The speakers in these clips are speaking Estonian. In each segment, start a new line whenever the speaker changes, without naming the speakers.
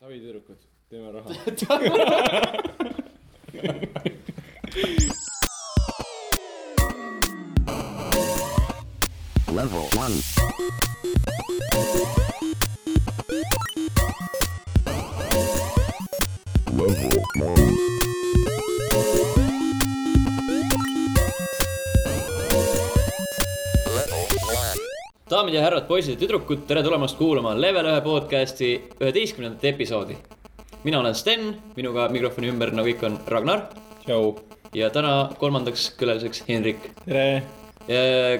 tagitüdrukud , teeme raha .
Level 1. Level 1.
daamid ja härrad , poisid ja tüdrukud , tere tulemast kuulama Level ühe podcasti üheteistkümnendat episoodi . mina olen Sten , minuga mikrofoni ümber , nagu ikka , on Ragnar
tšau .
ja täna kolmandaks külaliseks Henrik .
tere .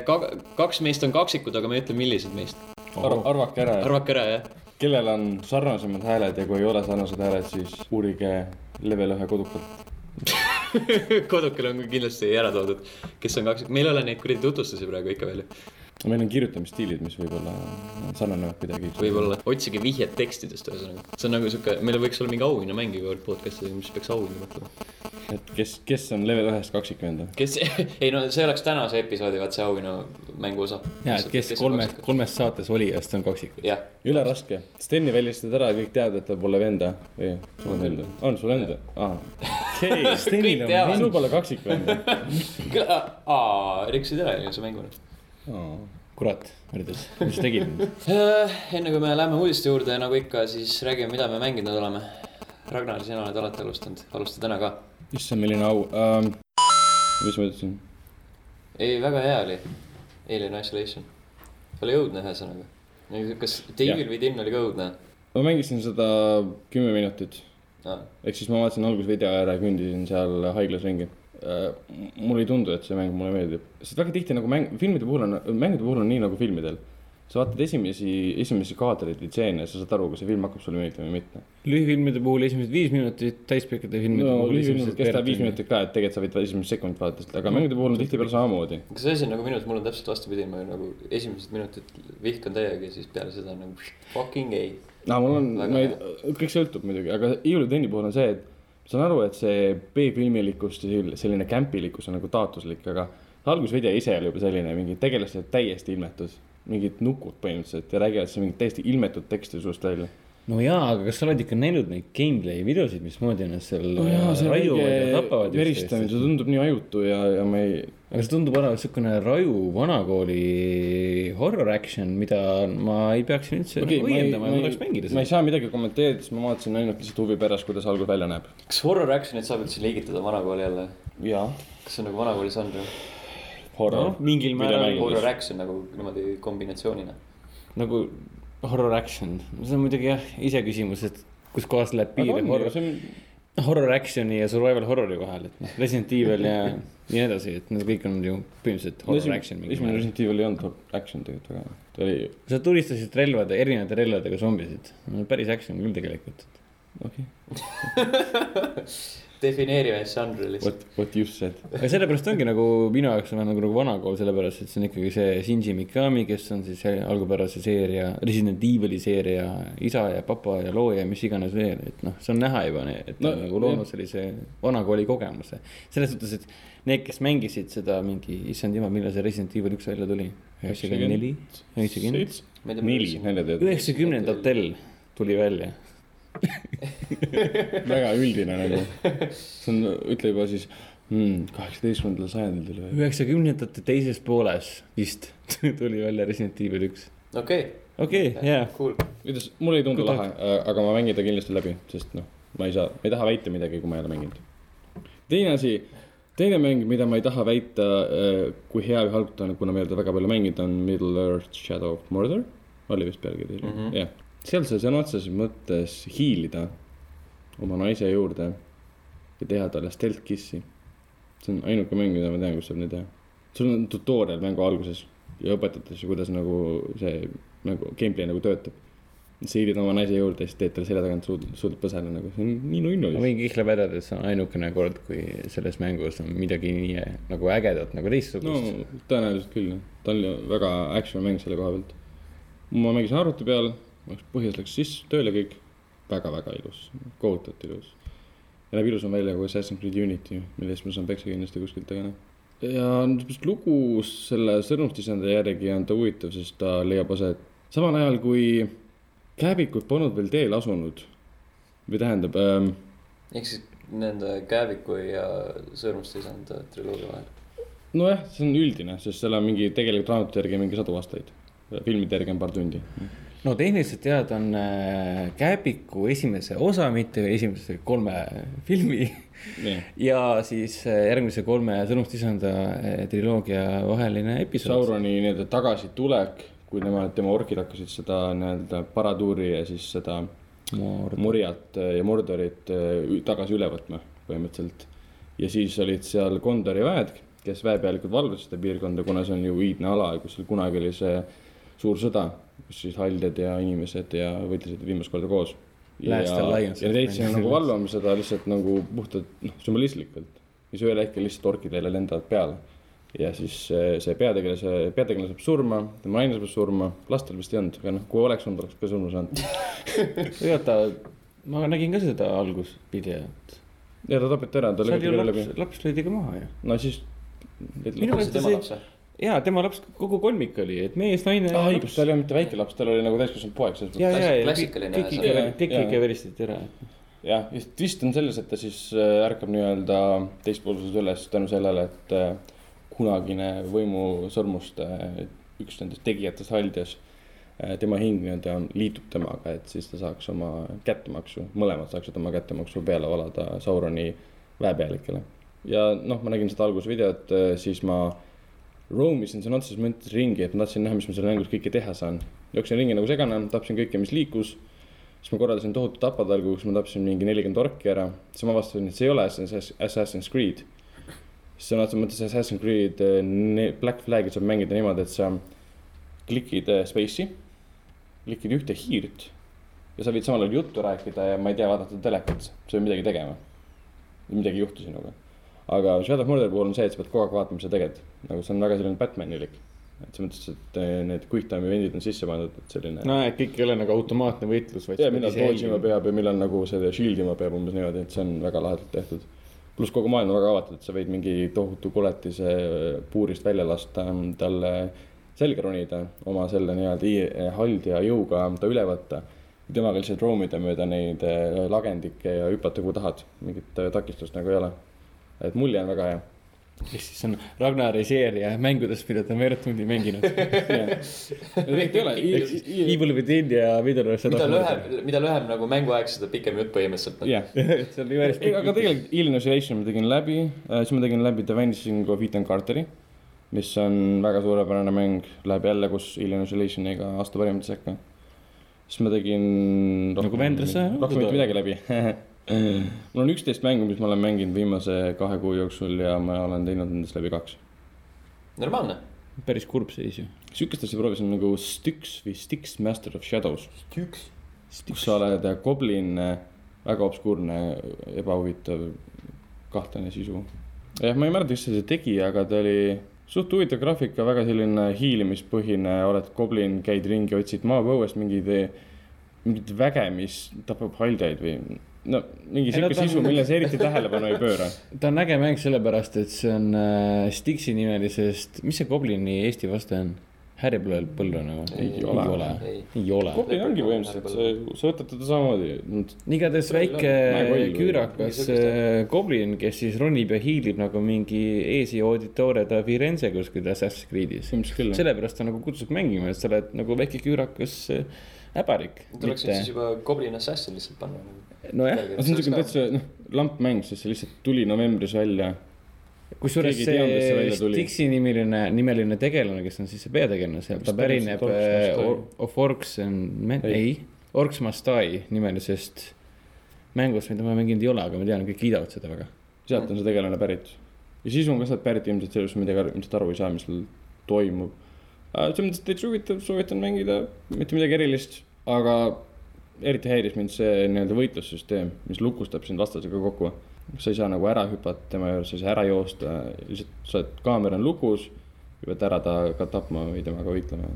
Ka- , kaks meist on kaksikud , aga ma ei ütle , millised meist .
arvake ära ,
arvake ära , jah .
kellel on sarnasemad hääled ja kui ei ole sarnased hääled , siis uurige level ühe kodukalt .
kodukil on kindlasti ära toodud , kes on kaksikud , meil ei ole neid kuradi tutvustusi praegu ikka veel ju .
meil on kirjutamisstiilid , mis võib-olla sarnanevad kuidagi .
võib-olla otsige vihjet tekstidest , ühesõnaga . see on nagu sihuke , meil võiks olla mingi auhinnamäng iga kord podcast'i , mis peaks auhinna mõtlema .
et kes , kes on level ühest kakskümmend või ?
kes , ei no see oleks tänase episoodi , vaat see auhinnamängu osa .
ja , et kes kolmest , kolmest saates olijast on kaksikud .
jah ,
üleraske , Steni välistad ära ja kõik teavad , et tal pole venda . ei , sul on venda . on sul enda ? aa . okei ,
Kõik
Stenil on
teavad.
vend . sul pole kaksikvenda .
ah, aa , rikkusid ära eelmise mängu nüüd .
kurat , Mardis , mis sa tegid ?
Äh, enne kui me läheme uudiste juurde , nagu ikka , siis räägime , mida me mänginud oleme . Ragnar , sina oled alati alustanud , alusta täna ka .
issand , milline au um, . mis ma ütlesin ?
ei , väga hea oli . Alien Isolation . oli õudne , ühesõnaga . kas The
Jah.
Evil Within oli ka õudne ?
ma mängisin seda kümme minutit ehk siis ma vaatasin alguses video ära ja kõndisin seal haiglas ringi . mul ei tundu , et see mäng mulle meeldib , sest väga tihti nagu mäng , filmide puhul on , mängude puhul on nii nagu filmidel . sa vaatad esimesi , esimesi kaadreid või stseene ja sa saad aru , kas see film hakkab sulle meeldima või mitte .
lühifilmide puhul esimesed viis minutit , täispikkade filmide
no
puhul
lühifilmid
esimesed
kestavad viis . minutit ka , et tegelikult sa võid esimest sekundit vaadata , aga mängude puhul on tihtipeale samamoodi .
kas see asi on nagu minu , mul on täpselt vastupidi , ma nagu esimesed minutid vihkan täiega ja siis peale seda on nagu fucking ei .
no mul on ,
Väga
ma ei , kõik sõltub muidugi , aga jõulutenni puhul on see , et ma saan aru , et see B-filmilikkus ja sel- selline kämpilikkus on nagu taotluslik , aga algusvideo ise oli juba selline , mingid tegelased täiesti ilmetud , mingid nukud põhimõtteliselt ja räägivad seal mingit täiesti ilmetut teksti suust välja .
no jaa , aga kas sa oled ikka näinud neid gameplay videosid , mismoodi nad seal äh, raiuvad ja tapavad
veristamine , see
üksteist ?
tundub nii ajutu ja , ja ma ei ,
aga see tundub olevat siukene raju vanakooli horror action , mida ma ei peaks siin üldse
okei ,
okay,
ma ei ,
õiendama
ma
ja ma tahaks
ei
nagu mängida ,
ma
seda
ei . saa midagi kommenteerida , sest ma vaatasin ainult lihtsalt huvi pärast , kuidas algus välja näeb .
kas horror action'it saab üldse liigitada vanakooli jälle ?
jaa .
kas see on nagu vanakooli žanr või ?
horror
Noh, mingil
Mida
määral
mängides.
horror action nagu niimoodi kombinatsioonina .
nagu horror action , see on muidugi jah , iseküsimus , et kuskohast
Aga
läheb piir
on ju,
horror
see on-
horror action'i ja survival horror'i vahel , et noh , Resident Evil ja nii edasi , et need kõik on ju põhimõtteliselt
no
horror
esimene-
action mingi
esimene
määral .
Resident Evil ei olnud action tegelikult väga , ta oli ,
sa tulistasid relvade , erinevate relvadega zombisid , päris action küll tegelikult .
okei okay. ,
defineerime žanri lihtsalt .
what , what you said .
aga sellepärast ongi nagu minu jaoks on nagu, nagu vanakool , sellepärast et see on ikkagi see Shinji Mikami , kes on siis see algupärase seeria , Resident Evil'i seeria isa ja papa ja looja ja mis iganes veel , et noh , see on näha juba , et
No,
no, on nagu
jah.
loonud sellise vanakooli kogemuse . selles suhtes , et need , kes mängisid seda mingi , issand jumal , millal see Resident Evil üks välja tuli ? üheksakümmend neli , üheksakümmend ,.
neli , nalja teed .
üheksakümnendatel tuli välja .
väga üldine nagu . see on , ütle juba siis , kaheksateistkümnendal sajandil tuli välja .
üheksakümnendate teises pooles vist tuli välja Resident Evil üks .
okei ,
okei okay, , jaa .
cool .
kuidas , mulle ei tundu
Kui
lahe , aga ma mängin ta kindlasti läbi , sest noh , ma ei saa , ma ei taha väita midagi , kui ma ei ole mänginud . teine asi , teine mäng , mida ma ei taha väita , kui hea või halb ta on , kuna ma ei ole teda väga palju mänginud , on Middle Earth Shadow of Murder . oli vist pealkiri mm , -hmm. jah . seal sai sõna otseses mõttes hiilida oma naise juurde ja teha talle stealth kiss'i . see on ainuke mäng , mida ma tean , kus saab nii teha . sul on tutorial mängu alguses ja õpetatakse , kuidas nagu see nagu gameplay nagu töötab . sa hiilid oma naise juurde ja siis teed talle selja tagant suud , suud põsele nagu , see on nii nunnu
ma . võin kihla vedada , et see on ainukene kord , kui selles mängus on midagi nii nagu ägedat nagu
no
teistsugust no. .
tõenäoliselt küll , ta on ju väga action mäng selle koha pealt . ma mängisin arvuti peal , põhjas läks sisse tööle kõik , väga-väga ilus , kohutavalt ilus . ja näeb ilusam välja kui Assassin's Creed Unity , mille eest ma saan peksa kindlasti kuskilt , aga noh . ja niisugust lugu selle sõnumtisende järgi on ta huvitav , sest ta leiab aset samal ajal kui kääbikud polnud veel teel asunud , või tähendab ähm, ,
ehk siis nende Kääviku ja Sõõrmuste isanda äh, triloogia vahel .
nojah , see on üldine , sest seal on mingi tegelikult raamatute järgi mingi sadu aastaid , filmide järgi on paar tundi .
no tehniliselt tead , on äh, Kääbiku esimese osa , mitte esimese kolme filmi
nii ,
ja siis äh, järgmise kolme Sõnumist isanda äh, triloogia vaheline episood .
Sauroni nii-öelda tagasitulek , kui tema , tema orkid hakkasid seda nii-öelda paraduuri ja siis seda Murjat ja Mordorit äh, tagasi üle võtma põhimõtteliselt . ja siis olid seal Gondori väed , kes väepealikud valvasid seda piirkonda , kuna see on ju iidne ala , kus seal kunagi oli see suur sõda , kus siis haljad ja inimesed ja võitlesid viimast korda koos . ja
Last Alliance.
ja nad jäid nagu valvama seda lihtsalt nagu puhtalt noh , sümbolistlikult . ja siis ühel hetkel lihtsalt orkidele lendavad peale ja siis äh, see peategelase , peategelane saab surma , tema naine saab surma , lastel vist ei olnud , aga noh , kui oleks olnud , oleks ka surma saanud .
oota , ma nägin ka seda alguspideot .
ja ta tapeti ära , ta
seal
lõigati
ju
küll läbi
laps ,. laps lõidi ka maha ju .
no siis .
Minu meelest
tema
see-
laps või ?
ja tema laps , kogu kolmik oli , et mees , naine .
aa õigus , tal ei olnud mitte väike laps , tal oli nagu täiskasvanud poeg selles
ja ,
mõttes .
ja , ja kõik
Klassikaline
kõik
ühesõnaga.
ikka , kõik
Jaa.
ikka veristati ära .
jah , ja twist on selles , et ta siis äh, ärkab nii-öelda teispoolsuses üles tänu sellele , et äh, kunagine võimu sõrmust , üks nendest tegijatest haldjas , tema hing nii-öelda on- liitub temaga , et siis ta saaks oma kättemaksu , mõlemad saaksid oma kättemaksu peale valada Sauroni väepealikele . ja noh , ma nägin seda algusvideot , siis ma roamisin sõna otseses mõttes ringi , et ma tahtsin näha , mis ma seal mängus kõike teha saan . jooksin ringi nagu segane , tapsin kõike , mis liikus . siis ma korraldasin tohutu tapatalgu , kus ma tapsin mingi nelikümmend orki ära . siis ma avastasin , et see ei ole Assassin's Assassin's Creed . sõna otseses mõttes Assassin's Creed eh, ne- Black Flag'i saab mängida niimoodi , et sa klikid eh, space'i , klikid ühte hiirt ja sa võid samal ajal juttu rääkida ja ma ei tea , vaadata telekat , sa pead midagi tegema . midagi ei juhtu sinuga . aga Shadow of Mordori puhul on see , et sa pead kogu aeg vaatama , mis sa teged . nagu see on väga selline Batmanilik . et selles mõttes , et eh, need quick time event'id on sisse pandud , et selline no, .
no et kõik ei ole nagu automaatne võitlus , vaid .
ja millal dodge'ima peab ja millal nagu selle shield ima peab umbes niimoodi , et see on väga lahedalt tehtud . pluss kogu maailm on väga avatud , et sa võid mingi tohutu koletise puurist välja lasta , talle selga ronida , oma selle nii-öelda i- haldja jõuga ta üle võtta . temaga lihtsalt roamida mööda neid eh, lagendikke ja hüpata kuhu tahad , mingit eh, takistust nagu ei ole . et mulje on väga hea .
ehk siis on Ragnari seeria mängudest , mida ta on veerand tundi mänginud .
tegelikult ei ole
Ehk siis . Evil within ja Vidal .
mida lühem , mida lühem nagu mänguaeg , seda pikem jutt põhimõtteliselt on .
jah ,
see oli päris
ei , aga tegelikult Alien Isolation ma tegin läbi , siis ma tegin läbi The Vanishing of Ethan Carteri , mis on väga suurepärane mäng , läheb jälle , kus Alien Isolationiga aasta parimate sekka . siis ma tegin .
Nagu Vendrasse
rohkem mitte
jõudnud.
midagi läbi . mul on üksteist mängu , mis ma olen mänginud viimase kahe kuu jooksul ja ma olen teinud nendest läbi kaks .
normaalne .
päris kurb seis ju .
sihukest asja proovisin nagu Styx või Styx Master of Shadows . kus sa oled goblin , väga obskuurne , ebahuvitav , kahtlane sisu . jah , ma ei mäleta , kes see tegija , aga ta oli suht huvitav graafika , väga selline hiilimispõhine , oled goblin , käid ringi , otsid maapõuest mingeid , mingit väge , mis tapab haldajaid või no mingi
Ei, no
sihuke
ta on-
sisu , millele sa eriti tähelepanu ei pööra .
ta on äge mäng sellepärast , et see on äh, Stixi nimelisest , mis see Goblini eesti vaste on ? Härjapõlvel põlvlane või ?
Ei
ei
ole.
ole
Ei. ,
ei ole .
goblin ongi põhimõtteliselt , sa võtad teda samamoodi , noh,
igatahes
Põlv-
väike
Mäekoll või-
küürakas
Mingi
äh, goblin , kes siis ronib ja hiilib nagu mingi Eesi auditoore da Firenze kuskil Assassin's Creed'is .
ilmselt küll .
sellepärast ta nagu kutsub mängima , et sa oled nagu väike küürakas äh, äbarik .
tuleks siis juba Goblin Assassin lihtsalt panna .
nojah ,
aga see on siuke täitsa noh , lampmäng , sest see lihtsalt tuli novembris välja
kusjuures
Keegi ei teadnud, et see
see
välja tuli.
Stixi nimeline , nimeline tegelane , kes on siis see peategelane seal , ta
Mis ta
pärineb
oli, see Orcs
äh,
Must
Or- of Orcs and Men ,
Ei.
ei , Orcs Must Die nimelisest mängust , mida ma mänginud ei ole , aga ma tean , kõik kiidavad seda väga .
sealt on see tegelane pärit . ja sisu on ka sealt pärit ilmselt sellest , midagi aru- ilmselt aru ei saa , mis seal toimub . selles mõttes , et täitsa huvitav , soovitan mängida , mitte midagi erilist , aga eriti häiris mind see nii-öelda võitlussüsteem , mis lukustab sind vastasega kokku . sa ei saa nagu ära hüpata tema juures , sa ei saa ära joosta , lihtsalt sa oled , kaamera on lukus ja pead ära ta ka tapma või temaga võitlema .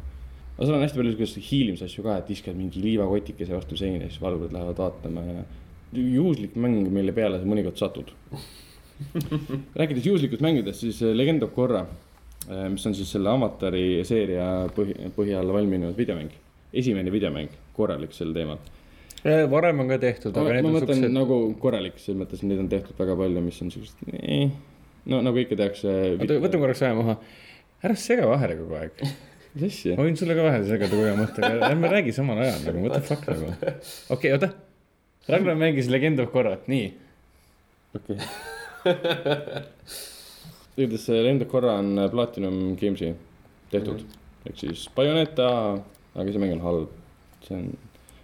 aga seal on hästi palju selliseid hiilimisasju ka , et viskad mingi liivakotikese vastu seina ja siis valvurid lähevad vaatama ja juhuslik mäng , mille peale sa mõnikord satud . rääkides juhuslikust mängudest , siis äh, Legend of Korra , mis on siis selle avatari seeria põhi , põhjal valminud videomäng . esimene videomäng , korralik sel teemal .
varem on ka tehtud , aga
ma
need on
mõtlen suksed...
siuksed
nagu korralik , selles mõttes neid on tehtud väga palju , mis on siuksed , no nagu ikka tehakse .
oota , võtame korraks aja maha . ära sega vahele kogu aeg .
mis asja
ma ? võin sulle ka vahele segada , kui on mõte , ärme räägi samal ajal nagu , what the fuck nagu . okei okay, , oota . Ragnar mängis Legend of Korrat , nii .
okei okay. . igatahes see Lendo korra on äh, Platinum Games'i tehtud mm -hmm. ehk siis Bayoneta , aga see mäng on halb . see on ,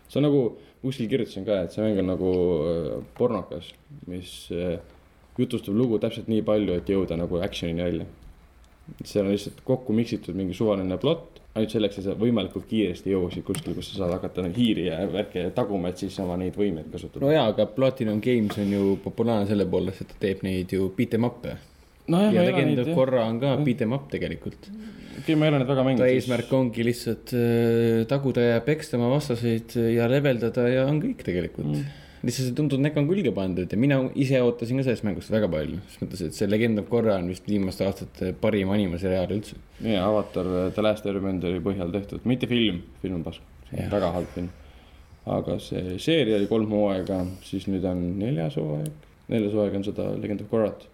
see on nagu , kuskil kirjutasin ka , et see mäng on nagu äh, pornokas , mis äh, jutustab lugu täpselt nii palju , et jõuda nagu action'ini välja . seal on lihtsalt kokku miksitud mingi suvaline plott , ainult selleks , et sa võimalikult kiiresti jõuaksid kuskile , kus sa saad hakata neid hiiri ja värke taguma , et siis oma neid võimeid kasutada .
no jaa , aga Platinum Games on ju populaarne selle poolest , et ta teeb neid ju beat em up'e .
nojah ,
ja
ma ei ole
Legend
neid
of
jah ,
Korra on ka beat em up tegelikult .
okei , ma ei ole neid väga
ta
mänginud .
eesmärk ongi lihtsalt äh, taguda ja peksta oma vastaseid ja leveldada ja on kõik tegelikult mm. . lihtsalt see tuntud näkk on külge pandud ja mina ise ootasin ka sellest mängust väga palju , selles mõttes , et see Legend of Korra on vist viimaste aastate parim animaseriaal üldse .
jaa , Avatar äh, The Last Airbenderi põhjal tehtud , mitte film , film on pask ,
Jah.
väga halb film . aga see seeria oli kolm hooaega , siis nüüd on neljas hooaeg , neljas hooaeg on seda Legend of Korrat .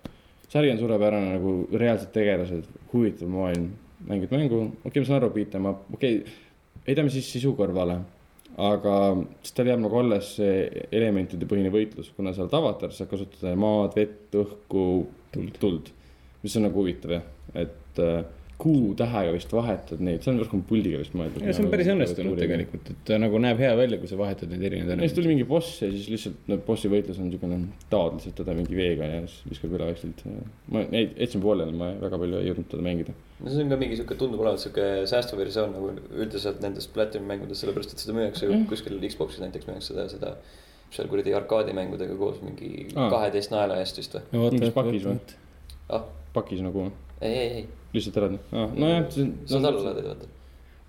sari on suurepärane nagu reaalsed tegelased , huvitav maailm , mängid mängu , okei okay, , ma saan aru , beat em up , okei okay, , heidame siis sisu kõrvale . aga siis tal jääb nagu alles see elementide põhine võitlus , kuna sa oled avatar , saad kasutada maad , vett , õhku , tuld, tuld , mis on nagu huvitav jah , et äh, kuu tähega vist vahetad neid , see on rohkem puldiga vist mõeldud .
ja see on päris õnnestunud . Nagu tegelikult , et ta nagu näeb hea välja , kui sa vahetad neid erinevaid
ja siis tuli mingi boss ja siis lihtsalt no, bossi võitlus on niisugune , taod lihtsalt teda mingi veega ja siis viskab üle vaikselt . ma neid jätsin pooleli , ma väga palju ei jõudnud teda mängida .
no see on ka mingi siuke , tundub olevat siuke säästu versioon nagu üldiselt nendest Platinumi mängudest , sellepärast et seda müüakse
Mhm.
ju kuskil Xbox'is näiteks müüakse seda , seda seal kuradi arkaadimängudega koos mingi
Aa.
kaheteist naela eest vist või ?
mingis pakis või?
asju .
ah ,
pakis nagu ,
ei , ei , ei ,
lihtsalt ära ah, , nojah , see on
saad alla laadida , vaata .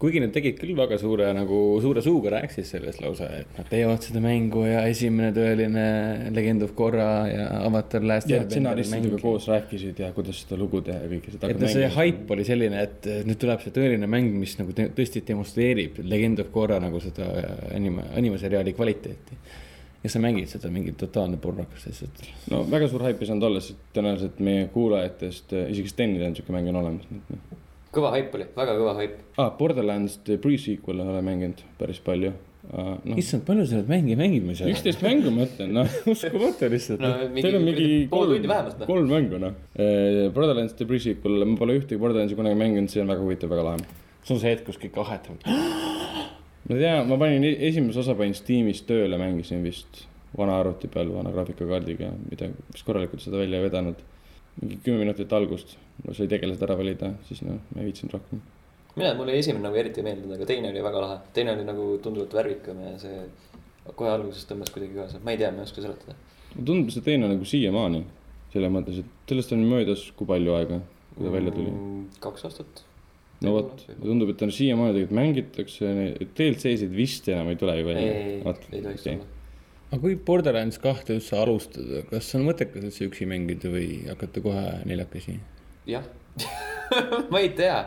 kuigi nad tegid küll väga suure nagu suure suuga rääkisid sellest lausa , et nad teevad seda mängu ja esimene tõeline Legend of Korra ja Avatar Last
ja
Airbender
stsenaristidega
mäng.
koos rääkisid ja kuidas seda lugu teha ja kõike seda .
et noh , see haip oli selline , et nüüd tuleb see tõeline mäng , mis nagu te- tõesti demonstreerib Legend of Korra nagu seda anima , animaseriaali kvaliteeti . ja sa mängid seda mingi totaalne pornokas lihtsalt .
no väga suur haip ei saanud olla , sest tõenäoliselt meie kuulajatest , isegi Stenil on niisugune mäng on olemas .
kõva haip oli , väga kõva haip .
ah, . Borderlands The Pre-Sequel olen mänginud päris palju uh, . No,
issand , palju sa neid mänge mängid , ma ei saa .
üksteist mängu ma ütlen , noh .
uskumatu lihtsalt .
no
Teil on mingi
pool tundi vähemalt , noh .
kolm mängu , noh . Borderlands The Pre-Sequel , ma pole ühtegi Borderlandsi kunagi mänginud , see on väga huvitav , väga lahe .
see on see hetk , kus kõik ahetavad .
ma tean , ma panin e- esimese osa panin Steamis tööle , mängisin vist vana arvuti peal , vana graafikakaardiga , midagi , vist korralikult seda välja ei vedanud . mingi kümme minutit algust , no sai tegelased ära valida , siis noh , ma ei viitsinud rohkem .
mina , mulle esimene nagu eriti ei meeldinud , aga teine oli väga lahe , teine oli nagu tunduvalt värvikam ja see kohe alguses tõmbas kuidagi kaasa , ma ei tea , ma ei oska seletada .
mulle tundub , see teine nagu siiamaani , selles mõttes , et sellest on möödas kui palju aega , kui ta välja tuli .
Mm, kaks aastat .
no vot , tundub , et ta on siiamaani tegelikult mängitakse , DLC-sid vist enam ei tule ju
ei ,
välja .
ei , ei , ei tohiks olla .
aga kui Borderlands kahte üldse alustada , kas on mõttekas üldse üksi mängida või hakata kohe neljakesi ?
jah , ma ei tea ,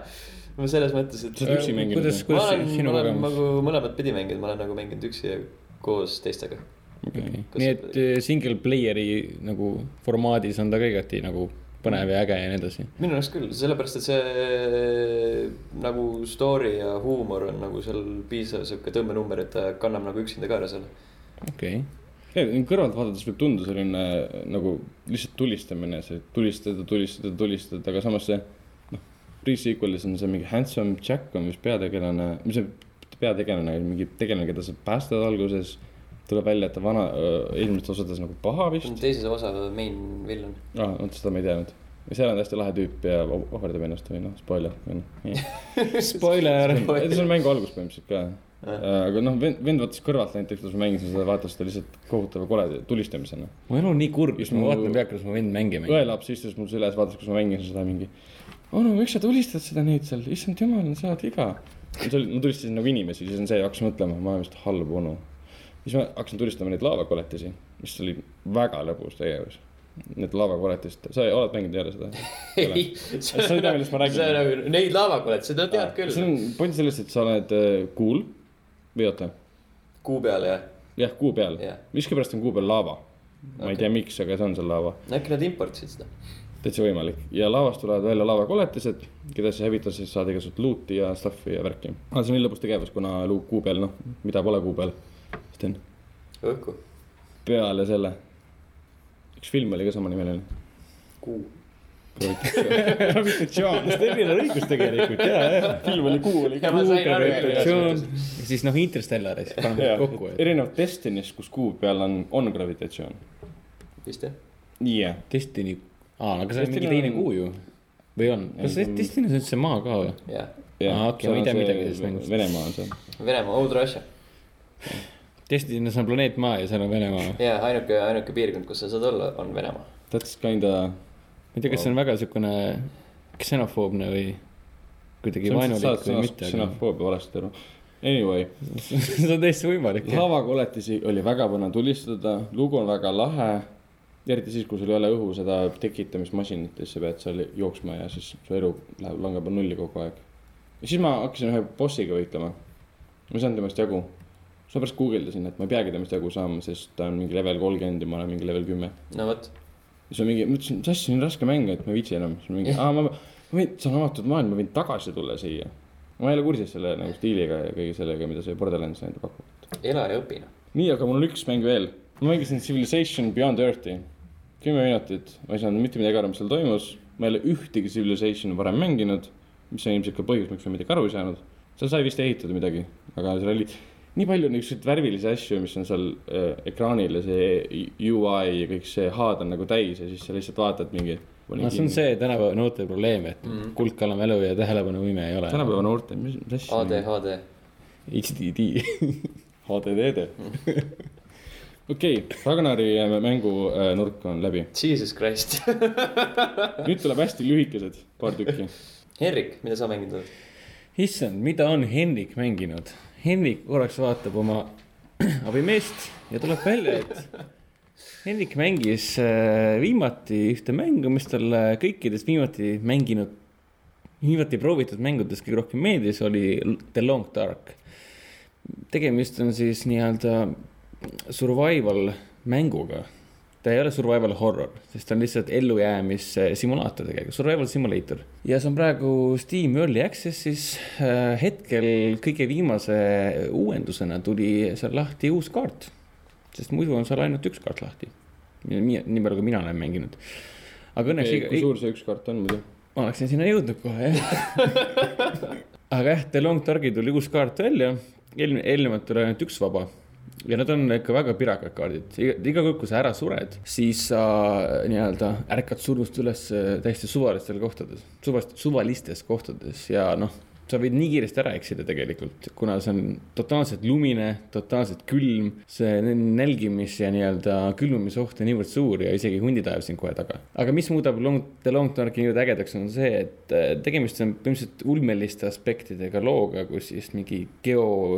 ma selles mõttes , et .
Sa oled üksi mänginud,
kuidas ,
jah?
ma
kuidas
olen
si- , sinu
ma olen
kogemus ?
nagu mõlemat pidi mänginud , ma olen nagu mänginud üksi ja koos teistega .
okei ,
kas-
nii et eh, single player'i nagu formaadis on ta ka igati nagu põnev ja äge ja nii edasi .
minu arust küll , sellepärast et see nagu story ja huumor on nagu seal piisav sihuke tõmbenumber , et ta kannab nagu üksinda ka ära selle .
okei okay. ,
kõrvalt vaadates võib tunduda selline nagu lihtsalt tulistamine , see tulistada , tulistada , tulistada , aga samas see noh , Pre-sequel'is on see mingi Handsome Jack on vist peategelane , mis see peategelane , mingi tegelane , keda sa päästad alguses , tuleb välja , et ta vana , eelmistes osades nagu paha
see on
vist .
teises osa main villain .
aa , vot seda ma ei teadnud . ja seal on hästi lahe tüüp ja oh- ohverdab ennast või noh , spoiler või noh .
spoiler .
ei , see on mängu algus põhimõtteliselt ka . aga noh , vend , vend vaatas kõrvalt näiteks , kuidas ma mängisin seda , vaatas seda lihtsalt kohutava koleda tulistamisena .
mu elu on nii kurb ,
Just
siis ma
mu-
vaatan peale , kuidas mu vend mänge mängib .
õelaps istus mul seljas , vaatas , kus ma mängin seda mingi . onu , miks sa tulistad seda nüüd seal , issand jumal , sa oled iga . ma tulistasin nagu inimesi , siis on see , hakkas mõtlema , ma olen vist halb onu . siis ma hakkasin tulistama neid laevakoletisi , mis oli väga lõbus tegevus . Need laevakoletist , sa oled mänginud jälle seda ?
ei ,
sa ei tea , millest ma räägin .
see on nagu neid laevakolet , seda tead
see
küll .
on point selles , et sa oled äh, cool või oota
kuu peal ja
jah , kuu peal
Jah. .
miskipärast on kuu peal laava . ma okay. ei tea , miks , aga see on seal laava .
äkki nad importisid seda ?
täitsa võimalik ja laevast tulevad välja laevakoletised , keda siis hävitada , siis saad igasugust luuti ja stuff'i ja värki . aga see on nii lõbus tegevus , kuna luu- kuu peal , noh , mida pole kuu peal , Sten .
õhku .
peale selle , üks film oli ka samanimeline .
kuu .
gravitatsioon , Stenil on õigus tegelikult , jaa , film oli kuu oli
Ja ma sain aru,
gravitatsioon .
siis noh , Interstellaris paneme
jaa
yeah. kokku ,, et
erinevalt Destiny'st , kus kuu peal on , on gravitatsioon .
vist jah ?
jah ,
Destiny , aa , aga see on mingi
Destiny
teine
on-
kuu ju . või on , kas
Ei, see on-
Destiny's on üldse maa ka või ?
jah .
Aa, okei, ma ei tea midagi sellest mängust.
Venemaa on seal .
Venemaa , Old Russia .
Destiny's on planeet Maa ja seal on Venemaa .
jaa , ainuke , ainuke piirkond , kus sa saad olla , on Venemaa .
That's kinda .
ma ei tea , kas see on väga siukene ksenofoobne või kuidagi vaenulik või mitte , aga
ksenofoobia valesti aru . Anyway ,
see on täiesti võimalik .
laevakoletisi oli väga põnev tulistada , lugu on väga lahe . eriti siis , kui sul ei ole õhu seda tekitamismasinat ja siis sa pead seal jooksma ja siis su elu läheb , langeb nulli kogu aeg . ja siis ma hakkasin ühe bossiga võitlema . ma ei saanud temast jagu . seepärast guugeldasin , et ma ei peagi temast jagu saama , sest ta on mingi level kolmkümmend ja ma olen mingi level kümme .
no vot ,
siis ma mingi , ma ütlesin , mis asja , see on raske mäng , et ma ei viitsi enam , siis ma mingi , aa ma , ma võin , see on avatud maailm , ma võin tagasi tulla siia . ma ei ole kursis selle nagu stiiliga ja kõige sellega , mida see Borderlands nende pakub .
ela ja õpi noh .
nii , aga mul on üks mäng veel , ma mängisin Civilization Beyond Earth'i . kümme minutit , ma ei saanud mitte midagi aru , mis seal toimus , ma ei ole ühtegi Civilization varem mänginud , mis on ilmselt ka põhjus , miks ma midagi aru ei saanud . seal sai vist ehitada midagi , aga seal oli nii palju niisuguseid värvilisi asju , mis on seal äh, ekraanil ja see UI ja kõik see H-d on nagu täis ja siis sa lihtsalt vaatad mingi .
no see on see tänapäeva noorte probleem , et
Mhm.
mm. kulkalamelu ja tähelepanuvõime ei ole .
tänapäeva noorte , mis , mis
Hmm.
asja .
ADHD .
HDD .
HDD-d . okei , Ragnari äh, mängu äh, nurk on läbi .
Jesus Christ .
nüüd tuleb hästi lühikesed , paar tükki .
Henrik , mida sa mänginud oled ?
issand , mida on Henrik mänginud ? Henrik korraks vaatab oma abimeest ja tuleb välja , et Henrik mängis äh, viimati ühte mängu , mis talle kõikidest viimati mänginud , viimati proovitud mängudest kõige rohkem meeldis , oli The Long Dark . tegemist on siis nii-öelda survival mänguga . ta ei ole survival horror , sest ta on lihtsalt ellujäämissimulaator tegelikult , survival simulator . ja see on praegu Steam Early Access'is . hetkel kõige viimase uuendusena tuli seal lahti uus kaart , sest muidu on seal ainult üks kaart lahti . nii nii palju , kui mina olen mänginud . aga õnneks iga-
kui suur see üks kart on muidu ?
ma oleksin sinna jõudnud kohe , jah . aga jah , The Long Darkil tuli uus kaart välja , eelmine , eelnevalt oli ainult üks vaba ja need on ikka väga pirakad kaardid , iga , iga kord , kui sa ära sured , siis sa äh, nii-öelda ärkad surnust üles äh, täiesti suvalistel kohtades , suvast , suvalistes kohtades ja noh , sa võid nii kiiresti ära eksida tegelikult , kuna see on totaalselt lumine , totaalselt külm , see nälgimis ja nii-öelda külmumisoht on niivõrd suur ja isegi hundid ajavad sind kohe taga . aga mis muudab Long , The Long Darki niivõrd ägedaks , on see , et äh, tegemist on põhimõtteliselt ulmeliste aspektidega looga , kus siis mingi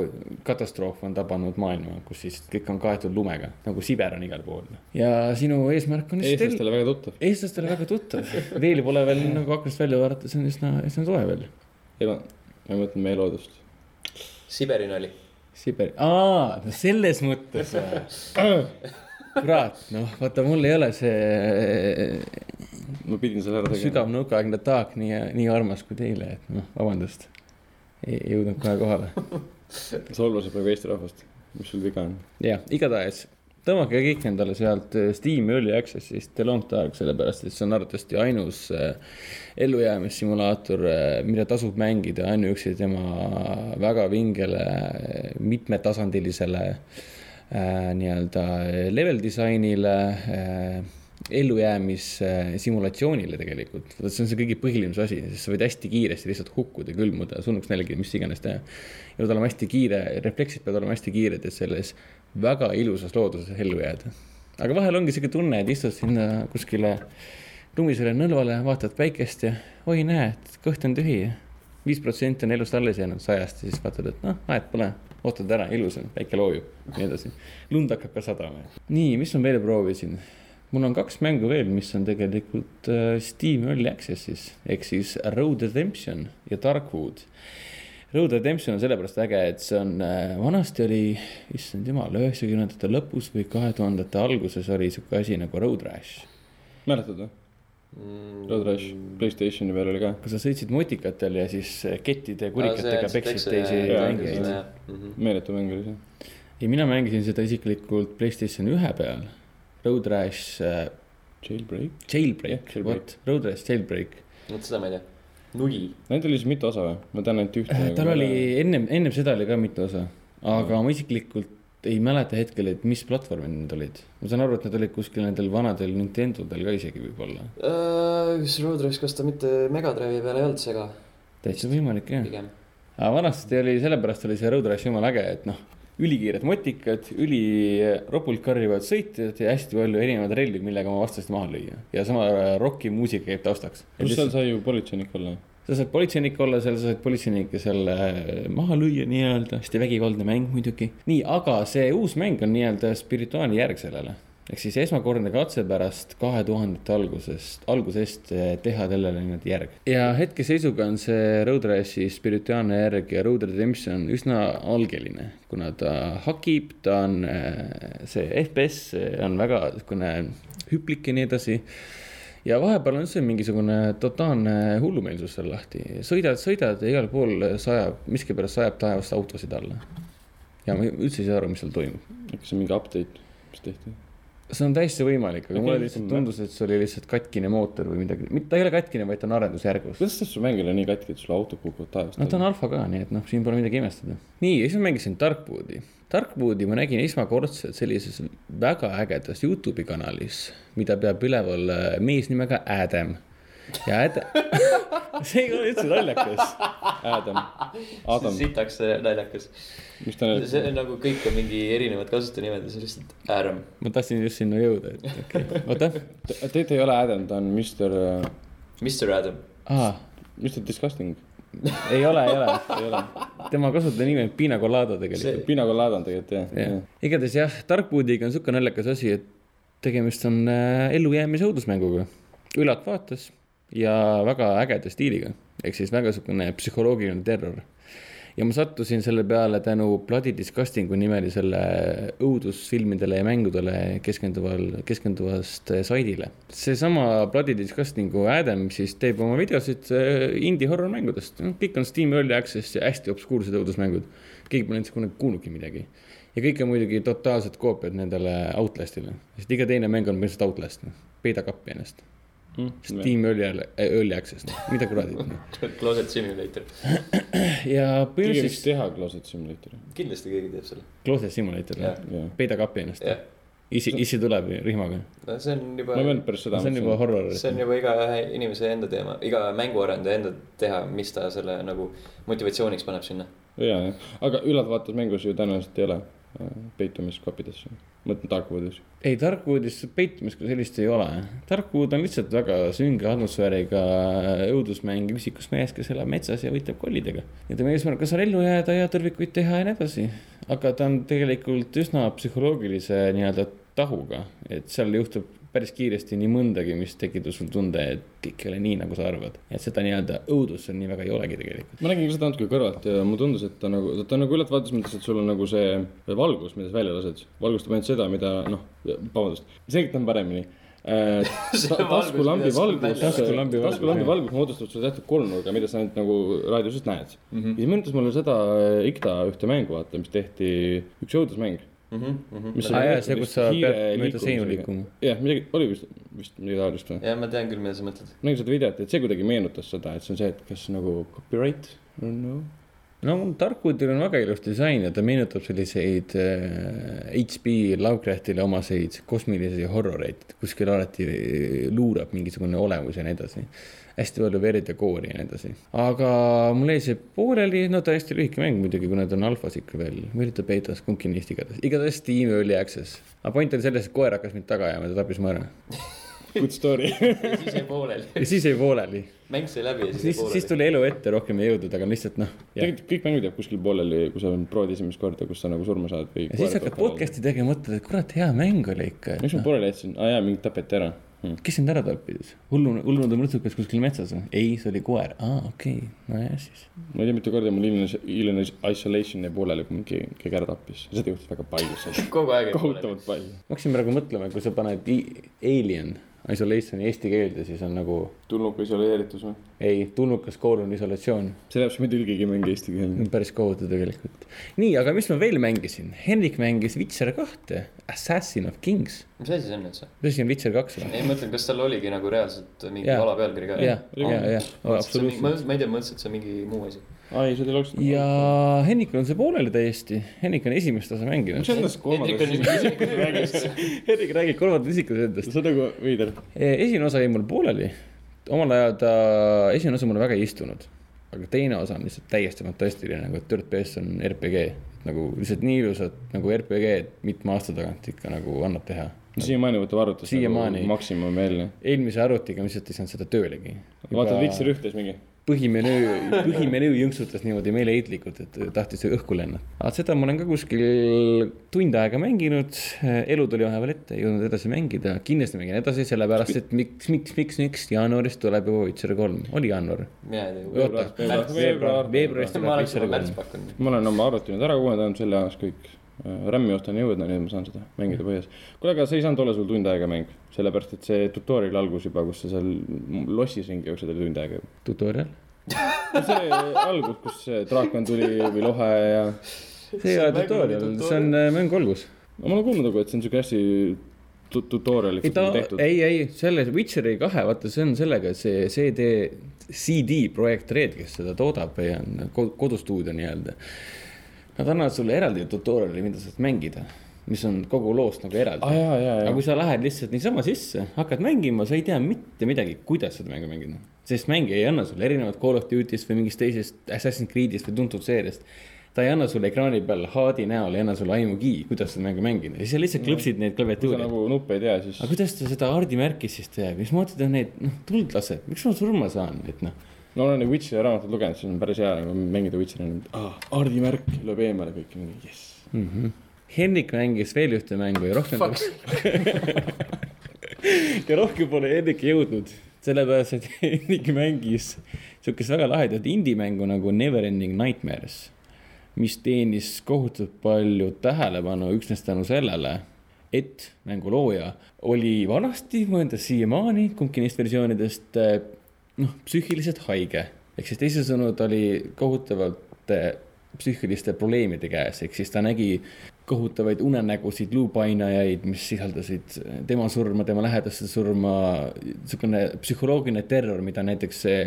geokatastroof on tabanud maailma , kus siis kõik on kaetud lumega , nagu Siber on igal pool . ja sinu eesmärk on siis
eestlastele väga tuttav .
eestlastele väga tuttav , veel pole veel nagu aknast välja vaadata , see on üsna , üsna soe veel .
ei ma , ma mõtlen meie loodust .
Siberin oli .
Siberi , aa , no selles mõttes või ? kurat , noh , vaata , mul ei ole see
ma pidin selle ära tegema .
sügav nõukaaegne taak nii , nii armas kui teile , et noh , vabandust . ei ei jõudnud kohe kohale .
solvasid praegu Eesti rahvast . mis sul viga on ?
jah , igatahes tõmmake kõik endale sealt äh, Steam Early Access'ist The Long Dark , sellepärast et see on arvatavasti ainus äh, ellujäämissimulaator , mida tasub mängida ainuüksi tema väga vingele äh, mitmetasandilisele äh, nii-öelda level disainile äh, ellujäämissimulatsioonile äh, tegelikult , see on see kõige põhilisem asi , sest sa võid hästi kiiresti lihtsalt hukkuda , külmuda , surnuks nälgida , mis iganes teha . ja pead olema hästi kiire , refleksid peavad olema hästi kiired , et selles väga ilusas looduses ellu jääda . aga vahel ongi sihuke tunne , et istud sinna kuskile lumisele nõlvale , vaatad päikest ja oi , näed , kõht on tühi ja viis protsenti on elust alles jäänud sajast ja siis vaatad , et noh , aed pole , ootad ära , ilus on , päike loojub , nii edasi . lund hakkab ka sadama . nii , mis ma veel proovisin ? mul on kaks mängu veel , mis on tegelikult äh, Steam Early Access'is ehk siis Road Redemption ja Darkwood . Road Redemption on sellepärast äge , et see on , vanasti oli , issand jumal , üheksakümnendate lõpus või kahe tuhandete alguses oli sihuke asi nagu Road Rash .
mäletad või ?
Mm.
Road Rash , Playstationi peal oli ka .
kui sa sõitsid mutikatel ja siis kettide ja
Ah,
kurikatega peksid teisi mängijaid .
mängijaid .
meeletu mäng oli see .
ja mina mängisin seda isiklikult Playstation ühe peal . Road Rash äh,
Jailbreak . Jah,
Jailbreak ,
Jailbreak.
vot , Road Rash Jailbreak .
vot seda ma ei tea . nugi .
Neid oli siis mitu osa või ? ma tean ainult ühte .
Äh, tal oli ennem , ennem seda oli ka mitu osa , aga ma isiklikult ei mäleta hetkel , et mis platvormid need olid . ma saan aru , et need olid kuskil nendel vanadel Nintendodel ka isegi võib-olla .
Äh, kas Road Rash , kas ta mitte Mega Drive'i peal ei olnud see ka
täitsa võimalik jah .
pigem ?
aga vanasti oli , sellepärast oli see Road Rash jumala äge , et noh , ülikiired motikad , üliropult karjuvad sõitjad ja hästi palju erinevaid relvi , millega oma vastast maha lüüa . ja sama rokimuusika käib taustaks .
pluss seal sai ju politseinik olla .
sa saad politseinik olla seal , sa saad politseinikke seal äh, maha lüüa nii-öelda , hästi vägivaldne mäng muidugi . nii , aga see uus mäng on nii-öelda spirituaalne järg sellele . ehk siis esmakordne katse pärast kahe tuhandete algusest , algusest äh, teha sellele nii-öelda järg . ja hetkeseisuga on see Road Rashi spirituaalne järg ja Road Redemption üsna algeline , kuna ta hakib , ta on äh, see FPS äh, on väga niisugune hüplik ja nii edasi ja vahepeal on see mingisugune totaalne hullumeelsus seal lahti , sõidad , sõidad ja igal pool sajab , miskipärast sajab taevast autosid alla . ja ma üldse ei saa aru , mis seal toimub .
kas see on mingi update , mis tehti ?
see on täiesti võimalik , aga
Okei,
mulle lihtsalt
tundub.
tundus , et see oli lihtsalt katkine mootor või midagi , mitte ta ei ole katkine , vaid ta on arendusjärgus .
kuidas see su mäng oli nii katki , et sul autod kukuvad taevast
no ta on ? alfa ka , nii et noh , siin pole midagi imestada . nii , ja siis ma mängisin Darkwoodi . Darkwoodi ma nägin esmakordselt sellises väga ägedas Youtube'i kanalis , mida peab üleval äh, mees nimega Adam . ja Adam , see ei ole üldse naljakas .
Adam , Adam ,
sitaks see naljakas .
mis ta
Äh.
nüüd ,
see on nagu kõik on mingi erinevad kasutaja nimed ja see on lihtsalt äärm .
ma tahtsin just sinna jõuda , et okei okay. , oota
te , te ei ole Adam , ta on äh, Mr ,
Mr Adam .
ah, .
Mr Disgusting ,
ei ole , ei ole ,
ei ole .
tema kasutajanimi on Pina Colada tegelikult .
Pina Colada on tegelikult jah
Jah.
yeah. .
igatahes jah , tarkpuudiga on sihuke naljakas asi , et tegemist on äh, ellujäämise õudusmänguga . ülalt vaates ja väga ägeda stiiliga , ehk siis väga sihukene psühholoogiline terror . ja ma sattusin selle peale tänu Bloody Disgustingu nimelisele õudusfilmidele ja mängudele keskenduval , keskenduvast äh, saidile . seesama Bloody Disgustingu Adam siis teeb oma videosid äh, indie horror mängudest , kõik on Steam Early Access ja hästi obskuursed õudusmängud . keegi pole nendest kunagi kuulnudki midagi ja kõik on muidugi totaalsed koopiad nendele Outlastile , sest iga teine mäng on lihtsalt Outlast , noh , peida kappi ennast . Hmm. Steam Early , Early Access , mida noh? kuradi .
Closet Simulator .
ja
keegi võiks
põhimõtteliselt
teha Closet Simulatori ,
kindlasti keegi teeb selle .
Closet Simulator
Jah. ,
jah .
peida kappi ennast ,
jah ,
issi , issi tuleb rihmaga ,
no see on juba
ma ei , mõelnud päris seda .
see on juba horror .
see on juba igaühe inimese enda teema , iga mänguarendaja enda teha , mis ta selle nagu motivatsiooniks paneb sinna .
ja , jah , aga ülaltvaates mängus ju tõenäoliselt ei ole äh, peitumiskoppidesse , mõtlen Darkwoodis .
ei , tarkvoodis peitumist kui sellist ei ole . tarkvood on lihtsalt väga sünge atmosfääriga õudusmäng üksikust mehest , kes elab metsas ja võitleb kollidega . ja tema eesmärk on seal ellu jääda ja tõrvikuid teha ja nii edasi . aga ta on tegelikult üsna psühholoogilise nii-öelda tahuga , et seal juhtub päris kiiresti nii mõndagi , mis tekitab sul tunde , et kõik ei ole nii , nagu sa arvad . et seda nii-öelda õudust seal nii väga ei olegi tegelikult .
ma nägin ka seda natuke kõrvalt ja mulle tundus , et ta nagu , ta on nagu ülaltvaates mõttes , et sul on nagu see valgus , mida sa välja lased , valgustab ainult seda , mida noh , vabandust , selgitan paremini .
See valgus,
taskulambi
mida sa
valgus ,
välja lased.
taskulambi
Taskulambi
valgus moodustab sulle teatud kolmnurga , mida sa ainult nagu raadiosest näed . ja siis meenutas mulle seda äh, IKTA ühte mängu , vaata , mis tehti , üks õudusmäng .
Mhm,
Mis
aa
oli
jaa ,
mõeldud
see ,
vist
kus sa
hiire
pead mööda seinu
liikumisega.
liikuma .
jah , midagi , oli vist , vist midagi taolist või ?
ja ma tean küll , mida sa mõtled .
ma nägin seda videot , et see kuidagi meenutas seda , et see on see , et kas nagu copyright or no .
no Darkwoodil on väga ilus disain ja ta meenutab selliseid äh, HP Lovecraftile omaseid kosmilisi horroreid , kuskil alati äh, luurab mingisugune olemus ja nii edasi . hästi palju verd ja koori ja nii edasi , aga mul jäi see pooleli , no ta hästi lühike mäng muidugi , kuna ta on alfas ikka veel , või oli ta beetas , kumbki neist igatahes , igatahes Steam'i oli access . aga point oli selles , et koer hakkas mind taga ajama , ta tapis mu ära
Good story .
siis jäi pooleli ,
ja siis jäi pooleli ,
mäng sai läbi ja siis jäi
siis , siis
pooleli .
tuli elu ette , rohkem ei jõudnud , aga lihtsalt noh .
tegelikult kõik mängud jääb kuskil pooleli , kui sa proovid esimest korda , kus sa nagu surma saad või .
ja siis hakkad podcast'i tegema , mõtled , et kurat , hea mäng oli ikka .
miks ma pooleli jätsin , aa jaa , mind tapeti ära . Hm.
kes sind ära tappis ? hullunud , hullunud mõrtsukas kuskil metsas või ? ei , see oli koer . aa , okei okay. , nojah siis .
ma ei tea , mitu korda mul Illinois , Illinois Isolation jäi pooleli , kui mingi , keegi ära tappis . seda juhtus väga palju seal .
kogu aeg .
kohutavalt palju .
ma hakkasin praegu mõtlema , kui sa paned i- alien isolation'i eesti keelde , siis on nagu
tulnuka isoleeritus või ?
ei , tulnukas kool on isolatsioon .
selle jaoks me tõlgigi ei mängi eesti keeli .
päris kohutav tegelikult . nii , aga mis ma veel mängisin ? Henrik mängis Witcher kahte , Assassin of Kings .
mis asi see on üldse ?
mis asi on Witcher kaks või ?
ei , ma mõtlen , kas seal oligi nagu reaalselt mingi
Jaa.
ala pealkiri ka ?
ja , ja , ja , absoluutselt .
ma ma ei tea , mõtlesin , et see on mingi muu asi .
aa ei , seda ei oleks .
ja Henrikul on see pooleli täiesti . Henrik on esimest osa mänginud
mis . endast
Hendrik on
kolmandas ?
Henrik räägib kolmandat isikut endast .
see on nagu veider .
Eh, esimene osa jäi mul pooleli . omal ajal ta , esimene osa mulle väga ei istunud . aga teine osa on lihtsalt täiesti fantastiline , nagu third person RPG . nagu lihtsalt nii ilusad nagu RPG-d mitme aasta tagant ikka nagu annab teha .
siiamaani võtab arvutust .
Siiamaani.
maksimum eelne .
eelmise arvutiga ma lihtsalt ei saanud seda töölegi .
vaatad Vitseri ühtes mingi .
põhimenüü , põhimenüü jõnksutas niimoodi meeleheitlikult , et tahtis õhku lennata . aga seda ma olen ka kuskil tund aega mänginud , elu tuli vahepeal ette , ei jõudnud edasi mängida , kindlasti mängin edasi , sellepärast et miks , miks , miks , miks jaanuaris tuleb juba Witcher kolm , oli jaanuar ?
mina ei tea .
Oota.
veebruar , veebruar ,
veebruaris
ma
tuleb
oleks
Witcher
juba märts
kolm .
pakkunud .
ma olen oma arvuti nüüd ära uuendanud , selle ajaks kõik . RAM-i ostan jõudnud , nii et ma saan seda mängida põhjas . kuule , aga see ei saanud olla sul tund aega mäng , sellepärast et see tutorial algus juba , kus sa seal lossis ringi jooksed , oli tund aega juba .
tutorial ?
see algus , kus see draakon tuli või lohe ja .
see ei ole tutorial , see on äh, mängu algus .
ma olen kuulnud nagu , et see on siuke hästi tu- tutorial'i
ei ta ,
tehtud .
ei , ei selle Witcheri kahe , vaata , see on sellega , et see CD , CD Projekt Red , kes seda toodab ja on ko- kodustuudio nii-öelda . Nad annavad sulle eraldi tutorial'i , mida saad mängida , mis on kogu loost nagu
aa
eraldi .
Ah, jaa , jaa ,
aga
jaa .
kui sa lähed lihtsalt niisama sisse , hakkad mängima , sa ei tea mitte midagi , kuidas seda mängu mängida . sest mäng ei anna sulle erinevat Call of Duty'st või mingist teisest Assassin's Creed'ist või tuntud seeriast . ta ei anna sulle ekraani peal HD näol , ei anna sulle aimugi , kuidas seda mängu mängida , siis sa lihtsalt klõpsid neid
kui sa
klaviatuure .
nagu nuppe ei tea , siis
aga kuidas ta seda haardimärki siis teeb , mismoodi ta neid , noh , tuld laseb , miks ma surma saan , et noh .
no olen nagu Witcheri raamatut lugenud , siis on päris hea nagu mängida Witcheri , Mm. aa , aardimärk Ah, lööb eemale kõik , jess .
Henrik mängis veel ühte mängu ja rohkem . ja rohkem pole Henrik jõudnud , sellepärast et Henrik mängis siukest väga lahedat indie-mängu nagu Neverending Nightmares , mis teenis kohutavalt palju tähelepanu üksnes tänu sellele , et mängu looja oli vanasti , ma ütlen siiamaani , kumbki neist versioonidest eh, noh , psüühiliselt haige , ehk siis teisisõnu ta oli kohutavalt eh, psüühiliste probleemide käes , ehk siis ta nägi kohutavaid unenägusid , luupainajaid , mis sisaldasid eh, tema surma , tema lähedaste surma , niisugune psühholoogiline terror , mida näiteks see ,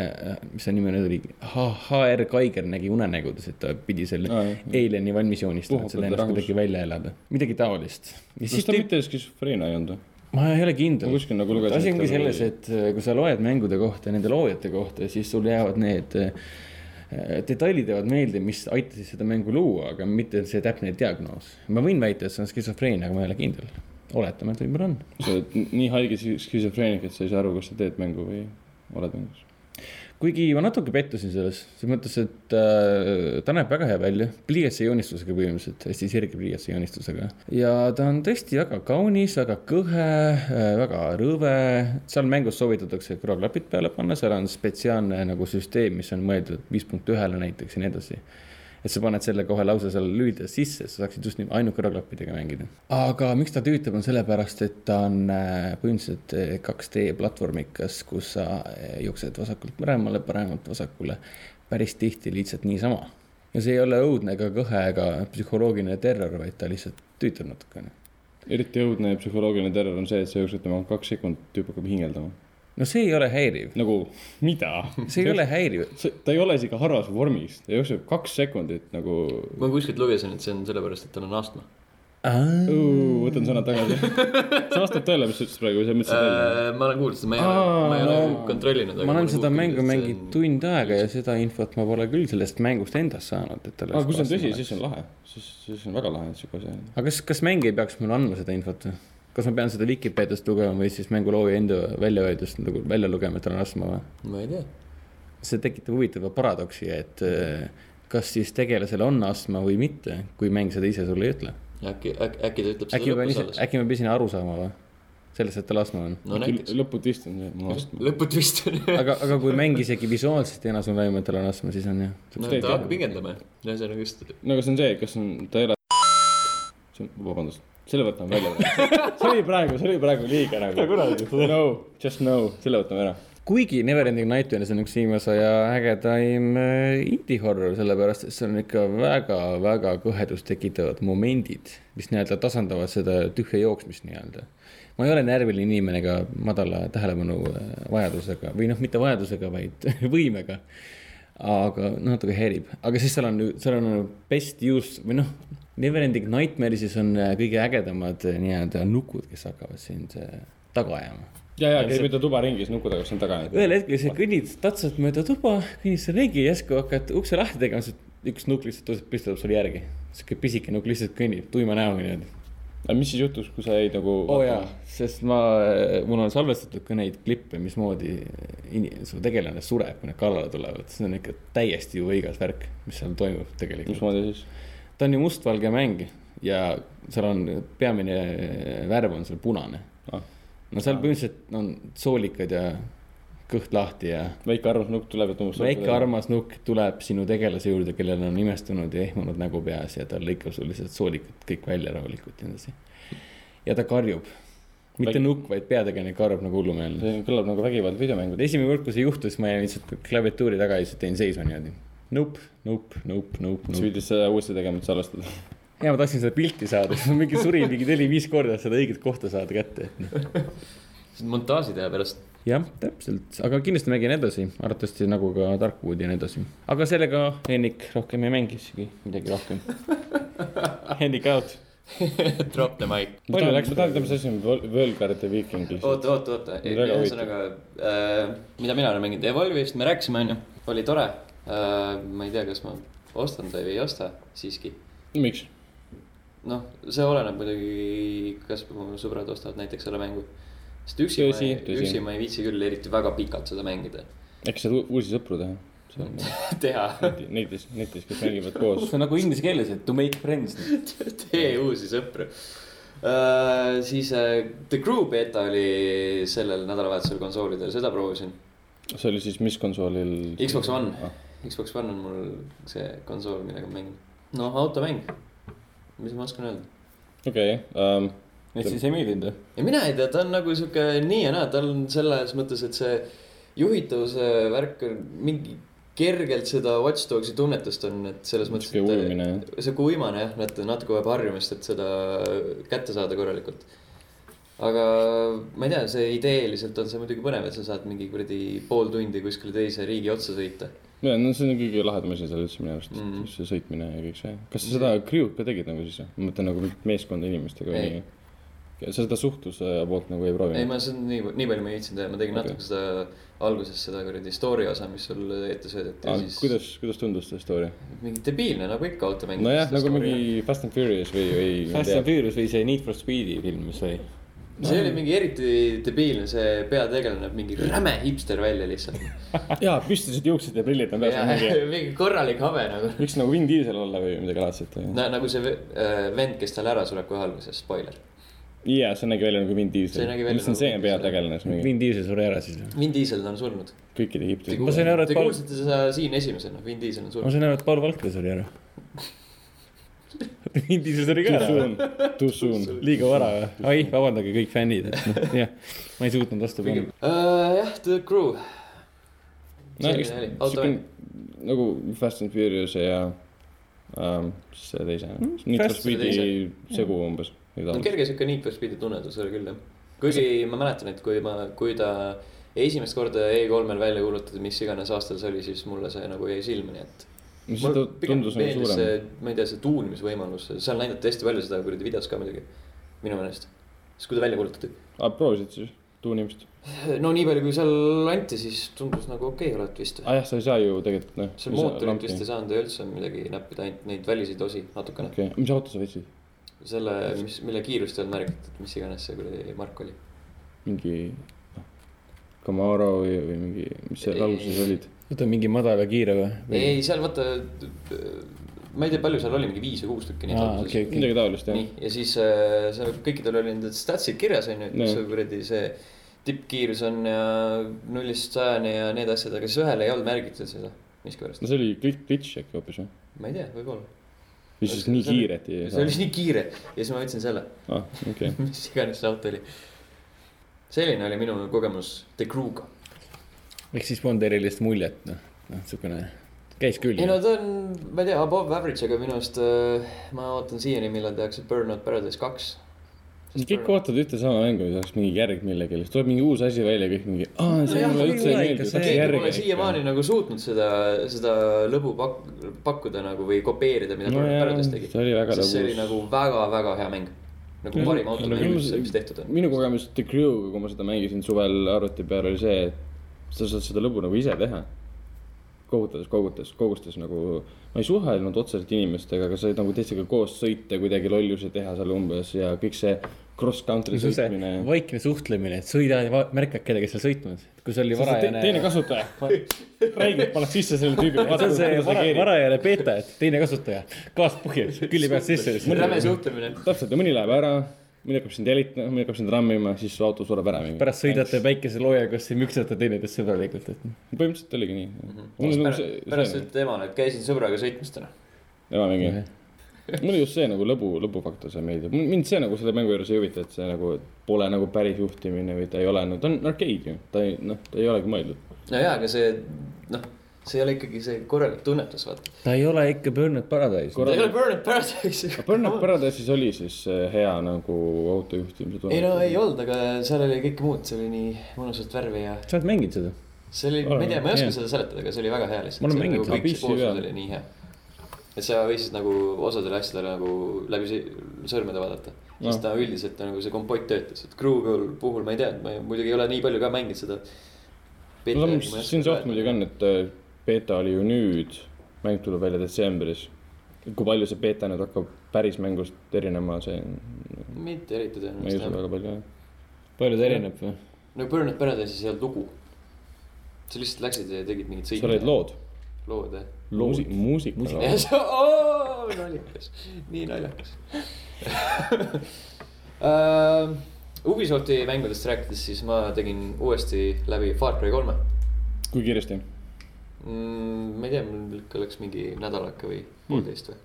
mis see nimi nüüd oli , HR Kaiger nägi unenägudes , et ta pidi selle
Aa, jah.
alieni valmis joonistama , et
Puhata
selle ennast
rahus.
kuidagi välja elada , midagi taolist . ja
kas
siis
ta
ta ,
mitte skisofreenia ei olnud või ?
ma ei ole kindel
ma , kuskil nagu lugesin .
asi ongi selles ,. et äh, kui sa loed mängude kohta , nende loojate kohta , siis sul jäävad need äh, detailid jäävad meelde , mis aitasid seda mängu luua , aga mitte see täpne diagnoos . ma võin väita , et see on skisofreenia , aga ma ei ole kindel . oletame , et võib-olla on .
sa oled nii haige ski- skisofreenik , et sa ei saa aru , kas sa teed mängu või oled mängus .
kuigi ma natuke pettusin selles , selles mõttes , et äh, ta näeb väga hea välja , pliiatsi joonistusega põhimõtteliselt , hästi sirge pliiatsi joonistusega . ja ta on tõesti väga kaunis , väga kõhe , väga rõve , seal mängus soovitatakse kõrvaklapid peale panna , seal on spetsiaalne nagu süsteem , mis on mõeldud viis punkt ühele näiteks ja nii edasi et sa paned selle kohe lause seal lülides sisse , sa saaksid just nii ainult kõrvaklappidega mängida . aga miks ta tüütab , on sellepärast , et ta on äh, põhimõtteliselt äh, 2D platvormikas , kus sa äh, jooksed vasakult paremale , paremalt vasakule päris tihti lihtsalt niisama . ja see ei ole õudne ega kõhe ega psühholoogiline terror , vaid ta lihtsalt tüütab natukene .
eriti õudne ja psühholoogiline terror on see , et sa jooksed tema kaks sekundit , tüüp hakkab hingeldama .
no see ei ole häiriv ,
nagu , mida ?
see ei ole häiriv ,
ta ei ole isegi harras vormis , ta jookseb kaks sekundit nagu ,
ma kuskilt lugesin , et see on sellepärast , et tal on astma .
võtan sõnad tagasi . see vastab tõele , mis sa ütlesid praegu , sa mõtlesid välja .
Äh, ma olen kuulnud seda , ma ei ole , ma ei ole kontrollinud .
ma olen seda mängu mänginud tund aega ja seda infot ma pole küll sellest mängust endast saanud , et tal
aga kui see Ah, on tõsi , siis on lahe , siis , siis on väga lahe , et sihuke asi on .
aga kas , kas mäng ei peaks mulle andma seda infot või ? kas ma pean seda Vikipeediast lugema või siis mängulooja enda väljaöeldust nagu välja lugema , et tal on astma või ?
ma ei tea .
see tekitab huvitava paradoksi , et äh, kas siis tegelasel on astma või mitte , kui mäng seda ise sulle ei ütle .
äkki , äkki , äkki ta ütleb seda
äkki ma
lõpus
pean ise ,
alles .
äkki ma pean ise aru saama või ? selles suhtes Lasna on .
no näiteks .
lõputist on see , mul on astma .
lõput vist on .
aga , aga kui mäng isegi visuaalselt ei anna sulle aimu , et tal on astma , siis on jah .
no ta
teed, jah?
hakkab hingendama , ühesõnaga nagu just .
no aga see on see , kas on , ta ei ole . see on , vabandust , selle võtame välja . see oli praegu , see oli praegu liiga nagu . no , just no , selle võtame ära .
kuigi Neverending Nightmares on üks viimase aja ägedaim äh, indie-horror , sellepärast et seal on ikka väga-väga kõhedust tekitavad momendid , mis nii-öelda tasandavad seda tühja jooksmist nii-öelda . ma ei ole närviline inimene ka madala tähelepanu äh, vajadusega või noh , mitte vajadusega , vaid võimega . aga noh, natuke häirib , aga siis seal on , seal on best use või noh , Neverending Nightmares'is on äh, kõige ägedamad äh, nii-öelda nukud , kes hakkavad sind äh, taga ajama
ja , ja käib mööda tuba ringi , siis nuku taga , siis on taga .
ühel hetkel sa kõnnid tatsad mööda tuba , kõnnid seal ringi , järsku hakkad ukse lahti tegema , üks nukk lihtsalt tõuseb , püstitab sulle järgi . sihuke pisike nukk lihtsalt kõnnib tuima näoga niimoodi .
aga mis siis juhtus , kui sa jäid nagu .
oo Oh jaa , sest ma , mul on salvestatud ka neid klippe , mismoodi ini- su tegelane sureb , kui nad kallale tulevad , see on ikka täiesti ju õigas värk , mis seal toimub tegelikult .
mismoodi siis ?
ta on ju mustvalge mäng ja seal on peamine värv on seal punane .
Ah.
no seal põhimõtteliselt on soolikad ja kõht lahti ja
väike armas nukk tuleb ja tunnustab .
väike . armas nukk tuleb sinu tegelase juurde , kellel on imestunud ja ehmunud nägu peas ja ta lõikab sul lihtsalt soolikud kõik välja rahulikult ja nii edasi . ja ta karjub , mitte
Väike-
väike... nukk , vaid peategelane karjub nagu hullumeelne .
see kõlab nagu vägivald videomängud .
esimene kord , kui see juhtus , ma jäin lihtsalt klaviatuuri taga ja lihtsalt jäin seisma niimoodi . Nope , nope , nope , nope ,
sa
nope .
pidid seda uuesti tegema , et salvestada .
ja ma tahtsin seda pilti saada , siis ma mingi surin mingi neli-viis korda , et seda õiget kohta saada kätte .
montaaži teha pärast .
jah , täpselt , aga kindlasti mängin edasi , arvatavasti nagu ka Darkwoodi ja nii edasi . aga sellega Henrik rohkem ei mängi isegi midagi rohkem . Henrik out .
Drop the mic .
palju läks ? ma tahan teada , mis asi on võl- , võlgarite viiking lihtsalt .
oota , oota , oota ,
Ei, väga
ühesõnaga , mida mina olen mänginud , Evolve'ist me rääkisime , onju , oli tore . ma ei tea , kas ma ostan ta või ei osta siiski .
miks ?
noh , see oleneb muidugi , kas mu sõbrad ostavad näiteks selle mängu . sest üksi
Tõsi, , tõsi.
üksi ma ei viitsi küll eriti väga pikalt seda mängida ,
äkki saad u- uusi sõpru teha ?
teha ,
netis , netis , kes mängivad koos .
see on nagu inglise keeles , et to make friends .
tee uusi sõpru . Uh, siis uh, The Crew beeta oli sellel nädalavahetusel konsoolidel , seda proovisin .
see oli siis mis konsoolil ?
Xbox One
Ah.
ah. , Xbox One on mul see konsool , millega ma mängin . noh , automäng , mis ma oskan öelda .
okei um, ,
et siis ei meeldinud või ?
ja mina ei tea , ta on nagu sihuke nii ja naa , tal on selles mõttes , et see juhitavuse värk on mingi kergelt seda Watch Dogsi tunnetust on , et selles mõttes .
sihuke ujumine jah .
sihuke uimane jah , et natuke vajab harjumist , et seda kätte saada korralikult . aga ma ei tea , see ideeliselt on see muidugi põnev , et sa saad mingi kuradi pool tundi kuskile teise riigi otsa sõita .
ja no see on kõige lahedam asi seal üldse minu arust mm.
Mm. ,
see sõitmine ja kõik see . kas sa seda crew'd ka tegid nagu siis või ? ma mõtlen nagu mingit meeskonda inimestega või
Ei.
nii . sa seda suhtluse poolt nagu ei
ei ,
proovinud ?
ma seda nii , nii palju ma ei viitsinud teha , ma tegin
Okei.
okay. natuke seda alguses seda kuradi story osa , mis sul ette söödeti
Ah,
ja siis
kuidas , kuidas tundus see story ?
mingi debiilne nagu ikka automängides .
nojah , nagu mingi Fast and Furious või , või ma
Fast
ei
and
tea ,
Furious või see Need for Speed'i film , mis oli .
see oli mingi eriti debiilne , see peategelane näeb mingi räme hipster välja lihtsalt .
jaa , püstised juuksed ja prillid on peas , mingi ,
mingi korralik habe nagu .
võiks nagu Vin Diesel olla või midagi laadset või ?
no nagu see äh, vend , kes tal ära sureb kohe alguses , spoiler .
jaa , see nägi välja nagu Vin Diesel .
See nägi välja
mis on
nagu
see
Vin Diesel.
peategelane , see mingi
Vin Diesel suri ära siis või ?
Vin Diesel on surnud .
kõikide
Te
Egiptuse
Ma sain aru,
kuulsite-
et
te
Paul-
kuulsite seda siin esimesena , Vin Diesel on
ma
surnud .
sain aru , et Paul Valkla suri ära . Vin Diesel suri ka
Too
ära .
soon , too soon .
liiga vara või ? ai , vabandage kõik fännid , et noh , jah , ma ei suutnud vastu panna .
Äh, jah , The Crew .
no
selline
eks
oli ,
siuke
automäng .
nagu Fast and Furious ja ähm, siis selle teise mm, , Need for
Fast-
Speedi segu umbes .
Hmm. no kerge siuke Need for Speed'i tunnetus oli küll jah . kuigi ma mäletan , et kui ma , kui ta esimest korda E3-l välja kuulutati , mis iganes aastal see oli , siis mulle see nagu jäi silma , nii et .
mis ta tundus nagu suurem .
ma ei tea , see tuunimisvõimalus , seal näidati hästi palju seda kuradi videos ka muidugi , minu meelest . siis kui ta välja kuulutati .
aa , Ah, proovisid siis tuunimist ?
no nii palju , kui seal anti , siis tundus nagu okei okay, olevat vist .
aa Ah jah , sa ei saa ju tegelikult noh .
seal mootorit vist ei saanud ja üldse midagi näppida , ainult neid väliseid osi natukene .
okei , mis auto sa võtsid ?
selle , mis , mille kiirust ei olnud märgitud , mis iganes see kuradi mark oli .
mingi noh, Camaro või , või mingi , mis seal
Ei.
alguses olid ?
oota , mingi madala kiire või ?
ei ,, seal vaata , ma ei tea , palju seal oli , mingi viis või kuus tükki neid
aa ,
sattuses
okei , okei .
midagi taolist jah
nii , ja siis äh, seal kõikidel oli need statsid kirjas onju , et mis
Nii.
sul kuradi see tippkiirus on ja nullist sajani ja need asjad , aga siis ühel ei olnud märgitud seda miskipärast
no . see oli glitch , glitch äkki hoopis või ?
ma ei tea , võib-olla .
või siis nii
See oli-
kiirelt ei
see oli nii kiire ja siis ma võtsin selle ,
saa . okei ,
mis iganes see auto oli . selline oli minu kogemus The Crew'ga .
ehk siis polnud erilist muljet , noh , noh , niisugune käis küll
ei . no ta on , ma ei tea , above average , aga minu arust äh, ma ootan siiani , millal tehakse Burnout Paradise kaks .
kõik ootavad ühte sama mängu , siis oleks mingi järg millelegi , siis tuleb mingi uus asi välja , kõik mingi , aa , see
Nojah,
mulle üldse ei
ikka
meeldi ,
see-
tahaks
keegi
järgi
pole . siiamaani nagu suutnud seda , seda lõbu pak- , pakkuda nagu või kopeerida , mida
No
Burnout
jaa,
Paradise tegi .
see oli väga
sest see oli
lõbus.
nagu väga-väga hea mäng . nagu
Jaa,
parim
jaa,
automäng
jaa,
üldse ,
jaa.
mis tehtud on .
minu kogemus The Crew'ga , kui ma seda mängisin suvel arvuti peal , oli see , et sa saad seda lõbu nagu ise teha . kogutades , kogutades , kogustes nagu , ma ei suhelnud otseselt inimestega , aga said nagu teistega koos sõita , kuidagi lollusi teha seal umbes ja kõik see cross country
see on see
sõitmine .
vaikne suhtlemine , et sõida ja märkad kedagi seal sõitmas , kui see oli varajane .
teine kasutaja , räigelt paned sisse selle tüübi .
see on see vara, varajane beeta , et teine kasutaja , gaas põhjus , külje pealt sisse .
räme suhtlemine .
täpselt ja mõni läheb ära , mõni hakkab sind jälitama , mõni hakkab sind rammima , siis su auto sureb ära mingi .
pärast sõidate päikeseloojaga , müksate teineteist sõbralikult , et
põhimõtteliselt oligi nii .
Mhm. pärast ütles emale , et käisin sõbraga sõitmas täna .
tema mingi , mulle just see nagu lõbu , lõbufaktor see meeldib , mind see nagu selle mängu juures ei huvita , et see nagu pole nagu päris juhtimine või ta ei ole , no ta on arcade ju , ta ei noh , ta ei olegi mõeldud .
no jaa , aga see , noh , see ei ole ikkagi see korralik tunnetus , vaata .
ta ei ole ikka Burnout Paradise .
ta ei ole Burnout Paradise .
Burnout Paradise'is oli siis äh, hea nagu autojuhtimise
ei no ei
tunne .
olnud , aga seal oli kõike muud , see oli nii mõnusat värvi ja
sa oled mänginud seda ?
see oli , ma ei tea , ma ei oska seda seletada , aga see oli nagu väga hea lihtsalt .
Ma olen mänginud seda
PC peal.
oli nii hea . et sa võisid nagu osadele asjadele nagu läbi si- sõrmede vaadata . siis
Jah.
ta üldiselt nagu see kompott töötas , et Kruugi puhul ma ei tea , ma ei- muidugi ei ole nii palju ka mänginud seda .
no mis siin see oht muidugi on , et äh, beeta oli ju nüüd , mäng tuleb välja detsembris . kui palju see beeta nüüd hakkab päris mängust erinema , see on ,
mitte eriti
ma ei usu
tõenäoliselt jah .
väga palju jah .
palju ta erineb või ?
no Burnout Paradise'is ei olnud lugu . sa lihtsalt läksid ja tegid mingit
sa olid . lood ,
lood jah .
muusi- , muusika .
ja see , oo , naljakas , nii naljakas uh, . Ubisofti mängudest rääkides , siis ma tegin uuesti läbi Far Cry kolme
kui kiiresti ?
mm, . ma ei tea , mul ikka läks mingi nädalake või
Hmm.
poolteist või ,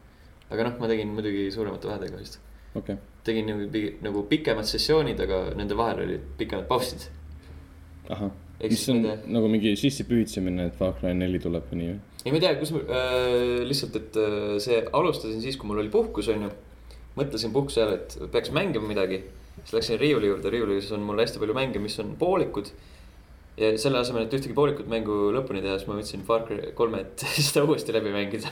aga noh , ma tegin muidugi suuremate vahedega vist .
okei okay. ,
tegin nagu, pi- nagu pikemad sessioonid , aga nende vahel olid pikemad pausid .
ahah .
Ehk
mis
siis
on
nende-
nagu mingi sissepühitsemine , et Far Cry neli tuleb või nii või ?
ei , ma ei tea , kus ma äh, , lihtsalt , et äh, see , alustasin siis , kui mul oli puhkus , onju . mõtlesin puhkuse ajal , et peaks mängima midagi . siis läksin riiuli juurde , riiulis on mul hästi palju mänge , mis on poolikud . ja selle asemel , et ühtegi poolikut mängu lõpuni teha , siis ma võtsin Far Cry kolme , et seda uuesti läbi mängida .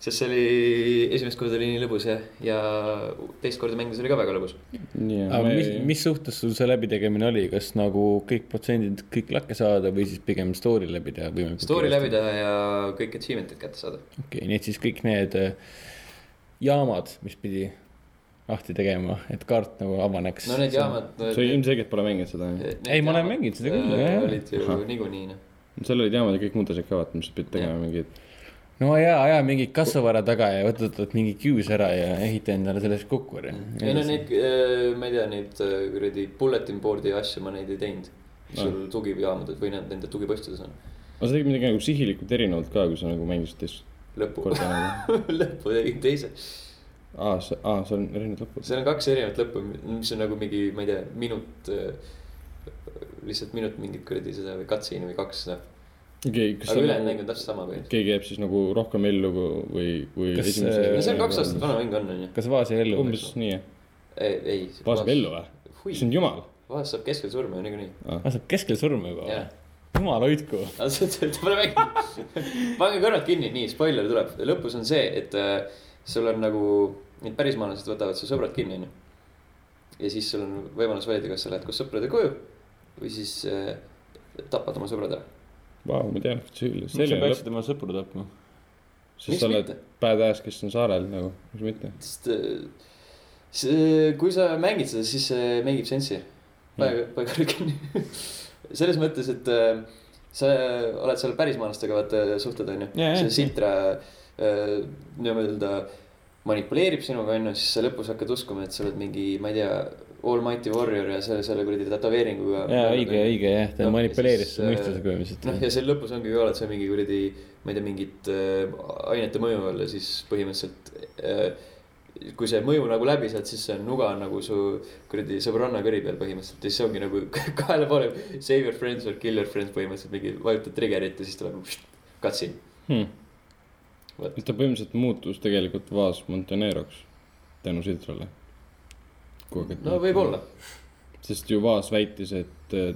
sest see oli , esimest korda oli nii lõbus ja , ja teist korda mängides oli ka väga lõbus .
nii ,
aga mis , mis suhtes sul see läbitegemine oli , kas nagu kõik protsendid kõik lakke saada või siis pigem story läbi teha võimalikult ?
Story läbi . teha ja kõik achievement'id kätte saada .
okei okay, , nii et siis kõik need äh, jaamad , mis pidi lahti tegema , et kaart nagu avaneks .
no need . jaamad .
sa ilmselgelt pole mänginud seda , jah ?
Ei, ma olen mänginud seda küll, jah, jah.
Äh, olid ju
Ahah.
niikuinii noh .
seal olid jaamad ja kõik muud asjad ka , vaata , mis sa pidid tegema mingid .
no ja aja mingi kassavara taga ja võtad mingi kius ära ja ehita endale sellest kukkuri .
Mm. ei no neid , ma ei tea , neid äh, kuradi bulletin board'i asju ma neid ei teinud .
Ah.
sul tugijaamades või need nende tugipostides on
aga sa tegid midagi nagu sihilikult erinevalt ka , kui sa nagu mängisid teist
lõpu ,
korda nagu .
lõpu tegin teise .
aa , see , aa , seal on erinevad lõpud .
seal on kaks erinevat lõppu , mis on nagu mingi , ma ei tea , minut , lihtsalt minut mingit kuradi seda või cutscene'i või kaks , noh .
okei ,
aga
kas see
ülejäänud
nagu ,
mäng on täpselt sama kui .
keegi jääb siis nagu rohkem ellu kui- või , kui
Kas, äh,
no see on kaks aastat . vana mäng on , onju .
kas vaas jäi ellu ?
umbes nii , jah .
ei ,
vaasab ellu või ?
ei .
issand jumal .
vahest saab keskel surma ju niikuinii .
vaas saab keskel surma juba või
Jah. ?
jumal hoidku .
aga see , see , ta pole mänginud . pange kõrvad kinni , nii , spoiler tuleb , lõpus on see , et äh, sul on nagu , need pärismaalased võtavad su sõbrad kinni , onju . ja siis sul on võimalus valida , kas sa lähed koos sõprade koju või siis äh, tapad oma sõbrad ära .
Vau , ma tean , et see oli ,
sa
selline lõpp ,
peaksid oma sõpru tapma .
sest sa
Miks
oled
mitte?
badass , kes on saarel nagu , miks mitte .
sest äh, see , kui sa mängid seda , siis see mängib sensi . pange , pange kõrvad kinni . selles mõttes , eh, et äh, sa oled seal pärismaalastega , vaata , suhted , onju .
Jaa, jaa.
see Sitra äh, nii-öelda manipuleerib sinuga onju , siis sa lõpus hakkad uskuma , et sa oled mingi , ma ei tea , Almighty Warrior ja selle , selle kuradi tätoveeringuga .
jaa , õige , õige jah ,
Noh,
ta no,
ja
manipuleeris
siis,
su
äh,
mõistuse põhimõtteliselt
noh , ja seal lõpus ongi ka , oled sa mingi kuradi , ma ei tea , mingit äh, ainete mõju all ja siis põhimõtteliselt äh, kui see mõju nagu läbi saad , siis see nuga on nagu su kuradi sõbranna kõri peal põhimõtteliselt ja siis ongi nagu kaela poole save your friends or kill your friends põhimõtteliselt mingi vajutad trigger'it ja siis tuleb katsin .
hmm. .
Vot.
ta põhimõtteliselt muutus tegelikult Vaas Monteneroks tänu Sidrale .
no . võib-olla ,
sest ju Vaas väitis , et eh,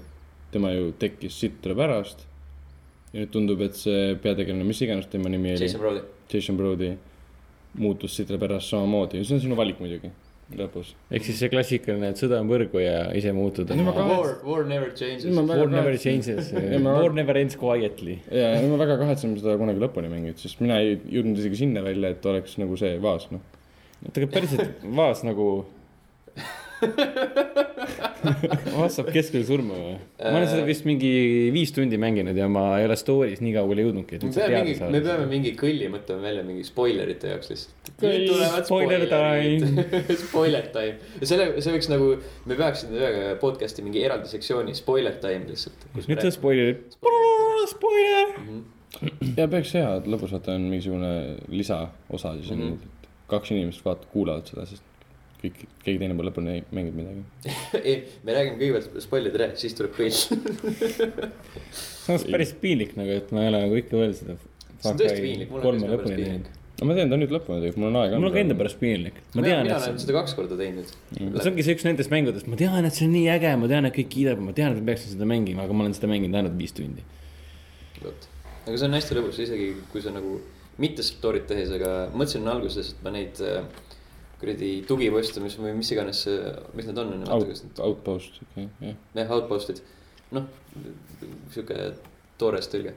tema ju tekkis Sitra pärast . ja nüüd tundub , et see peategelane , mis iganes tema nimi oli ,
Jason Brody .
Jason Brody , muutus Sitra pärast samamoodi ja see on sinu valik muidugi lõpus .
ehk siis see klassikaline , et sõda on võrgu ja ise muutud .
No ma ka-
War , War never changes
No ma-
no, .
War never changes ,
Ja ma-
war never ends quietly .
ja ma väga kahetsen , et ma seda kunagi lõpuni mänginud , sest mina ei jõudnud isegi sinna välja , et oleks nagu see Vaas , noh .
tegelikult päriselt vaas nagu . vaas saab keskel surma või ? ma olen seda vist mingi viis tundi mänginud ja ma ei ole story's nii kaugele jõudnudki , et
me
üldse
peame
teada
mingi , me
saada .
peame mingi kõlli mõtlema välja mingi spoilerite jaoks lihtsalt .
Kõll, spoiler
Spoiler time . ja selle , see võiks nagu , me peaksime ühe podcast'i mingi eraldi sektsiooni spoiler time lihtsalt . Mhm.
nüüd see on spoiler , spoiler .
ja peaks hea , et lõpus vaata on mingisugune lisaosa siis on
Mhm.
mm , -hmm. et kaks inimest vaata , kuulavad seda , sest kõik , keegi teine pole lõpuni mänginud midagi .
ei , me räägime kõigepealt spoilerid ära , siis tuleb kõll .
see on päris piinlik nagu , et ma ei ole nagu ikka veel seda .
see on tõesti piinlik , mul on ka pärast piinlik .
aga ma tean , ta on nüüd lõpuni teinud , mul on aega .
mul on ka enda . pärast piinlik . ma tean ,
mina
et see
olen seda kaks korda teinud .
see ongi see üks nendest mängudest , ma tean , et see on nii äge , ma tean , et kõik kiidab , ma tean , et ma peaksin seda mängima , aga ma olen seda mänginud ainult viis tundi .
vot , aga see on hästi lõbus , isegi kui sa nagu mitte story't tehes , aga mõtlesin alguses , et ma neid äh, kuradi tugiposte , mis või mis iganes , mis need on ,
Out , Outpost , okei , jah .
jah , outpost'id , noh , sihuke toores tõlge ,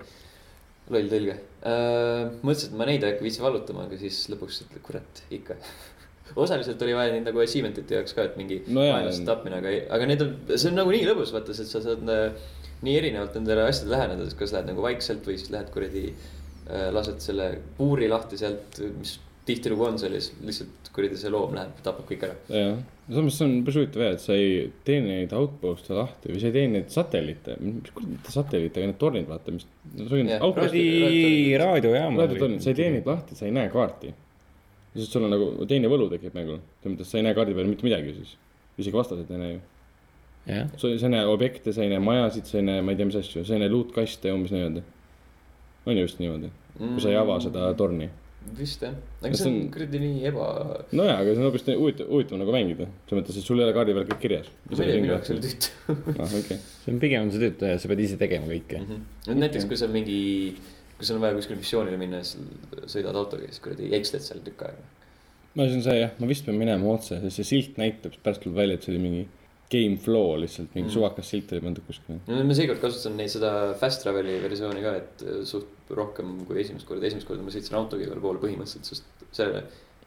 loll tõlge äh, . mõtlesin , et ma neid ei hakka viitsi vallutama , aga siis lõpuks ütlen , kurat , ikka . osaliselt oli vaja neid nagu achievement'ite jaoks ka , et mingi
No jaa,
vaenlase
jaa.
tapmine , aga , aga need on , see on nagu nii lõbus , vaata , sest sa saad äh, nii erinevalt nendele asjadele läheneda , et kas lähed nagu vaikselt või siis lähed kuradi äh, lased selle puuri lahti sealt , mis tihtilugu on seal ja siis lihtsalt kuradi see loom läheb , tapab kõik ära .
jah , samas see on päris huvitav jah , et sa ei teeni neid outpost'e lahti või sa ei teeni neid satelliite , mis kuradi mitte satelliite , aga need tornid , vaata , mis .
Jah.
raadiotornid ,
kuradi raadiojaam .
sa ei teeni neid lahti , sa ei näe kaarti . sest sul on nagu teine võlu tekib nagu , selles mõttes sa ei näe kaardi peal mitte midagi siis , isegi vastased ei näe ju
jah ,
sa sa ei näe objekte , sa ei näe majasid , sa ei näe , ma ei tea , mis asju , sa ei näe luutkaste umbes nii-öelda . on ju vist niimoodi , kui sa ei ava
Mm.
seda torni .
vist jah ,
No
aga see
see
on
on-
kuradi nii eba
nojaa , aga see on hoopis nii huvitav , huvitav nagu mängida , selles mõttes , et sul ei ole kaardi peal kõik kirjas .
ma ei tea , minu jaoks oli tüütu .
ah, okay.
see on pigem see töötaja , sa pead ise tegema kõike .
et näiteks , kui sa mingi , kui sul on vaja kuskile missioonile minna ja siis sõidad autoga ja siis kuradi eksled seal tükk aega .
no see on see jah , ma vist pean minema otse , sest see silt näitab , siis pärast tuleb välja , et see oli mingi game flow lihtsalt , mingi mm. suvakas silt oli pandud kuskile .
no ma seekord kasutasin neid seda fast travel'i versiooni ka , et äh, suht rohkem kui esimest korda , esimest korda ma sõitsin autoga igale poole põhimõtteliselt , sest selle ,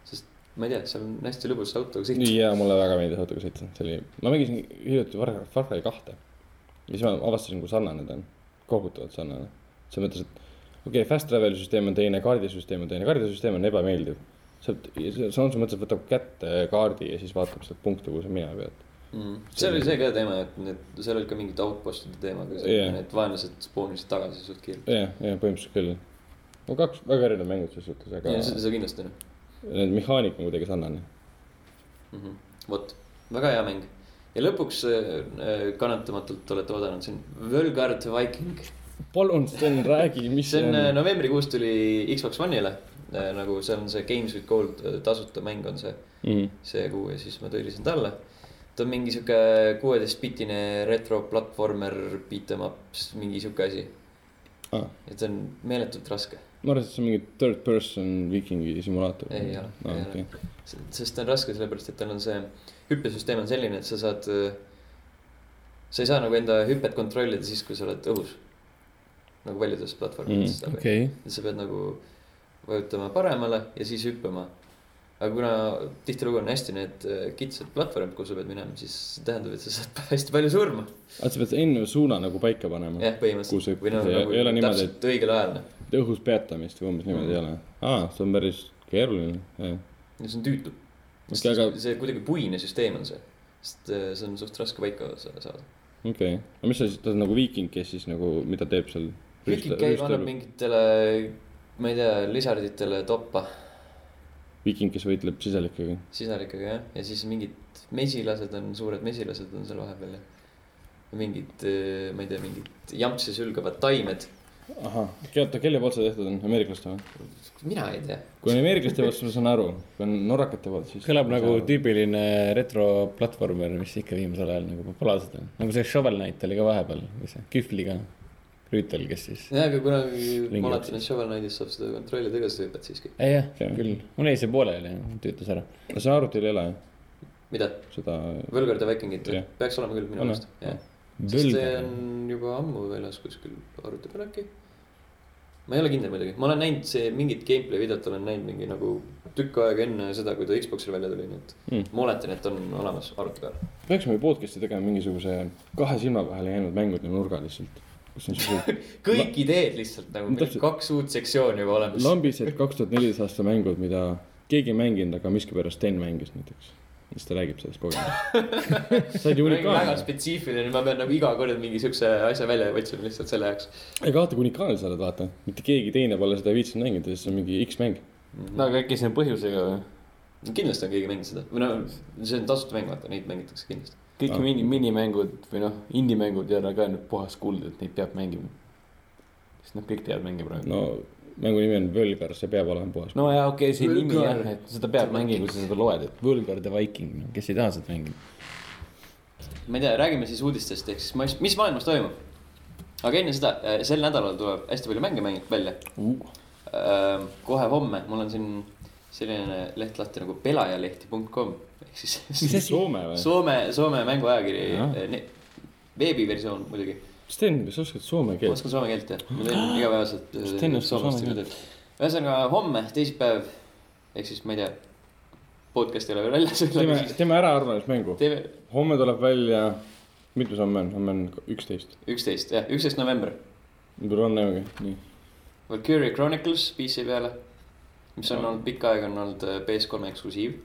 sest ma ei tea , seal on hästi lõbus autoga sõita .
ja mulle väga meeldis autoga sõita , see oli , ma mängisin hiljuti Far Far Cry kahte . ja siis ma avastasin , kui sarnane ta on , kohutavalt sarnane . selles mõttes , et okei okay, , fast travel süsteem on teine , kaardisüsteem on teine , kaardisüsteem on ebameeldiv . sa oled , sõna otseses mõttes võtab kätte kaardi ja siis vaatab sealt punkte , kuhu sa minema pead .
seal oli Mhm. see ka teema , et need , seal oli ka mingid outpost'ide teema , aga
Jah.
see- need vaenlased spoonisid tagasi suht kiirelt .
jah , jah , põhimõtteliselt küll . no kaks väga erinevat mängu selles suhtes , aga
ja seda , seda kindlasti noh .
need mehaanika on kuidagi sarnane .
mm . -hmm. vot , väga hea mäng . ja lõpuks äh, kannatamatult olete oodanud , see on Völgard Viking .
palun , Sten , räägi , mis
see on äh, novembrikuus tuli Xbox One'ile äh, nagu seal on see Games with Gold äh, tasuta mäng on see ,
mm. .
see kuu ja siis ma tõlisin talle . ta on mingi sihuke kuueteistbitine retro platvormer , beat em up , mingi sihuke asi .
Ah,
et see on meeletult raske ,
ma arvasin , et see on mingi third person viikingi simulaator .
ei ole ,
ah,
ei
okay.
ole . sest ta on raske sellepärast , et tal on see hüppesüsteem on selline , et sa saad , sa ei saa nagu enda hüpet kontrollida siis , kui sa oled õhus . nagu paljudes platvormides
Mm,
seda peab.
okei ,
Et sa pead nagu vajutama paremale ja siis hüppama . aga kuna tihtilugu on hästi need äh, kitsad platvormid , kuhu sa pead minema , siis see tähendab , et sa saad hästi palju surma .
vaata , Ah, sa pead enne suuna nagu paika panema
jah ,
Kus see-
põhimõtteliselt . või noh ,
see ei-
nagu
ei ole niimoodi,
täpselt õigel ajal , noh .
Et õhus peatamist või umbes niimoodi ei ole . aa , see on päris keeruline , jah .
ja see on tüütu .
Okei, aga-
see kuidagi puine süsteem on see , sest äh, see on suht raske paika sa- saada .
okei okay. , aga mis sa siis , ta on nagu viiking , kes siis nagu , mida teeb seal ?
Viking käib , annab mingitele , ma ei tea , lisarditele toppa
viiking , kes võitleb siselikega .
sisalikega jah , ja siis mingid mesilased on , suured mesilased on seal vahepeal ja mingid , ma ei tea , mingid jampsi sülgavad taimed ,
ahah , oota , kelle poolt see tehtud on , ameeriklaste või ?
mina ei tea .
kui on ameeriklaste poolt , siis ma saan aru , kui on norrakate poolt , siis .
kõlab nagu . tüüpiline retroplatvormer , mis ikka viimasel ajal nagu populaarsed on . nagu see Shovel Knight oli ka vahepeal , või see Kühvliga rüütel , kes siis .
jah , aga kunagi
Ringi
ma alati nüüd Shovel Knightis saab seda kontrollida ka , sa hüppad siiski .
jah ,
Jah.
küll , mul jäi see pooleli , tüütas ära .
ma saan aru , et teil ei ole
mida ,
seda .
Võlgarde Vikingit või
Jah. ?
peaks olema küll minu
On,
meelest ,
jah.
jah . sest see on juba ammu väljas kuskil arvuti peal äkki . ma ei ole kindel muidugi , ma olen näinud see mingit gameplay videot olen näinud mingi nagu tükk aega enne seda , kui ta Xboxil välja tuli , nii et
Hmm.
ma oletan , et on olemas arvuti peal .
peaksime ju podcast'i tegema mingisuguse kahe silma vahele jäänud mängud nagu nurga lihtsalt . kus on siuksed
kõik ideed lihtsalt nagu
No
meil
täpselt.
kaks uut sektsiooni juba olemas .
lambised kaks tuhat neliteist aasta mängud , mida keegi ei mänginud , aga miskipärast Sten mängis näiteks . siis ta räägib sellest kogemusest . sa oled ju
väga
unikaalne .
spetsiifiline , ma pean nagu iga kord mingi siukse asja välja otsima lihtsalt selle jaoks .
ega vaata , kui unikaalne sa oled , vaata . mitte keegi teine pole seda viitsinud mängida , sest see on mingi X-mäng .
no aga äkki see on põhjusega või ?
kindlasti on keegi mänginud seda või no see on tasuta mäng , vaata neid mängitakse kindlasti .
kõik
Ah.
mini , minimängud või noh , indie-mängud ei ole ka nüüd puhas kuld , et neid peab mängima . sest nad kõik teevad mänge praegu .
no mängu nimi on Võlgar , see peab olema puhas .
no jaa , okei okay, , see nimi
Võlgar.
jah , et seda peab mängima , kui sa seda loed , et Võlgard ja Viking , no kes ei taha seda mängida .
ma ei tea , räägime siis uudistest ehk siis ma- mis maailmas toimub . aga enne seda , sel nädalal tuleb hästi palju mänge mängib välja . kohe homme , mul on siin selline leht lahti nagu pelajalehti.com ehk siis
Soome või ?
Soome , Soome
Jah.
mänguajakiri , veebiversioon muidugi
Sten , kas sa oskad soome
ma
keelt ?
oskan soome keelt jah , ma teen igapäevaselt äh,
Sten oskab
soomlaste
soome
tööd . ühesõnaga homme , teisipäev ehk siis ma ei tea , podcast ei ole veel väljas
teeme
veel ,,
teeme äraarvamismängu .
teeme
homme tuleb välja , mitmes homme on , homme on üksteist .
üksteist jah , üksteist november .
võib-olla homme näemegi , nii .
Valkyria Chronicles PC peale , mis on olnud pikka aega , on olnud äh, PS3 eksklusiiv .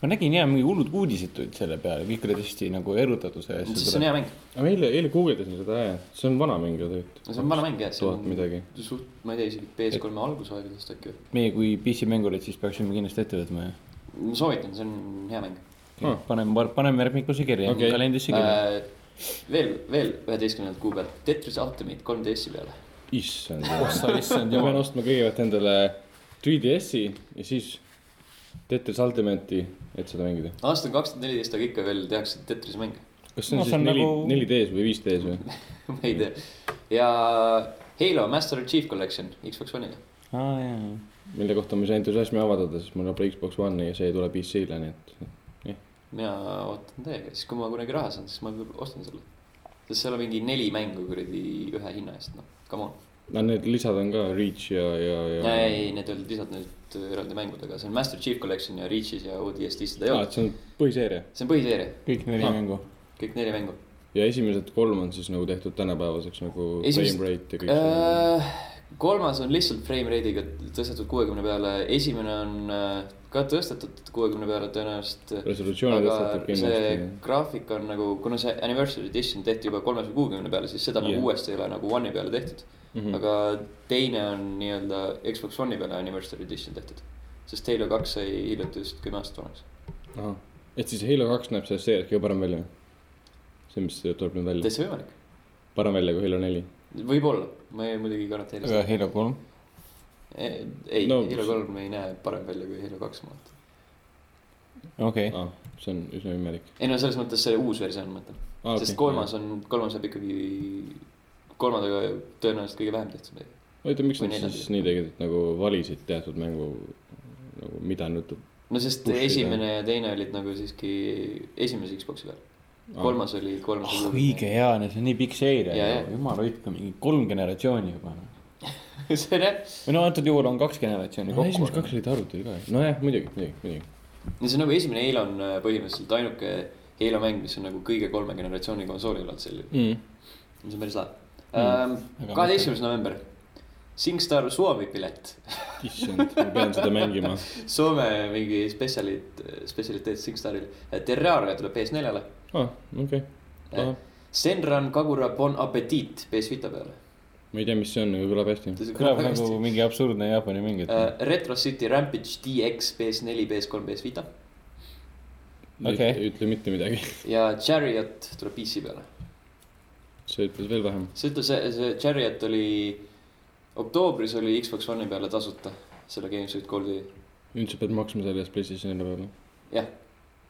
ma nägin jah , mingi hullud uudised tulid selle peale , kõik olid hästi nagu erutatud selle
siis see on
eest .
hea mäng ,
aga ma eile , eile guugeldasin seda , see on vana mäng ju tegelikult .
see on vana mäng jah , see
tuhat
on
midagi .
suht , ma ei tea , isegi PS3 algusaegadest äkki või .
meie kui PC-mängurid siis peaksime kindlasti ette võtma ja
ma soovitan , see on hea mäng .
Ah.
paneme , paneme järgmikusse kirja
Okei.
okay. , kalendrisse kirja .
Äh, veel , veel üheteistkümnendalt kuupäevalt , Tetris Ultimate 3DS-i peale .
issand .
ossa
ma
issand
pean
jumal ,
ostma kõigepealt endale 3DS-i ja siis Tetris Ultimate'i , et seda mängida .
aastal kaks tuhat neliteist , aga ikka veel tehakse Tetris mänge
kas see on
No
no,
see
siis
on
neli
nagu- ,
neli D-s või viis D-s või ?
ma ei tea . ja Halo Master Chief Collection Xbox One'iga .
aa jaa ,
mille kohta ma ei saa entusiasmi avaldada , sest mul on praegu Xbox One'i ja see tuleb PC-le , nii et .
mina ootan täiega , siis kui ma kunagi raha saan , siis ma võib-olla ostan selle . sest seal on mingi neli mängu kuradi ühe hinna eest , noh , come on .
no need lisad on ka Reach ja , ja , ja .
ei , need olid lihtsalt nüüd eraldi mängud , aga see on Master Chief Collection ja Reach'is ja ODST-s seda ei
aa ,
olnud .
Ah, et see on põhiseeria
see on põhiseeria ,
kõik neli
Ah.
mängu .
kõik neli mängu .
ja esimesed kolm on siis nagu tehtud tänapäevaseks nagu
Esimesed-
Esimest... frame rate ja kõik see .
Äh, kolmas on lihtsalt frame rate'iga tõstetud kuuekümne peale , esimene on äh, ka tõstetud kuuekümne peale tõenäoliselt .
resolutsiooni
aga
tõstetud
see
kindlasti .
graafik on nagu , kuna see anniversary edition tehti juba kolmesaja kuuekümne peale , siis seda yeah.
Jah.
nagu uuesti ei ole nagu One'i peale tehtud mm .
Mhm.
-hmm. aga teine on nii-öelda Xbox One'i peale anniversary edition tehtud . sest Halo kaks sai hiljuti just kümme aastat vanaks .
aga . et siis Halo kaks näeb sellest seeriast kõige parem välja ? see , mis tuleb nüüd välja ,
täitsa võimalik ,
parem välja kui Halo neli .
võib-olla , ma ei muidugi ei garanteeri
aga
seda .
Äh, Halo kolm ,
ei
No-
no, , Halo kolm ei näe parem välja kui Halo kaks , ma mõtlen .
okei .
aa , Ah, see on üsna imelik .
ei no selles mõttes see uus versioon , ma mõtlen
Ah,
ah, , sest kolmas on , kolmas jääb ikkagi kolmandaga tõenäoliselt kõige vähem tehtud .
oota , miks
Või
nad
neljas.
siis nii tegid , et nagu valisid teatud mängu nagu mida nüüd
no sest
Pushida.
Pushida. esimene ja teine olid nagu siiski esimese Xbox'i peal . kolmas oli , kolmas
ah õige . jaa , see on nii pikk seire
Jaa, jaa. ,
jumala hoidku , mingi kolm generatsiooni juba .
see on jah ,
või no antud juhul on kaks generatsiooni
no, esimesed
kokku .
kaks olid arvuti ka . nagu nojah , muidugi , muidugi , muidugi .
no see on nagu esimene Halo on äh, põhimõtteliselt ainuke Halo mäng , mis on nagu kõige kolme generatsiooni konsooli pealt selline .
Mm.
see on päris lahe .
aga
kaheteistkümnes november , Singstar Soome pilet ,
issand , ma pean seda mängima .
Soome mingi spetsialit , spetsialiteet Singstaril . Terraria tuleb PS4-le ,
aa , Ah, okei .
Äh,
Ah,
Senran Kagura Bon Appetit PS Vita peale .
ma ei tea , mis see on , aga kõlab hästi .
kõlab nagu mingi absurdne Jaapani mäng , et
Uh, Retro City Rampage DX PS4 , PS3 , PS Vita
Okei.
ei ütle mitte midagi .
ja Chariot tuleb PC peale .
see ütles veel vähem .
see ütles , see see Chariot oli , oktoobris oli Xbox One'i peale tasuta , selle GameSuite Goldi ,
nüüd sa pead maksma selle eest PlayStationile peale .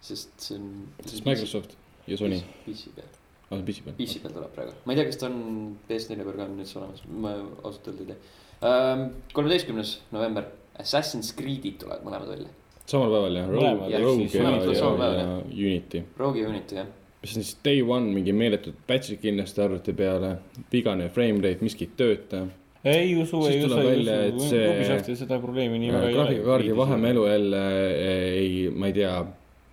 sest see on .
sest Microsoft ja Sony ,
PC peal ,
aa , PC peal .
PC peal tuleb praegu , ma ei tea , kas ta on PS4 peal ka on üldse olemas , ma ausalt öelda ei tea . kolmeteistkümnes november , Assassin's Creed'id tulevad mõlemad välja ,
samal päeval jah ,
Mõlemad,
Rogue ,
jah,
Rogue
siis
ja,
mõlemad
ja,
samal päeval,
ja Unity .
Rogue ja Unity jah ,
mis on siis day one mingi meeletud patch'id kindlasti arvuti peale , vigane frame rate , miski ei tööta .
ei usu ,
Siis
ei usu ,
tuleb
ei
välja, et
usu ,
see-
Ubisoftil seda probleemi nii väga ei ole .
graafikakaardi vahemälu jälle eh, ei , ma ei tea ,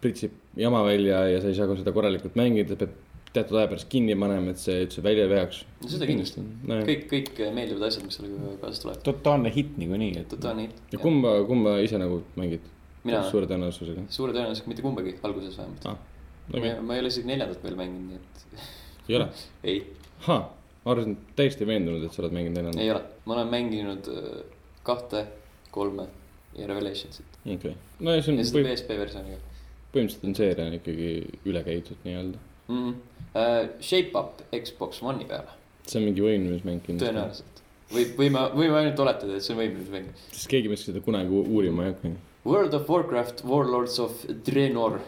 pritsib jama välja ja sa ei saa ka seda korralikult mängida , pead teatud aja pärast kinni panema , et see üldse välja ei veaks .
no seda kindlasti ,.
ja
kõik , kõik meeldivad asjad , mis sellega kaasas tulevad ,
totaalne hitt niikuinii , et
totaalne hitt .
kumba , kumba ise nagu mängid ?
mina
suure tõenäosusega .
suure tõenäosusega mitte kumbagi , alguses vähemalt .
Ah, okei ,
ma ei ole isegi neljandat veel mänginud , nii
ei ole .
et ei ,
ahah , ma arvasin , täiesti veendunud , et sa oled mänginud enam .
ei ole , ma olen mänginud äh, kahte , kolme ja Revelationsit
okei okay. . no ja see on
ja seda
põhi- ,
PSP versiooniga
põhimõtteliselt on seeria on ikkagi üle käidud nii-öelda .
mm . -hmm. Uh, shape up Xbox One'i peale ,
see on mingi võimlemismäng kindlasti .
tõenäoliselt . või , või ma , võime ainult oletada , et see on võimlemismäng .
sest keegi meist seda kunagi u- uurima ei hakka .
World of Warcraft Warlords of Draenor ,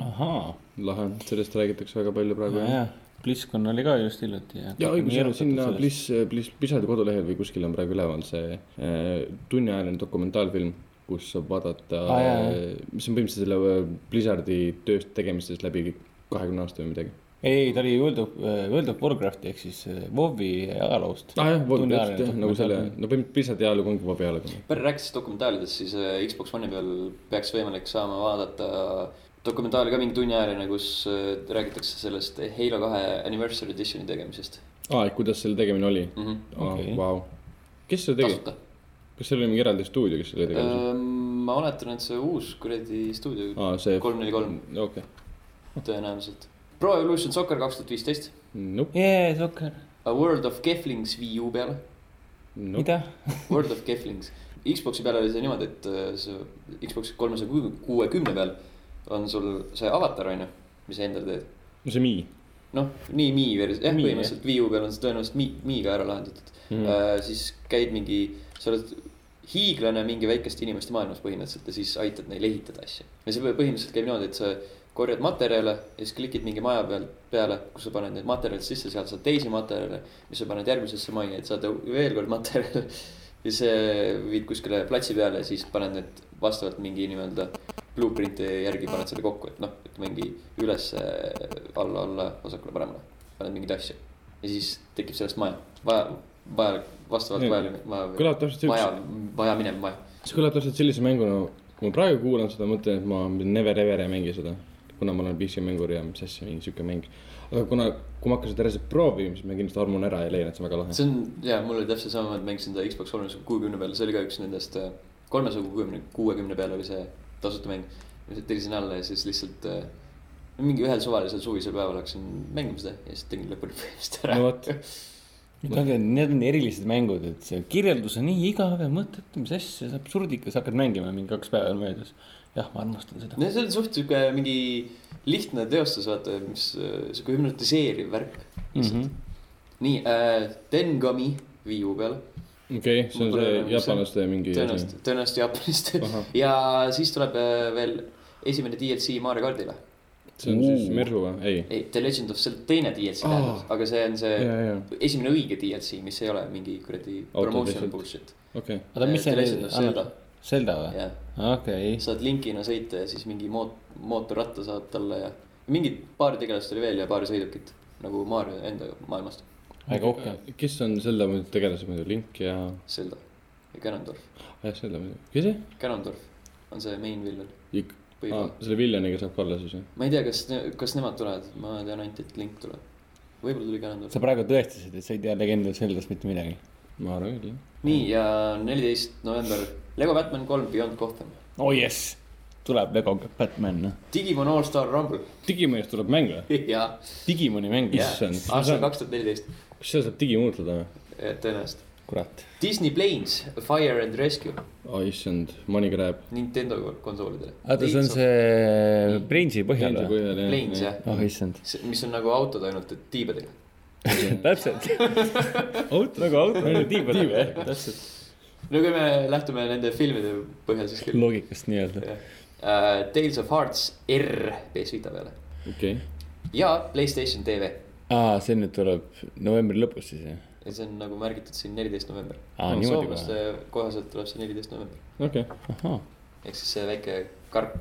ahaa ,
lahe , sellest räägitakse väga palju praegu .
jah , BlizzCon oli ka just hiljuti ja .
ja õigus , jah , sinna . Bliss , Bliss , Blizzardi kodulehel või kuskil on praegu üleval see äh, tunniajaline dokumentaalfilm , kus saab vaadata
Aa, jaa, jaa. ,
mis on põhimõtteliselt selle äh, Blizzardi tööst tegemistest läbi kahekümne aasta või midagi .
ei , ta oli World of , World of Warcrafti ehk siis eh, WoW-i ajaloost .
aa jah ,
Tunniajaline
täpselt jah , nagu selle ,
dokumentaalfilm.
no põhimõtteliselt Blizzardi ajalugu ongi vabi ajalugu .
Pärn rääkis dokumentaalidest , siis äh, Xbox One'i peal peaks võimalik saama vaadata dokumentaali ka mingi tunniajaline , kus äh, räägitakse sellest Halo kahe Anniversary Editioni tegemisest
aa , Ah, et kuidas selle tegemine oli ?
mm . -hmm.
Okei.
vau . kes seda tegi ?
tasuta .
kas seal oli mingi eraldi stuudio , kes selle tegi ?
Äh, ma oletan , et see uus kuradi stuudio ,
aa , Ah, see .
kolm neli kolm
okei ,
tõenäoliselt . Pro Evolution Soccer kaks tuhat viisteist ,
nope ,
jee , Sokker ,
A World of Keflings Wii U peale ,
nope .
mida ?
World of Keflings . Xbox'i peal oli see niimoodi , et äh, see Xbox kolmesaja kuuekümne peal on sul see avatar on ju , mis sa endale teed .
no see Mii
noh , nii Mi vers- , jah ,
Mi, jah.
põhimõtteliselt Wii U peal on see tõenäoliselt Mi , Mi-ga ära lahendatud mm. .
mm. .
Äh, siis käid mingi , sa oled hiiglane mingi väikeste inimeste maailmas põhimõtteliselt ja siis aitad neil ehitada asju . ja see põhimõtteliselt käib niimoodi , et sa korjad materjale ja siis klikid mingi maja peal , peale , kus sa paned need materjalid sisse , sealt saad teisi materjale , mis sa paned järgmisesse majja , et saad veel kord materjale . ja see viid kuskile platsi peale ja siis paned need vastavalt mingi nii-öelda blueprinti järgi paned selle kokku , et noh , et mingi ülesse , alla , alla , vasakule-paremale paned mingeid asju ja siis tekib sellest maja , vaja , vajalik , vastavalt
Nii.
vajalik , vaja ,
kõlab täpselt
vaja
siukse ,,
vaja minev maja .
see kõlab täpselt sellise mänguna , kui ma praegu kuulan seda , mõtlen , et ma never ever ei mängi seda . kuna ma olen PC-mängur ja mis asja , mingi siuke mäng . aga kuna , kui ma hakkan seda reaalselt proovima , siis ma kindlasti armun ära ja leian , et see on väga lahe .
see on , jaa , mul oli täpselt sama , et mängisin seda Xbox kolmesaja kuuekümne peal , see oli ka üks nendest , kolmesaja kuuekümne , kuuekümne peal oli see tasuta mäng . ma lihtsalt tirisin alla ja siis lihtsalt äh, mingi ühel suvalisel suvisel päeval hakkasin mängima seda ja siis tegin lõpuni põhimõtteliselt ära
no . vot ,
Need on erilised mängud , et see kirjeldus on nii igav ja mõttetu , mis asja , see absurdikas , hakkad mängima mingi kaks päeva on möödas . jah , ma armastan seda .
no see on suht sihuke mingi lihtne teostus , vaata , mis äh, sihuke hüpnotiseeriv värk .
Mhm.
nii äh, , Tengami Wii U peal
okei , see on
Mul
see
pole-
jaapanlaste mingi .
tõenäoliselt , tõenäoliselt Jaapanist
Ahah.
ja siis tuleb äh, veel esimene DLC Mario kardile .
see on siis Mersu või ? ei .
ei , The Legend of Zelda teine DLC
Aa.
tähendab , aga see on see
ja , ja ,
esimene õige DLC , mis ei ole mingi kuradi
Auto
promotion
lihtsalt.
bullshit .
okei .
oota , mis see
The Legend
oli
of ? Äh, Zelda ,
Zelda või ?
jah .
okei ,
saad linkina sõita ja siis mingi moot- , mootorratta saad talle ja mingid paar tegelast oli veel ja paar sõidukit nagu Mario enda maailmast .
aega rohkem .
kes on selle muidu tegelase muidu , Link ja ,
Zelda ja Ganondorf .
jah selle muidu , kes see ?
Ganondorf on see main villain .
Ikk- ,
või
aa , Ah, selle Villaniga saab ka olla siis jah ?
ma ei tea , kas , kas nemad tulevad , ma tean ainult , et Link tuleb . võib-olla tuli Ganondorf
sa . praegu tõestasid , et sa ei tea legendidest sellest mitte midagi .
ma arvan küll jah .
nii ja neliteist november , Lego Batman kolm Beyond Gotham .
oh jess , tuleb Lego Batman , noh .
Digimon All Star Rumble
Digimonist tuleb mäng või ?
ja ,
Digimoni mäng ,
ja
Issand, ma
aastal
saan-
kaks tuhat neliteist ,
kas seda saab digimuutuda või ?
tõenäoliselt .
kurat .
Disney Planes , Fire and Rescue ,
oh issand , money grab .
Nintendo konsoolidele .
oota , see on see Brainsi põhjal või ?
Planes jah ,
oh issand ,
mis on nagu autod ainult , et tiibadega .
täpselt .
auto .
nagu auto oli tiibadega
Tiibadega,
jah , täpselt .
no kui me lähtume nende filmide põhjal , siis küll .
loogikast nii-öelda .
Uh, Tales of Hearts R PS Vita peale
okei ,
ja Playstation tv .
aa , see nüüd tuleb novembri lõpus siis jah ?
ja see on nagu märgitud siin neliteist november .
aa , niimoodi kohe .
soomlaste kohaselt tuleb see neliteist november .
okei .
ahhaa ,
ehk siis see väike karp ,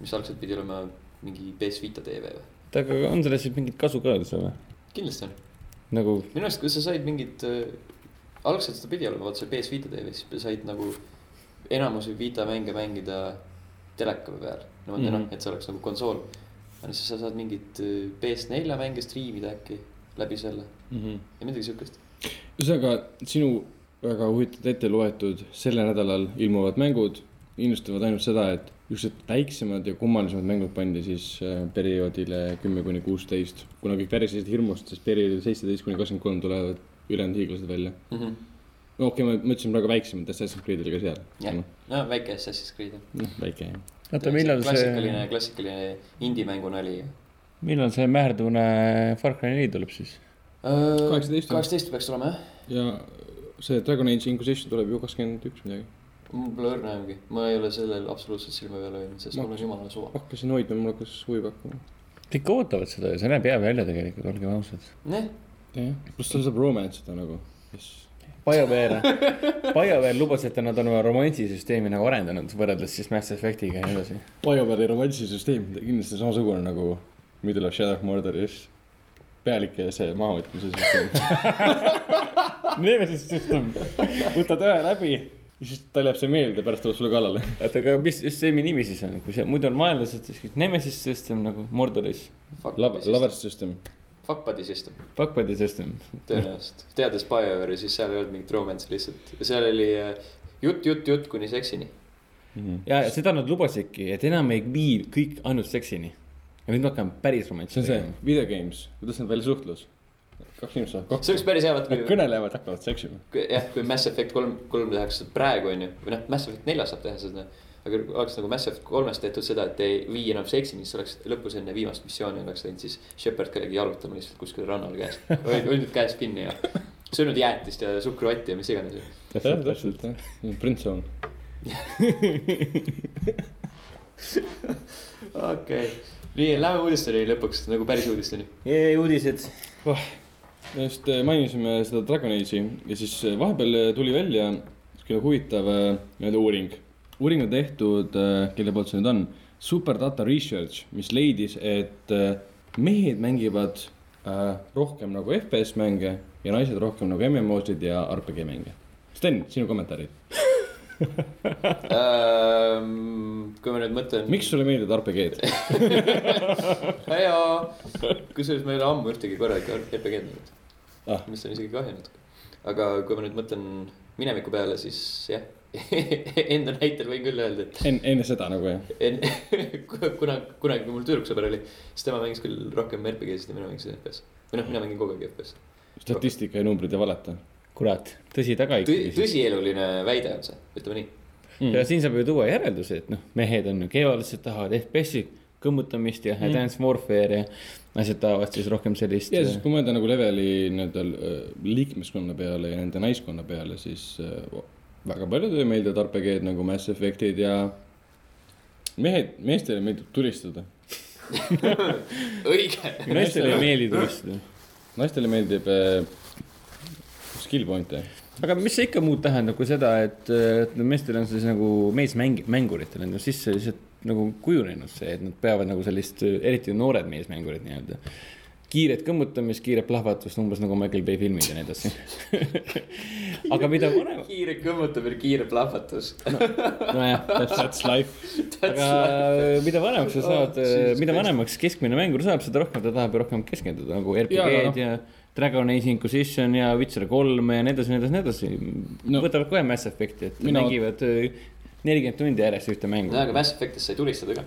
mis algselt pidi olema mingi PS Vita tv või ?
oota , aga on sellest siis mingit kasu ka üldse või ?
kindlasti on .
nagu ,
minu arust , kui sa said mingid , algselt seda pidi olema , vaata see PS Vita tv , siis said nagu enamusi Vita mänge mängida teleka peal . niimoodi mm
Mhm.
-hmm. noh , et see oleks nagu konsool . aga siis sa saad mingit äh, PS4 mänge striimida äkki läbi selle ja midagi siukest .
Mhm. ühesõnaga sinu väga huvitavalt ette loetud selle nädalal ilmuvad mängud innustavad ainult seda , et niisugused väiksemad ja kummalisemad mängud pandi siis äh, perioodile kümme kuni kuusteist , kuna kõik värisesid hirmust , siis perioodil seitseteist kuni kakskümmend kolm tulevad ülejäänud hiiglased välja .
mm . -hmm.
no okei okay, , ma mõtlesin praegu väiksemad , Assassin's Creed oli ka seal .
Jah. no väike Assassin's Creed jah .
noh , väike jah .
oota , millal see
klassikaline ,, klassikaline indie-mängu nali .
millal see määrdune Far Cry neli tuleb siis ?
18.
Äh, kaheksateist peaks olema jah .
ja see Dragon Age Inquisition tuleb ju kakskümmend üks midagi .
mul pole õrna aimugi , ma ei ole sellel absoluutselt silma peal hoidnud , sest
Ma-
mul on jumala suva .
hakkasin hoidma , mul hakkas huvi pakkuma .
kõik ootavad seda ja see näeb hea välja tegelikult , olgem ausad .
jah ,
jah , pluss ta saab romance ida nagu .
BioWare , BioWare lubas , et nad on oma romansisüsteemi nagu arendanud võrreldes siis Mass Effectiga ja nii edasi .
BioWare'i romansisüsteem , kindlasti samasugune nagu Middle of Shadow of Murderis pealike ja see mahavõtmise süsteem .
Nemesis-süsteem , võtad ühe läbi .
ja siis tal jääb see meelde , pärast tuleb sulle kallale .
oota , aga mis , mis see nimi siis on , kui see muidu on vaenlased , siis Nemesis-süsteem nagu Mordoris ,
Love , lover system .
Fuckbuddy system ,
Backbody-süsteem .
tõenäoliselt . teades BioWare'i , siis seal ei olnud mingit romance'i lihtsalt , seal oli äh, jutt , jutt , jutt kuni seksini .
Mhm.
ja ja seda nad lubasidki , et enam ei vii kõik ainult seksini . ja nüüd me hakkame päris
see
romantsi
on see . video games , kuidas on veel suhtlus . kaks inimest saavad
see
kokku ,
oleks päris hea , vaata
nad
kui ,
kõnelevad , hakkavad seksima .
jah , kui Mass Effect kolm , kolm tehakse praegu onju , või noh , Mass Effect neljas saab teha seda . aga oleks nagu Mass Effect kolmes tehtud seda , et ei vii enam seksini , siis oleks lõpus enne viimast missiooni oleks läinud siis Shepard kuidagi jalutama lihtsalt kuskil rannal käes . hoidnud käes kinni ja söönud jäätist ja suhkruotti ja mis iganes .
jah , täpselt jah , print zone .
okei okay. , nii lähme uudisteni lõpuks nagu päris uudisteni .
uudised .
me just eh, mainisime seda Dragon Age'i ja siis eh, vahepeal tuli välja selline huvitav äh, nii-öelda uuring . uuring on tehtud , kelle poolt see nüüd on , Superdata Research , mis leidis , et äh, mehed mängivad äh, rohkem nagu FPS mänge ja naised rohkem nagu MMO-sid ja RPG mänge . Sten , sinu kommentaarid ,
Ehm, kui ma nüüd mõtlen .
miks sulle meeldivad RPG-d ?
jaa , kusjuures ma ei ole ammu ühtegi korralikku RPG-d näinud
Ah.
ah. , mis on isegi kahju natuke . aga kui ma nüüd mõtlen mineviku peale , siis jah , enda näitel võin küll öelda , et
enne , enne seda nagu jah ?
en- ku- kuna , kunagi , kui mul tüdruksõber oli , siis tema mängis küll rohkem RPG-sid ja mina mängisin FPS . või noh , mina mängin kogu aeg FPS .
statistika ja numbrid ei valeta
kurat , tõsi taga ikkagi siis .
tõsieluline väide on see , ütleme nii .
Mm.
ja . siin saab ju tuua järelduse , et noh , mehed on ju kevadised , tahavad FPS-i , kõmmutamist ja Advanced Warfare ja naised tahavad siis rohkem sellist .
Mm.
äh,
ja siis , kui mõelda nagu leveli nii-öelda äh, liikmeskonna peale ja nende naiskonna peale , siis äh, väga paljudele meeldivad RPG-d nagu Mass Effectid ja mehed , meestele meeldib tulistada ,
õige ,
naistele ei meeldi tulistada .
naistele meeldib äh, skill point'e .
aga mis see ikka muud tähendab kui seda , et äh, et no meestel on siis nagu meesmäng , mänguritel on ju sisse lihtsalt nagu kujunenud see , et nad peavad nagu sellist , eriti noored meesmängurid nii-öelda . kiiret kõmmutamist , kiiret plahvatust , umbes nagu Michael Bay filmid ja nii edasi . aga mida vanem ,
kiire kõmmutamine , kiire plahvatus .
nojah , täpselt .
That's life .
aga mida vanemaks sa saad eh,
Oh, Jesus ,
mida
Christ.
vanemaks keskmine mängur saab , seda rohkem ta tahab ju rohkem keskenduda nagu
Jaa,
RPG-d ja Dragon Age Inquisition ja Witcher kolm ja nii edasi , nii edasi , nii edasi
No.
no. . võtavad kohe Mass Effect'i , et
Mina-
Mina... mängivad eh, nelikümmend tundi järjest ühte mängu
no . aga Mass Effect'is sai tulistada ka .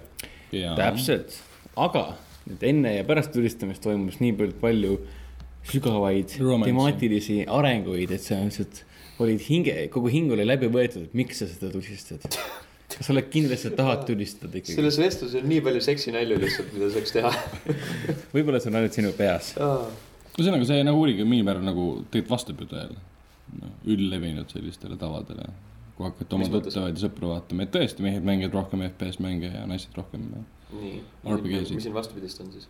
täpselt , aga nüüd enne ja pärast tulistamist toimus niivõrd palju sügavaid
Romantsi.
temaatilisi arenguid , et sa lihtsalt olid hinge , kogu hing oli läbi võetud , et miks sa seda tulistad . kas sa oled kindel , et sa tahad tulistada ikkagi ?
selles vestluses on nii palju seksinalju lihtsalt , mida saaks teha .
võib-olla see on ainult sinu peas .
ühesõnaga , see nagu uuring on mingil määral nagu tegelikult vastab ju tõele no, . üldlevinud sellistele tavadele , kui hakata oma
Mis mõttes?
tuttavaid ja sõpru vaatama , et tõesti , mehed mängivad rohkem FPS mänge ja naised rohkem .
nii ,
RPG-sid.
mis siin vastupidist on siis ?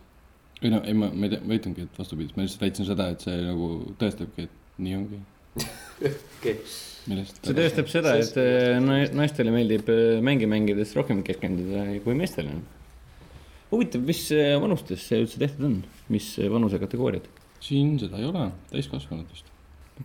ei no , ei ma , ma ei tea , ma ütlengi , et vastupidi , ma lihtsalt väitsin seda , et see nagu tõestabki , et nii ongi .
okei ,
millest .
see tõestab seda , et äh, nai- naistele meeldib äh, mänge mängides rohkem keskenduda kui meestele . huvitav , mis äh, vanustes see üldse tehtud on , mis äh, vanusekategooriad ?
siin seda ei ole , täiskasvanutest .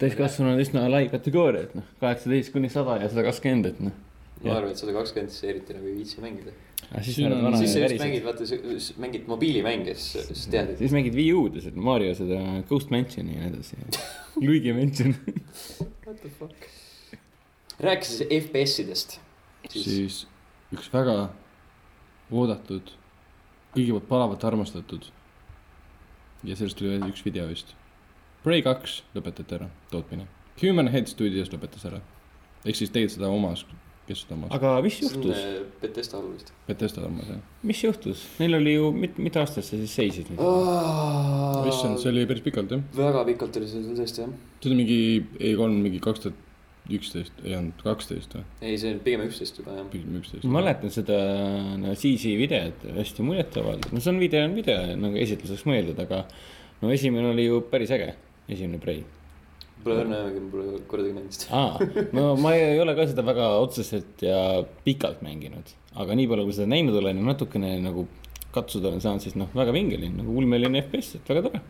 täiskasvanu on üsna lai kategooria , et noh , kaheksateist kuni sada ja sada kakskümmend , et noh .
ma arvan , et sada kakskümmend siis eriti nagu ei viitsi mängida .
Ah, siis
Siin
sa oled
on-
vana
siis sa
ja
just
värised .
mängid , vaata , mängid mobiilimänge , siis siis tead , et
siis mängid Wii U-d ja seda Mario seda Ghost Mansioni ja nii edasi . Luigi Mansion .
what the fuck . rääkis FPS-idest . siis
siis üks väga oodatud , kõigi poolt palavalt armastatud . ja sellest tuli veel üks video vist . Prey kaks lõpetati ära , tootmine . Human Head Studios lõpetas ära . ehk siis tegid seda omas , kes seda omas ,
aga mis
see on
juhtus ,
äh, Bethesda olulist .
Betesta omas jah .
mis juhtus , neil oli ju , mit- , mitte aastast sa siis seisid nüüd ?
issand , see oli päris pikalt jah ,
väga pikalt oli see tõesti jah .
see oli mingi E3 mingi kaks tuhat üksteist , ei olnud kaksteist või ,
ei , see on pigem üksteist juba jah .
pigem üksteist .
ma mäletan seda no, CG videot , hästi muljetavaldav , no see on video on video nagu esitluseks mõeldud , aga no esimene oli ju päris äge , esimene Prei .
Pole õrna ajaga , pole kordagi mänginud seda .
aa , no ma ei ei ole ka seda väga otseselt ja pikalt mänginud , aga nii palju , kui seda näinud olen ja natukene nagu katsuda olen saanud , siis noh , väga vingeline , nagu ulmeline FPS , et väga tore .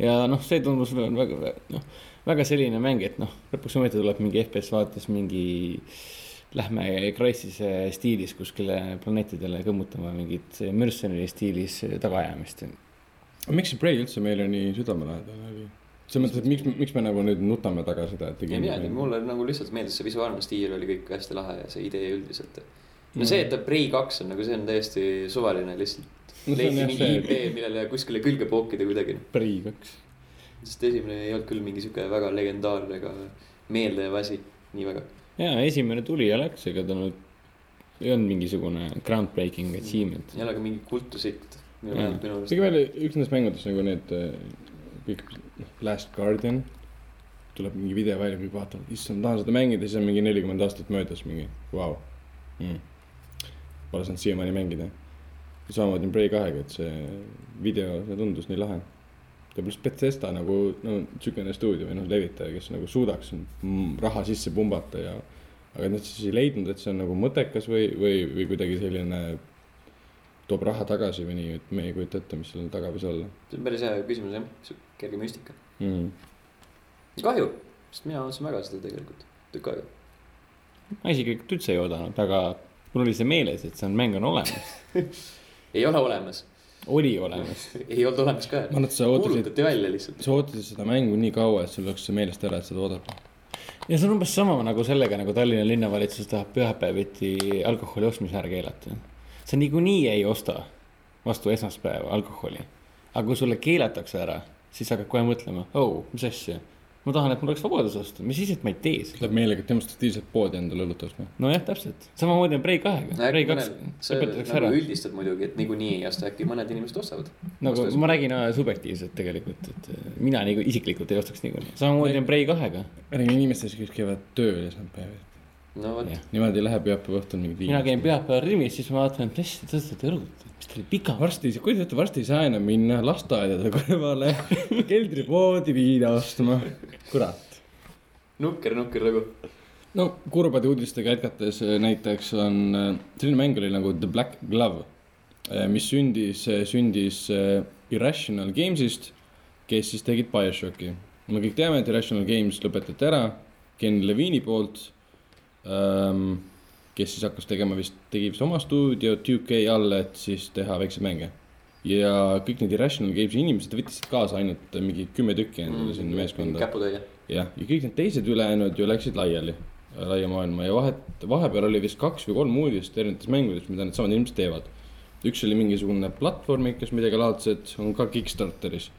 ja noh , see tundus väga- väga , noh , väga selline mäng , et noh , lõpuks ometi tuleb mingi FPS vaates mingi . Lähme Crisis'e stiilis kuskile planeetidele kõmmutama mingit mercenary stiilis tagaajamist .
miks see Prey üldse meile nii südamelähedane oli ? selles mõttes , et miks , miks me nagu nüüd nutame taga seda , et
ei midagi , mulle nagu lihtsalt meeldis see visuaalne stiil oli kõik hästi lahe ja see idee üldiselt . no
Mm.
see , et ta Prei kaks on nagu see on täiesti suvaline lihtsalt .
No see on
leiti
jah
mingi
see-
idee , millele kuskile külge pookida kuidagi .
Prei kaks .
sest esimene ei olnud küll mingi sihuke väga legendaarne ega meeldejääv asi , nii väga .
ja esimene tuli ja läks , ega ta nüüd ei olnud mingisugune groundbreaking achievement .
ei ole ka mingi kultusilt minu
Mm.
meelest , minu
isegi
meelest .
veel üks nendest mängudest nagu need eh, kõik Last Guardian tuleb mingi video välja , kõik vaatavad , issand , tahan seda mängida , siis on mingi nelikümmend aastat möödas , mingi vau mm. . Pole saanud siiamaani mängida . samamoodi on Prey kahega , et see video , see tundus nii lahe . ja pluss Bethesda nagu no niisugune stuudio või noh , levitaja , kes nagu suudaks mm, raha sisse pumbata ja aga nad siis ei leidnud , et see on nagu mõttekas või , või , või kuidagi selline toob raha tagasi või nii , et me ei kujuta ette , mis seal taga võis olla
see on päris hea küsimus jah , sihuke kerge müstika .
mm. .
kahju , sest mina ootasin väga seda tegelikult , tükk aega .
ma isiklikult üldse ei oodanud , aga mul oli see meeles , et see on mäng on olemas ,
ei ole olemas ,
oli olemas .
ei olnud olemas ka .
ma arvan , et sa ootasid ,
kuulutati välja lihtsalt .
sa ootasid seda mängu nii kaua , et sul läks see meelest ära , et seda oodata .
ja see on umbes sama nagu sellega , nagu Tallinna linnavalitsus tahab pühapäeviti alkoholi ostmise ära keelata . sa niikuinii ei osta vastu esmaspäeva alkoholi , aga kui sulle keelatakse ära , siis hakkad kohe mõtlema , oh , mis asja , ma tahan , et mul oleks vabadus osta , mis siis , et ma ei tee seda .
Läheb meelega demonstratiivselt poodi endale noh. õlut ostma .
nojah , täpselt , samamoodi on Prei kahega , Prei kaks
see
lõpetatakse
nagu
ära ,
üldistad muidugi , et niikuinii ei osta , äkki mõned inimesed ostavad .
nagu ma räägin äh, subjektiivselt tegelikult , et äh, mina nagu isiklikult ei ostaks niikuinii , samamoodi on Prei kahega
räägime inimestest , kes käivad tööl esmaspäeval .
no vot
Jah. ,
Nemad ei lähe pühapäeva õhtul mingit
mina käin . pühapäeval Rimis , siis ma vaatan , et mis te tõstate õlut , mis teil pika varsti .
varsti , kujutate ette , varsti ei saa enam minna lasteaedade kõrvale keldripoodi viina ostma . kurat .
nukker , nukker nagu. lugu .
no kurbade uudistega jätkates eh, näiteks on , eh, selline mäng oli nagu The Black Glove , mis sündis , sündis eh, Irrational Games'ist , kes siis tegid BioShocki . me kõik teame , et Irrational Games lõpetati ära Ken Levine'i poolt ähm, , kes siis hakkas tegema vist , tegi vist oma stuudio 2K all , et siis teha väikseid mänge . ja kõik need Irrational Games'i inimesed võttis kaasa ainult eh, mingi kümme tükki endale nagu
Mm.
sinna meeskonda .
käputäie .
jah , ja kõik need teised ülejäänud ju läksid laiali , laia maailma ja vahet , vahepeal oli vist kaks või kolm uudist erinevates mängudes , mida needsamad inimesed teevad . üks oli mingisugune platvormikas , midagi laadset , on ka Kickstarteris .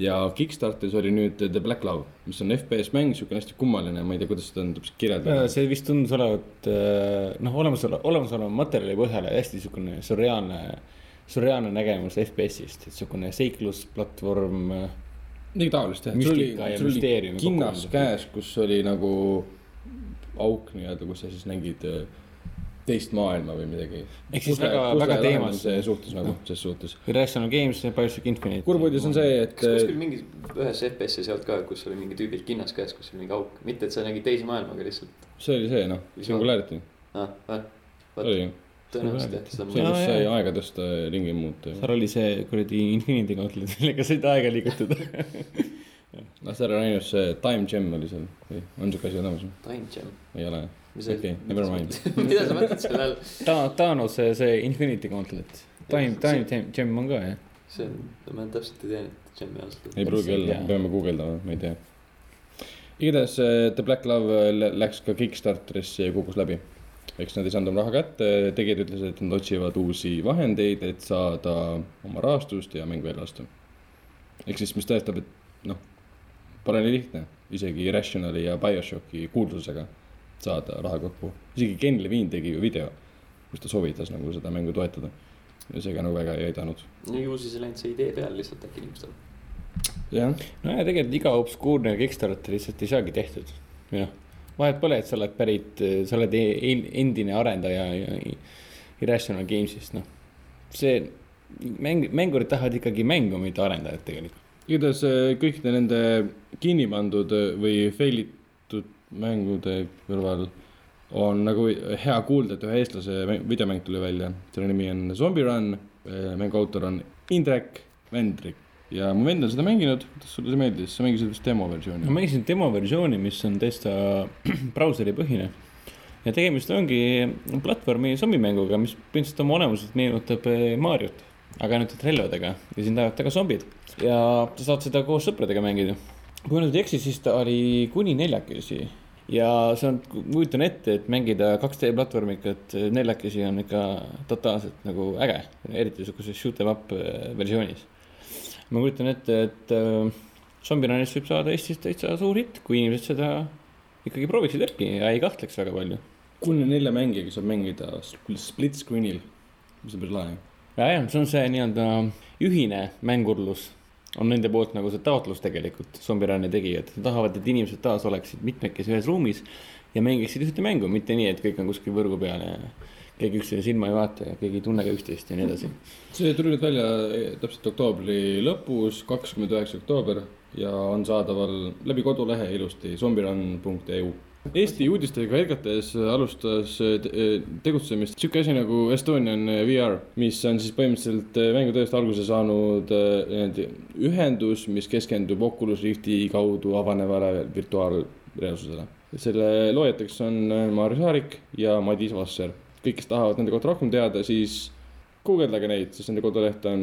ja Kickstarteris oli nüüd The Black Love , mis on FPS mäng , niisugune hästi kummaline , ma ei tea , kuidas seda nüüd täpselt kirjeldada .
Äh, see vist tundus olevat äh, noh , olemasoleva , olemasoleva materjali põhjal hästi niisugune surreaalne , surreaalne nägemus FPS-ist , et niisugune seiklusplatvorm . äh,
midagi taolist jah , sul oli
Müstika ja ,
sul oli
müsteeriumi
kinnas
kokku
käes , kus oli nagu auk nii-öelda , kus sa siis nägid äh, teist maailma või midagi .
Ehk siis väga- väga teemas-
suhtes nagu , ses suhtes .
Irrational Games , Bioshock Infinite .
kurb uudis on see , et
kas kuskil mingis , ühes FPS-is ei olnud ka , kus oli mingi tüübil kinnas käes , kus oli mingi auk , mitte et sa nägid teisi maailma , aga lihtsalt ,
see oli see noh , Singularity
ah , Vot.
oli ju ,
tõenäoliselt jah , seda
see
ma
Jaa,
just sai
jaa.
aega tõsta ja ringi muuta .
seal oli see kuradi Infinity Gauntlet , millega said aega liigutada .
noh , seal on ainult see Time Gem oli seal või on siuke asi olemas või ?
time jam .
ei ole ,
mis
okei , never mind ..
mida sa mõtled selle all ?
Ta- , Thanos , see Infinity Gauntlet . Time , Time , Time , Gem on ka jah .
see on , ma täpselt ei tea neid jam'i ausalt
ei
öeldes .
pruugi
Ei
olla
tea. ,
peame guugeldama , ma ei tea . igatahes äh, The Black Love lä- läks ka Kickstarterisse ja kukkus läbi . eks nad ei saanud oma raha kätte , tegijad ütlesid , et nad otsivad uusi vahendeid , et saada oma rahastust ja mängu välja lasta . ehk siis , mis tõestab , et noh , pole nii lihtne isegi Irrationali ja BioShocki kuulsusega saada raha kokku . isegi Ken Levine tegi ju video , kus ta soovitas nagu seda mängu toetada . ja see ka nagu väga ei aidanud .
no ju siis ei läinud see idee peale lihtsalt äkki inimestel .
jah ,
nojah , tegelikult iga obskuurne Kickstarter lihtsalt ei saagi tehtud . või noh , vahet pole , et sa oled pärit , sa oled e- e- endine arendaja ja ja Irrational Games'ist , noh . see mäng , mängurid tahavad ikkagi mängu , mitte arendajat tegelikult .
igatahes äh, kõikide nende kinni pandud äh, või failitud mängude kõrval on nagu hea kuulda , et ühe eestlase mäng- videomäng tuli välja , selle nimi on Zombie Run , mängu autor on Indrek Vendrik ja mu vend on seda mänginud , kuidas sulle see meeldis , sa mängisid vist demo
ma
versiooni ?
mängisin demo versiooni , mis on täitsa brauseripõhine ja tegemist ongi platvormi zombimänguga , mis põhimõtteliselt oma olemuselt meenutab eh, Mariot , aga ainult et relvadega ja sind ajavad taga zombid ja sa saad seda koos sõpradega mängida . kui ma nüüd ei eksi , siis ta oli kuni neljakesi ja see on , kujutan ette , et mängida 2D platvormikat eh, neljakesi on ikka totaalselt nagu äge , eriti niisuguses shoot em up eh, versioonis . ma kujutan ette , et äh, Zombirannist võib saada Eestis täitsa suur hitt , kui inimesed seda ikkagi prooviksid järgi ja ei kahtleks väga palju .
kuni nelja mängijaga saab mängida spl- split screen'il , mis on päris lahe .
jah , see on see nii-öelda ühine mängurlus , on nende poolt nagu see taotlus tegelikult , Zombirani tegijad tahavad , et inimesed taas oleksid mitmekesi ühes ruumis ja mängiksid ühte mängu , mitte nii , et kõik on kuskil võrgu peal ja keegi üksteise silma ei vaata ja keegi ei tunne ka üksteist ja nii edasi .
see tuli nüüd välja eh, täpselt oktoobri lõpus , kakskümmend üheksa oktoober ja on saadaval läbi kodulehe ilusti zombirun.eu . Eesti uudistega jätkates alustas eh, tegutsemist sihuke asi nagu Estonian VR , mis on siis põhimõtteliselt eh, mängutööst alguse saanud eh, niimoodi ühendus , mis keskendub Oculus Rifti kaudu avanevale virtuaalreaalsusele . selle loojateks on eh, Maarja Saarik ja Madis Vasser . kõik , kes tahavad nende kohta rohkem teada , siis guugeldage neid , sest nende koduleht on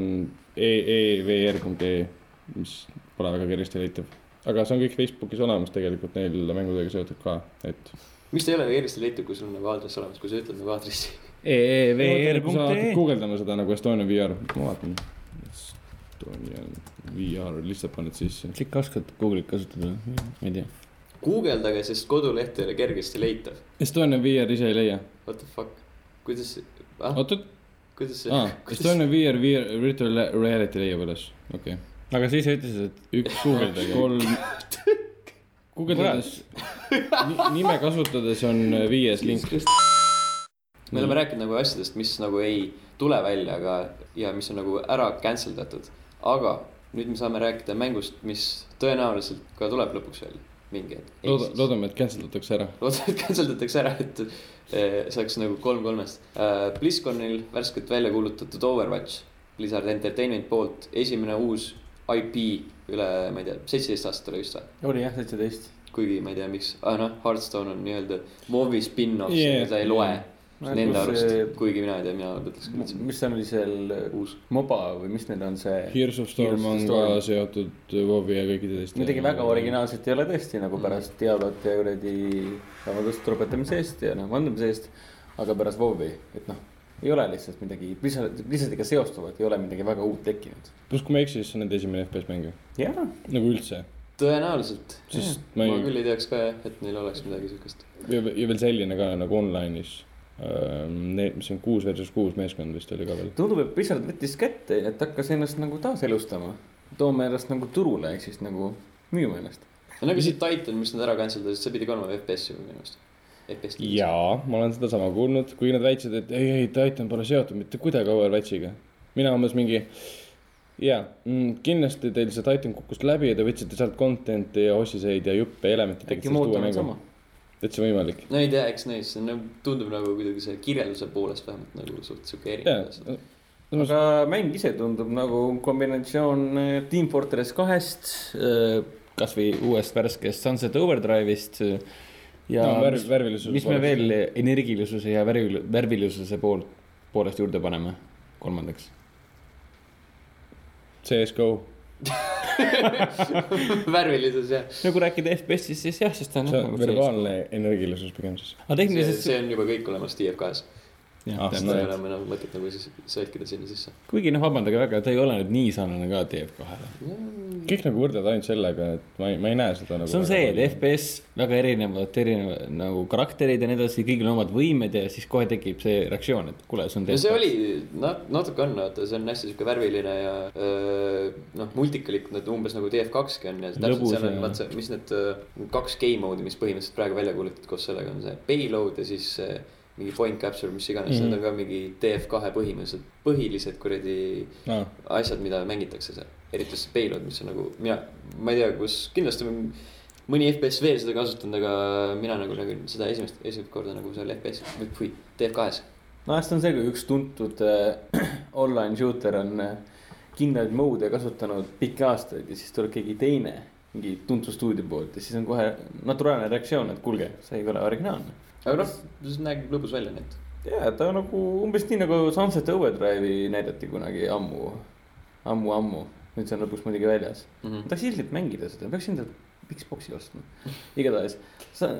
e, eevr.ee , e, mis pole väga kergesti leitav . aga see on kõik Facebookis olemas tegelikult neil mängudega seotud ka , et .
vist ei ole kergesti leitav , kui sul on nagu aadress olemas , kui sa ütled nagu aadressi .
e.
sa hakkad
EEVR.ee
guugeldama seda nagu Estonian VR , ma vaatan . Estonian VR , lihtsalt paned sisse .
sa ikka oskad Google'it kasutada , ma ei tea .
guugeldage , sest koduleht ei ole kergesti leitav .
Estonian VR ise ei leia .
What the fuck , kuidas , ah ,
oot , oot ,
kuidas see
aa ,, Estonian VR , VR , virtual reality leiab üles , okei okay. .
aga sa ise ütlesid , et
üks , kolm . guugeldades , nime kasutades on viies link .
me oleme rääkinud nagu asjadest , mis nagu ei tule välja , aga , ja mis on nagu ära cancel datud . aga nüüd me saame rääkida mängust , mis tõenäoliselt ka tuleb lõpuks välja , mingi hetk .
looda , loodame , et cancel datakse ära .
loodame , et cancel datakse ära , et eh, saaks nagu kolm kolmest . BlizzConil värskelt välja kuulutatud Overwatch Blizzard Entertainment poolt esimene uus IP üle , ma ei tea , seitseteist aastat oli vist või ?
oli jah , seitseteist .
kuigi ma ei tea , miks , aa noh , Hearthstone on nii-öelda MOV-i spin-off
Yeah.
yeah. , seda ei loe
Yeah.
yeah.
Nagu
nende arust see... , kuigi mina ei tea , mina ütleks küll , et see on
mis seal oli seal ,
uus .
moba või mis neil on see ,
Heroes of Storm
Heroes of
on
Storm.
ka seotud WoW-i ja kõikide teiste .
midagi väga . originaalset ei ole tõesti nagu pärast Diablot ja kuradi , vabandust , lõpetamise eest ja noh , vandumise eest , aga pärast WoW-i , et noh , ei ole lihtsalt midagi , lihtsalt , lihtsalt ega seostuvat ei ole midagi väga uut tekkinud .
pluss , kui ma ei eksi , siis see on nende esimene FPS mäng ju ,
jah ,
nagu üldse ,
tõenäoliselt ,
sest
ma,
ma
ma
ei ,
küll ei teaks ka jah , et neil oleks midagi siukest .
ja ja veel selline ka nagu online'is . mis on kuus versus kuus meeskond vist oli ka veel .
tundub , et Blizzard võttis kätte , et hakkas ennast nagu taaselustama , tooma ennast nagu turule ehk siis nagu müüma ennast .
no nagu see Titan , mis nad ära cancel dasid , see pidi ka olema FPS ju minu meelest . FPS .
jaa , ma olen sedasama kuulnud , kui nad väitsid , et ei , ei Titan pole seotud mitte kuidagi Overwatchiga . mina umbes mingi , jaa , kindlasti teil see Titan kukkus läbi ja te võtsite sealt content'i ja ossiseid ja juppe ja elemente .
äkki nagu Motor on sama ?
täitsa võimalik .
no ei tea , eks näis , see nagu tundub nagu kuidagi selle kirjelduse poolest vähemalt nagu suht siuke erinev .
jaa ,
aga mäng ise tundub nagu kombinatsioon eh, Team Fortress kahest , kasvõi uuest värskest Sunset Overdrive'ist eh, ja
no värv ,
mis,
värvilisus .
mis me veel energilisuse ja värvil- , värvilisuse pool , poolest juurde paneme kolmandaks ?
CS-GO ,
värvilisus jah ,
no kui rääkida FPS-ist , siis jah , siis ta on nagu
see on verbaalne energilisus pigem siis .
aga
see,
tehniliselt
see on juba kõik olemas TF2-s .
Ah,
see... .
seda ei
Right.
ole enam mõtet nagu siis sättida sinna sisse .
kuigi noh , vabandage väga , ta ei ole nüüd nii sarnane ka TF2-le .
kõik nagu võrdlevad ainult sellega , et ma ei , ma ei näe seda nagu .
see on see , et FPS väga erinevad , erinevad nagu karakterid ja nii edasi , kõigil on omad võimed ja siis kohe tekib see reaktsioon , et kuule , see on
no see . oli , nat- , natuke on , vaata , see on hästi sihuke värviline ja öö, noh , multikalik , nad umbes nagu TF2-gi on ja täpselt
Lõbus
seal on
ja- ,
vaat see , mis need öö, kaks game mode'i , mis põhimõtteliselt praegu välja kuulutati koos sellega on see payload ja siis see mingi point capture , mis iganes mm , -hmm.
Mhm.
need on ka mingi TF2 põhimõtteliselt põhilised kuradi
ah, .
asjad , mida mängitakse seal . eriti just see payload , mis on nagu mina , ma ei tea , kus kindlasti on mõni FPS veel seda kasutanud , aga mina nagu nägin seda esimest , esimest korda nagu seal FPS või või TF2-s .
nojah , see on see , kui üks tuntud äh, online shooter on äh, kindlaid mode'e kasutanud pikki aastaid ja siis tuleb keegi teine , mingi tuntud stuudio poolt ja siis on kohe naturaalne reaktsioon , et kuulge , see ei ole originaalne .
aga noh , see näeb lõbus välja , nii et .
ja ta nagu umbes nii nagu Sunset Overdrive'i näidati kunagi ammu , ammu-ammu , nüüd see on lõpuks muidugi väljas mm .
Mhm.
-hmm. tahaks ilgelt mängida seda , peaks endale Xbox'i ostma , igatahes .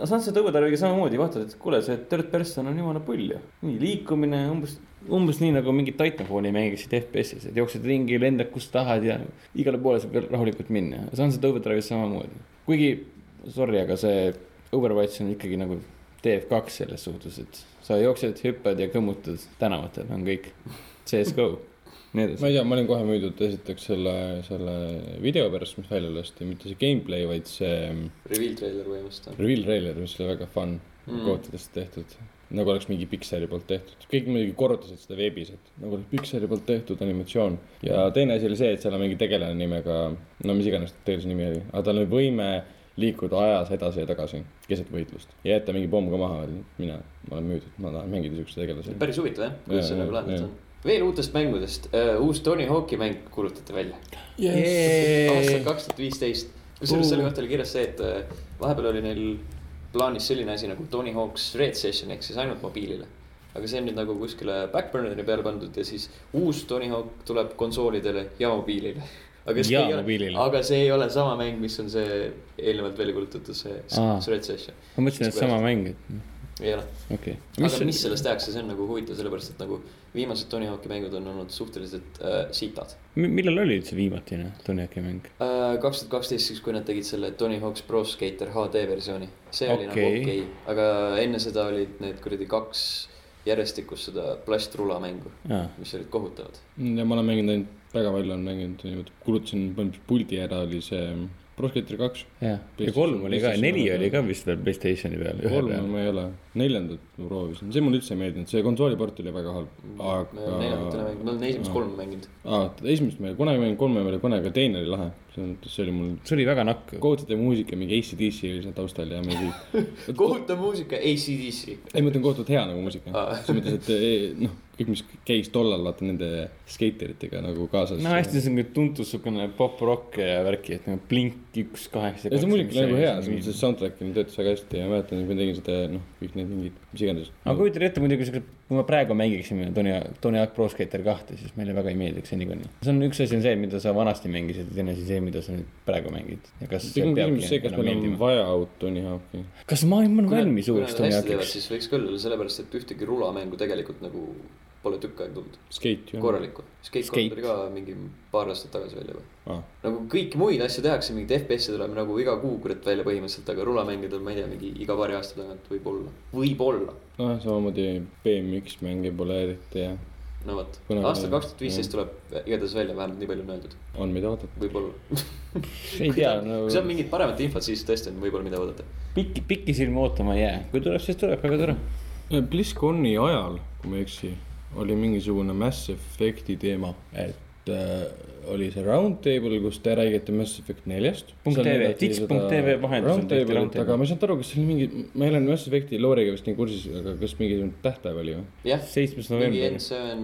Sunset Overdrive'iga samamoodi vaatad , et kuule , see third person on jumala pull ju , nii liikumine umbes , umbes nii nagu mingit Titanfalli mängiksid FPS-is , et jooksed ringi , lendad kus tahad ja igale poole saab rahulikult minna , Sunset Overdrive'is samamoodi , kuigi sorry , aga see Overwatch on ikkagi nagu TF2 selles suhtes , et sa jooksed , hüppad ja kõmmutad tänavatel , on kõik . CS-GO , nii
ma
edasi .
ei tea , ma olin kohe müüdud esiteks selle , selle video pärast , mis välja lasti , mitte see gameplay , vaid see mm,
Reveal trailer põhimõtteliselt on .
reveal trailer , mis oli väga fun mm.
Mm.
kohtadest tehtud . nagu oleks mingi Pikseri poolt tehtud , kõik muidugi korrutasid seda veebis , et nagu oleks Pikseri poolt tehtud animatsioon . ja teine asi oli see , et seal on mingi tegelane nimega , no mis iganes tegelase nimi oli , aga tal oli võime liikuda ajas edasi ja tagasi keset võitlust ja jätta mingi pomm ka maha , mina , ma olen müüdud , ma tahan mängida siukse tegelase .
päris huvitav jah , kuidas see
Jaa,
nagu
jaa,
lahendatud
jaa.
on . veel uutest mängudest , uus Tony Hawk'i mäng kuulutati välja . aastal
Yes.
kaks tuhat viisteist , kusjuures selle kohta oli kirjas see , et äh, vahepeal oli neil plaanis selline asi nagu Tony Hawk's Red Session ehk siis ainult mobiilile . aga see on nüüd nagu kuskile backburner'i peale pandud ja siis uus Tony Hawk tuleb konsoolidele ja mobiilile . aga see,
Ja
ei ole,
mobiilile.
aga see ei ole sama mäng , mis on see eelnevalt välja kuulutatud see
Aa.
Red Session ,
ma mõtlesin , et sama mäng , et
ei ole .
okei
aga mis
okay. .
sellest tehakse , see on nagu huvitav , sellepärast et nagu viimased Tony Hawk'i mängud on olnud suhteliselt äh, sitad .
millal oli üldse viimatine Tony Hawk'i mäng ?
Äh, kaks tuhat kaksteist , siis kui nad tegid selle Tony Hawk's Pro Skater HD versiooni , see oli nagu
Okei.
okei okay. , aga enne seda olid need kuradi kaks järjestikust seda plastrula mängu ,
aa ,
mis olid kohutavad .
ja ma olen mänginud ainult , väga palju olen mänginud , niimoodi kulutasin põhimõtteliselt puldi ära , oli see Pro Skater kaks .
jah , ja kolm oli ka , neli oli ka vist veel Playstationi peal , ühe
kolme
peal .
ma ei ole , neljandat ma proovisin , see mulle üldse ei meeldinud , see konsooliport oli väga halb , aga
neljandat ei ole mänginud , ma olen esimest kolme mänginud .
aa , esimest ma ei ole kunagi mänginud , kolme ma ei ole kunagi , aga teine oli lahe , selles mõttes see oli mul
see oli väga nakk .
kohutatav muusika , mingi ACDC oli seal taustal ja mingi ,
kohutav muusika ACDC .
ei ma ütlen kohutavalt hea nagu muusika
Aa. .
selles mõttes , et eh, noh , kõik , mis käis tollal vaata nende skeiteritega nagu kaasas .
no hästi , see on küll tuntud siukene pop-rock ja värki , et nagu Blink üks kaheksa .
ei see muusika oli nagu hea , selles mõttes , et soundtrack oli- töötas väga hästi ja ma mäletan , et ma tegin seda , noh , kõik need mingid , mis iganes .
aga kujutage ette muidugi , kui me praegu mängiksime Tony , Tony Hawk Pro Skater kahte , siis meile väga ei meeldiks see niikuinii . see on üks asi on see , mida sa vanasti mängisid ja teine asi see , mida sa nüüd praegu mängid . ja kas see
pigem küsimus see ,
peabki
kas
enam
meil on
meeldima .
vaja uut Tony Hawk'i .
kas maailm on valmis uueks Tony
teevad ,
Hawkiks ?
siis võiks küll olla , sellepärast et ühtegi rulamängu tegelikult nagu pole tükk aega tulnud .
Skate ju .
korralikku . Skate kolm
Skate.
tuli ka mingi paar aastat tagasi välja juba .
aa ,
nagu kõiki muid asju tehakse , mingid FPS-e tuleb nagu iga kuu kurat välja põhimõtteliselt , aga rulamängijad on , ma ei tea , mingi iga paari aasta tagant võib-olla , võib-olla .
nojah , samamoodi BMX mänge pole eriti ja
no vot ,
Kunagi
aastal
veel.
kaks tuhat viisteist tuleb igatahes välja , vähemalt nii palju on öeldud ,
on mida oodata .
võib-olla .
ei tea , no
nagu-
kui saab mingit paremat infot , siis tõesti on võib-olla mida oodata .
pikki , pikisilmi ootama ei jää , kui tuleb , siis tuleb , väga tore .
BlizzConi ajal , kui ma ei eksi , oli mingisugune Mass Effect'i teema , et äh, oli see roundtable , kus te räägite Mass Effect neljast .
Punkt TV, tits.tv vahendusel tehti roundtable.
aga ma ei saanud aru , kas see oli mingi , ma ei ole Mass Effect'i loore'iga vist nii kursis , aga kas mingi tähtaeg oli või
jah ,
seitsmes
mingi
november .
N7 ,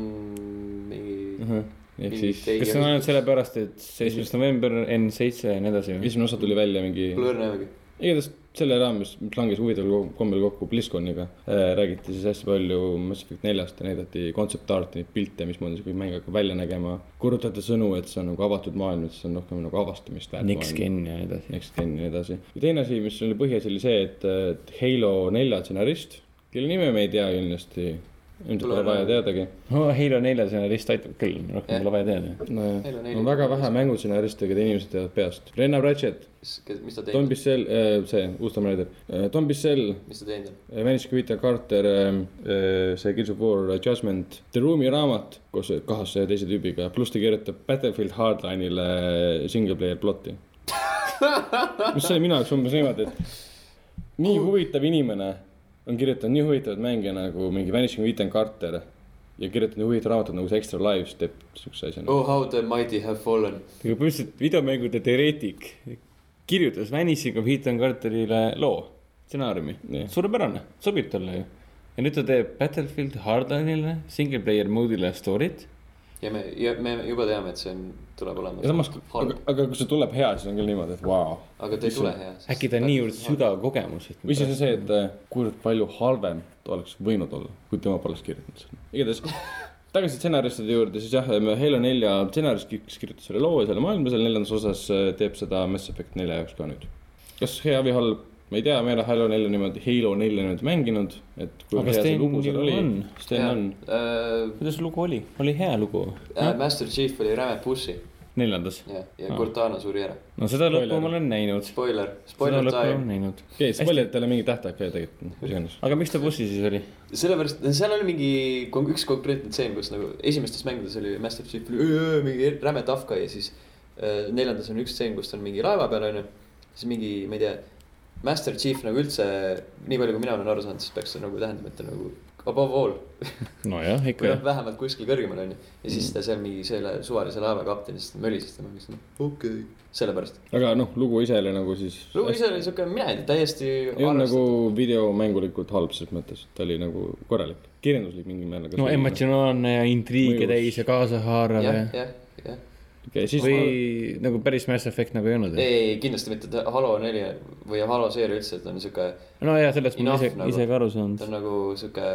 mingi
uh ? -huh. ehk
Mingi
siis
tei-
kas see on ainult sellepärast , et seitsmes november , N seitse ja nii edasi või ?
esimene osa tuli välja mingi ,
Blur näemegi .
igatahes selle raames , mis langes huvitaval kombel kokku BlizzConiga äh, , räägiti siis hästi palju Mass Effect neljast ja näidati kontsept-arti , neid pilte , mismoodi see kõik mäng hakkab välja nägema . korrutati sõnu , et see on nagu avatud maailm , et see on rohkem nagu avastamist väärt
Next Gen ja nii edasi .
Next Gen ja nii edasi . ja teine asi , mis oli põhiasi , oli see , et äh, Halo nelja stsenarist , kelle nime me ei tea kindlasti , ilmselt pole vaja teadagi .
no Halo nelja stsenarist aitab küll , rohkem
Jah.
pole vaja teada .
nojah
Halo , neli.
on väga vähe mängustsenariste , keda inimesed teavad peast . Renna Pratchett ,
mis ta
Tom
teinud ,
Bissell äh, , see uus Tom Raider äh, , Tom Bissell
mis ta teinud on ?
Manage Vita Carter , see Gears of War Judgment , The Room'i raamat koos kahes teise tüübiga , pluss ta kirjutab Battlefield Hardline'ile single player plot'i . mis oli minu jaoks umbes niimoodi , et nii huvitav inimene on kirjutanud nii huvitavat mänge nagu mingi Vanishing Vita Carter ja kirjutanud nii huvitavat raamatut nagu see Extra Lives teeb siukse asja . nagu
Oh how the mighty have fallen .
aga põhimõtteliselt videomängude teoreetik kirjutas Vanishing of Ethan Carterile loo , stsenaariumi
Jah.
yeah. . suurepärane , sobib talle ju . ja nüüd ta teeb Battlefield Hardline'ile , single player mode'ile story't .
ja me , ja me juba teame , et see on , tuleb olema .
ja samas , aga
halb ,,
aga kui see tuleb hea , siis on küll niimoodi , et vau wow. .
aga ta ei tule hea .
äkki ta on niivõrd sügav kogemus , et .
või siis on see , et äh, kuivõrd palju halvem ta oleks võinud olla , kui tema poleks kirjutanud seda . igatahes tagasi stsenaristide juurde , siis jah , Halo nelja stsenarist , kes kirjutas selle loo ja selle maailma seal neljandas osas , teeb seda Mass Effect nelja jaoks ka nüüd . kas hea või halb , ma ei tea , ma ei ole Halo nelja niimoodi , Halo nelja niimoodi mänginud , et kui
Aga
hea see
Sten
lugu seal
ju
oli
on. .
Sten on .
on .
kuidas lugu oli , oli hea lugu ?
äh, Master Chief oli räme pussi
neljandas .
ja , ja Cortana suri ära .
no seda
Spoiler.
lõppu ma olen näinud .
Spoiler ,
seda
spoiler
lõppu ma olen
time .
näinud .
okei , sa paljad talle mingi tähtaeg ka ju tegelikult , mis iganes .
aga miks ta bussi siis oli ?
sellepärast , seal oli mingi kon- üks konkreetne tseen , kus nagu esimestes mängudes oli Master Chief oli "Öö, mingi räme tafka ja siis äh, neljandas on üks tseen , kus ta on mingi laeva peal onju . siis mingi , ma ei tea , Master Chief nagu üldse , nii palju kui mina olen aru saanud , siis peaks see nagu tähendama , et ta nagu above all
nojah ,
või
ikka Mm.
noh , vähemalt kuskil kõrgemal onju . ja siis ta seal mingi selle suvalise laeva kapten , siis ta mölises tema , siis noh , okei okay. . sellepärast ,
aga noh , lugu ise oli nagu siis .
lugu ise oli siuke , mina ei tea , täiesti
ei olnud nagu videomängulikult halb selles mõttes , ta oli nagu korralik , kirjanduslik mingil määral .
no emotsionaalne ja intriige
Mõjus.
täis ja kaasahaarav ja
jah , jah , jah .
okay, . siis
või
ma-
nagu päris Mass Effect nagu ei olnud .
ei , ei kindlasti mitte , Halo neli või Halo seeria üldse , ta on siuke ,
no ja sellest ma
Enough
ise
nagu.
nagu. , ise ka aru
ta
saanud .
on nagu siuke ,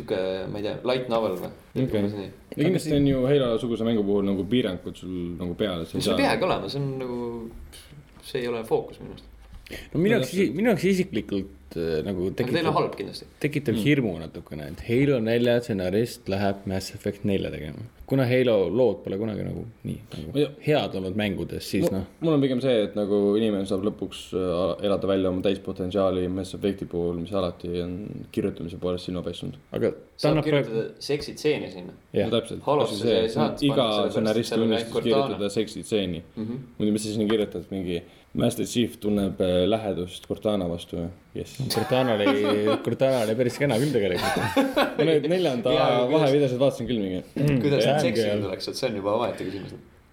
siuke , ma ei tea , light novel või ?
Okei.
sul
ja kindlasti on ju Halo-suguse mängu puhul nagu piirangud sul nagu peal , et sa ei
ei
saa .
peagi olema , see on nagu , see ei ole fookus minu arust .
no minu jaoks , minu jaoks isiklikult äh, nagu
aga teil on
tekitab ,
halb kindlasti .
tekitab mm. hirmu natukene , et Halo nelja stsenarist läheb Mass Effect nelja tegema . kuna Halo lood pole kunagi nagu nii
Ma
nagu
ei-
head olnud mängudes , siis noh ,
nagu mul on pigem see , et nagu inimene saab lõpuks äh, elada välja oma täispotentsiaali Mass Effecti puhul , mis alati on kirjutamise poolest silma paistnud .
aga ta
saab
annab praegu ,
kirjutada seksitseeni sinna .
no
jah ,
täpselt .
Halosse sa ei saa panna,
iga
sellepärast, et
stsenarist
seal on
unistab
ainult Cortana.
kirjutada seksitseeni .
Mhm.
muidu , mis sa sinna kirjutad , mingi Master Chief tunneb äh, lähedust Cortana vastu , jess .
Cortana oli , Cortana oli päris kena küll tegelikult .
ma need neljanda
Jaa, aga kuidas-
vahevideosid vaatasin küll mingi .
kuidas nad
Damn
seksinud
girl.
oleks , vot see on juba omaette küsimus .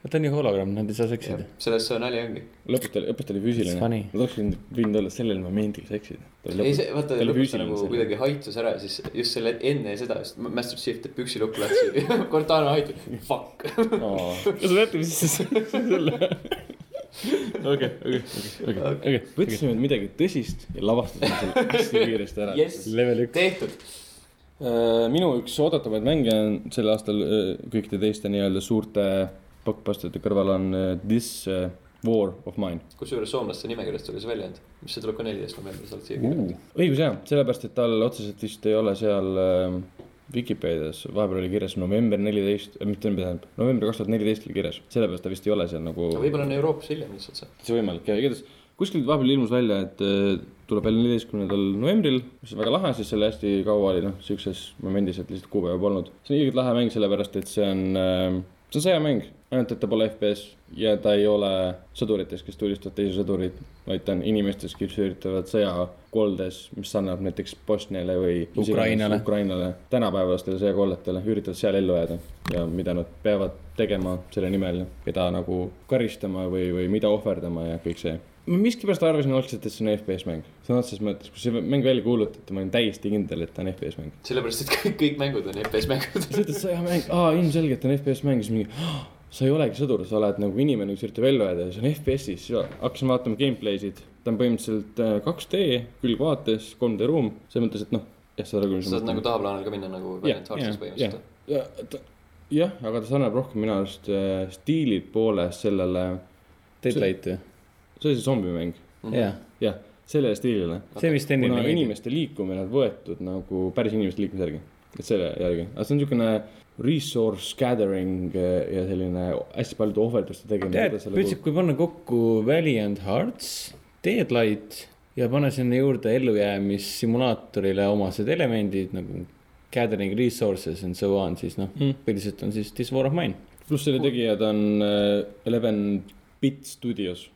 ta on ju hologramm , nad ei saa seksida .
selles see nali ongi .
lõpuks ta oli , lõpuks ta oli
It's
füüsiline
funny. .
ma tahaksin , võinud olla sellel momendil seksida .
ei , see , vaata , lõpuks ta nagu
kuidagi .
kuidagi haitsus ära ja siis just selle enne seda , just Master Chief teeb püksi lukku lahti , Cortana haitus , fuck .
kas sa teate , mis see selle ?
okei , okei , okei , okei , okei .
võtsime midagi tõsist ja lavastasime selle hästi kiiresti ära .
Yes ,
level üks .
tehtud .
minu üks oodatavaid mänge on sel aastal äh, kõikide teiste nii-öelda suurte blockbusterite kõrval on äh, This äh, War of Mine
kusjuures soomlaste nimekirjast tuli see välja nüüd , mis see tuleb ka neliteist novembris alt siia
uh. . õigus jah , sellepärast et tal otseselt vist ei ole seal äh, Vikipeedias , vahepeal oli kirjas november neliteist , mitte tähendab , november kaks tuhat neliteist oli kirjas , sellepärast ta vist ei ole seal nagu .
võib-olla on Euroopas hiljem lihtsalt see .
see võimalik ja igatahes kuskilt vahepeal ilmus välja , et äh, tuleb välja neljateistkümnendal novembril , mis on väga lahe , sest selle hästi kaua oli noh , siukses momendis , et lihtsalt kuupäeva polnud . see on ilgelt lahe mäng , sellepärast et see on äh, , see on sõjamäng , ainult et ta pole FPS ja ta ei ole sõdurites , kes tulistavad teisi sõdureid , vaid ta on inimestes , kes üritavad sõjakoldes , mis annab näiteks Bosniale või mis iganes
Ukrainale.
Ukrainale , tänapäevastele sõjakolletele , üritavad seal ellu jääda ja mida nad peavad tegema selle nimel , keda nagu karistama või , või mida ohverdama ja kõik see . ma miskipärast arvasin algselt , et see on FPS mäng , sõna otseses mõttes , kui see mäng välja kuulutati , ma olin täiesti kindel , et ta on FPS mäng .
sellepärast , et kõik , kõik mängud on FPS mängud .
sa ütled sõjamäng , aa ilmselgelt on FPS mäng , siis mingi sa ei olegi sõdur , sa oled nagu inimene , kes üritab ellu jääda ja see on FPS-is , siis hakkasin vaatama gameplay'sid , ta on põhimõtteliselt äh, 2D külgvaates , 3D ruum , selles mõttes , et noh , jah , saad aru , kui
saad nagu tahaplaanil ka minna nagu Valiant Hearts'is põhimõtteliselt .
ja, ta, jah , aga ta sarnaneb rohkem minu arust äh, stiili poolest sellele ,
Deadlight või ?
see oli see zombimäng ,
jah ,
jah , sellele stiilile .
see vist enne
kuna
meeldib .
inimeste liikumine on võetud nagu päris inimeste liikumise järgi , et selle järgi , aga see on niisugune resource gathering äh, ja selline hästi paljude ohverduste tegemine .
tead , üldse , kui panna kokku Valiant Hearts , Deadlight ja panna sinna juurde ellujäämissimulaatorile omased elemendid nagu gathering resources and so on , siis noh mm. , põhiliselt on siis This War of Mine .
pluss selle tegijad on äh, Eleven Bit Studios ,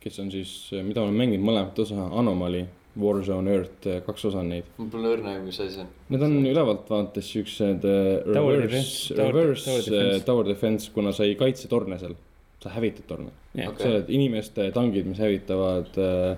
kes on siis , mida ma olen mänginud mõlemat osa , Anomaly , Warzone Earth , kaks osa on neid .
mul pole õrna aimu , mis asi see on .
Need on ülevalt vaates siuksed äh,
Tower
reverse ,
defense, tower-
reverse
tower defense.
äh, tower defense , kuna sa ei kaitse torne seal , sa hävitad torne .
jah ,
Okei.
sa oled inimeste tangid , mis hävitavad äh,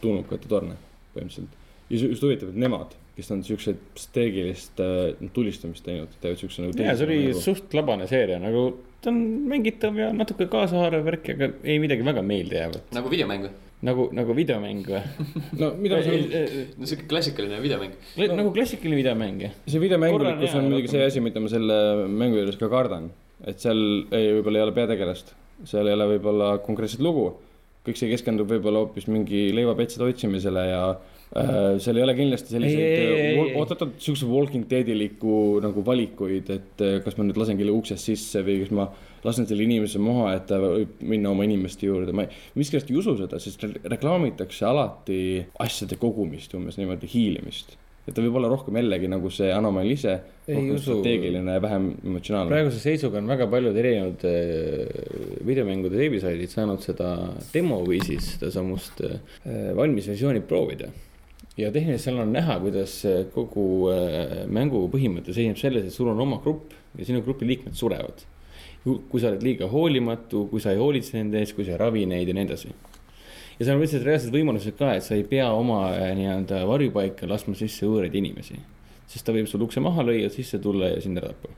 tulnukate torne põhimõtteliselt . ja see- just huvitav , et nemad , kes on siukseid strateegilist äh, tulistamist teinud , teevad siukse nagu .
see oli suht labane seeria , nagu ta on mängitav ja natuke kaasahaarav värk , aga ei midagi väga meeldejäävat .
nagu videomäng või ?
nagu , nagu videomäng või ?
nagu- no mida ma saan ,
no siuke klassikaline videomäng .
no. nagu klassikaline videomäng jah .
see
Korra on
videomängulikkus
hea,
on muidugi
aga-
see asi , mida ma selle mängu juures ka kardan , et seal ei , võib-olla ei ole peategelast , seal ei ole võib-olla konkreetset lugu , kõik see keskendub võib-olla hoopis mingi leivapetside otsimisele ja äh, seal ei ole kindlasti
Ei, ei, ei,
selliseid
ei,
äh,
ei. ,
oot-oot-oot , siukse Walking Deadiliku nagu valikuid , et äh, kas ma nüüd lasen kelle uksest sisse või kas ma lasen selle inimese maha , et ta võib minna oma inimeste juurde , ma ei- miskipärast ei usu seda , sest re- reklaamitakse alati asjade kogumist umbes niimoodi , hiilimist . et ta võib olla rohkem jällegi nagu see anomaal ise ,
Ei
rohkem
usu.
strateegiline ja vähem emotsionaalne .
praeguse seisuga on väga paljud erinevad äh, videomängude veebisaidid saanud seda demo viisis sedasamust äh, valmis versiooni proovida . ja tehniliselt seal on näha , kuidas äh, kogu äh, mängu põhimõte seisneb selles , et sul on oma grupp ja sinu grupi liikmed surevad . kui sa oled liiga hoolimatu , kui sa ei hoolitse nende eest , kui sa ei ravi neid ja nii edasi ja seal on lihtsalt reaalsed võimalused ka , et sa ei pea oma äh, nii-öelda varjupaika laskma sisse võõraid inimesi , sest ta võib sul ukse maha lüüa , sisse tulla ja sind ära tappa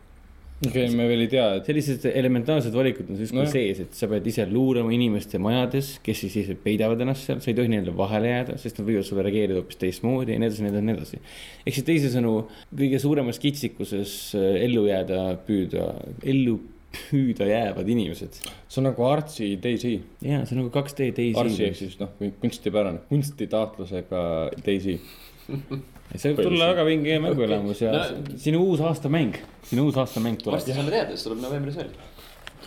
okei okay, , me veel ei tea , et
sellised elementaarsed valikud on justkui
Nojah.
no. sees , et sa pead ise luurama inimeste majades , kes siis ise peidavad ennast seal , sa ei tohi neile vahele jääda , sest nad võivad sulle reageerida hoopis teistmoodi ja nii edasi , nii edasi , nii edasi . ehk siis teisisõnu kõige suuremas kitsikuses äh, ellu jääda , püüda , ellu püüda jäävad inimesed .
see on nagu artsi DayZ ,
ja see on nagu 2D
artsi ehk
teisi .
siis noh , kunstipärane , kunstitaatlusega DayZ .
see võib tulla väga vinge mänguelamus ja
No-
sinu uus aastamäng , sinu uus aastamäng tuleb
varsti . saame teada , see tuleb novembris välja .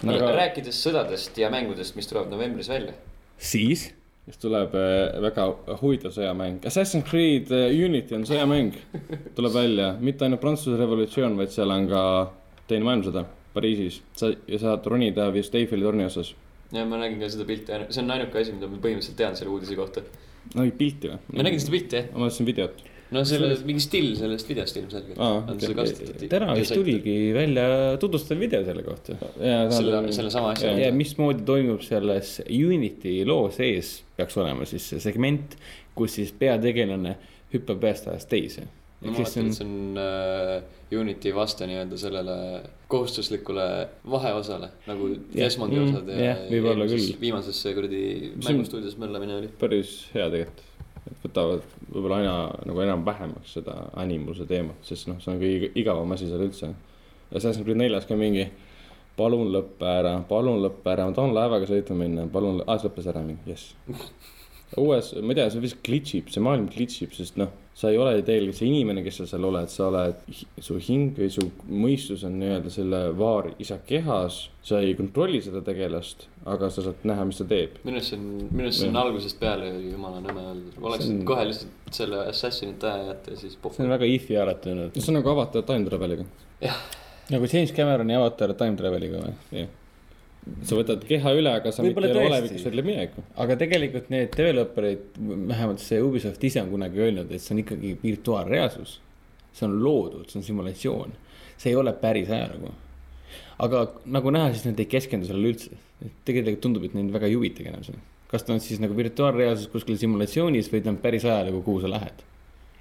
aga
aga
rääkides sõdadest ja mängudest , mis tulevad novembris välja .
siis
siis tuleb äh, väga huvitav sõjamäng , Assassin's Creed äh, Unity on sõjamäng , tuleb välja , mitte ainult Prantsuse revolutsioon , vaid seal on ka teine maailmasõda Pariisis , sa ja saad ronida vist Eiffeli torni osas .
ja ma nägin ka seda pilti , see on ainuke asi , mida ma põhimõtteliselt tean selle uudise kohta .
no ei pilti või ?
ma nägin seda pilti jah .
ma vaatasin videot .
no selle , mingi still sellest videost ilmselgelt
Aa,
on seda
okei.
kasutatud .
täna vist . tuligi välja tutvustav video selle kohta .
selle , sellesama asja
ja
kohta .
mismoodi toimub selles Unity loo sees peaks olema siis see segment , kus siis peategelane hüppab ühest ajast teise .
ma
ehk siis
vaatan ,
on
et see on äh, Unity vaste nii-öelda sellele kohustuslikule vaheosale nagu
Jah,
Desmondi
mm,
osad ja
jah, võib-olla
eelmises-
küll.
viimases see kuradi
See on-
mängustuudios möllamine oli .
päris hea tegelikult , et võtavad võib-olla aina nagu enam-vähemaks seda animuse teemat , sest noh , see on kõige igavam asi seal üldse . Assassin's Creed neljas ka mingi palun lõppe ära , palun lõppe ära , ma tahan laevaga sõita minna , palun , aa , see lõppes ära mingi , jess . uues , ma ei tea , see vist glitchib , see maailm glitchib , sest noh , sa ei ole tegelikult see inimene , kes sa seal oled , sa oled , su hing või su mõistus on nii-öelda selle vaari isa kehas , sa ei kontrolli seda tegelast , aga sa saad näha , mis ta teeb .
minu arust see on , minu arust see on
Jah.
algusest peale ju jumala nõme olnud , oleks
See on-
on... kohe lihtsalt selle Assassinit ära jätta ja siis
see on
pohhu .
väga if'i alatunud .
see on nagu avatar time travel'iga .
nagu James Cameroni avatar time travel'iga või ?
jah . sa võtad keha üle , aga sa mitte
Võib-olla
ei ole
tõesti.
olevikus , vaid läbi mineviku .
aga tegelikult need developer'id , vähemalt see Ubisoft ise on kunagi öelnud , et see on ikkagi virtuaalreaalsus . see on loodud , see on simulatsioon , see ei ole päris ajalugu . aga nagu näha , siis nad ei keskendu sellele üldse . tegelikult tundub , et neid väga ei huvitagi enam see . kas ta on siis nagu virtuaalreaalsus kuskil simulatsioonis või ta on päris ajalugu , kuhu sa lähed .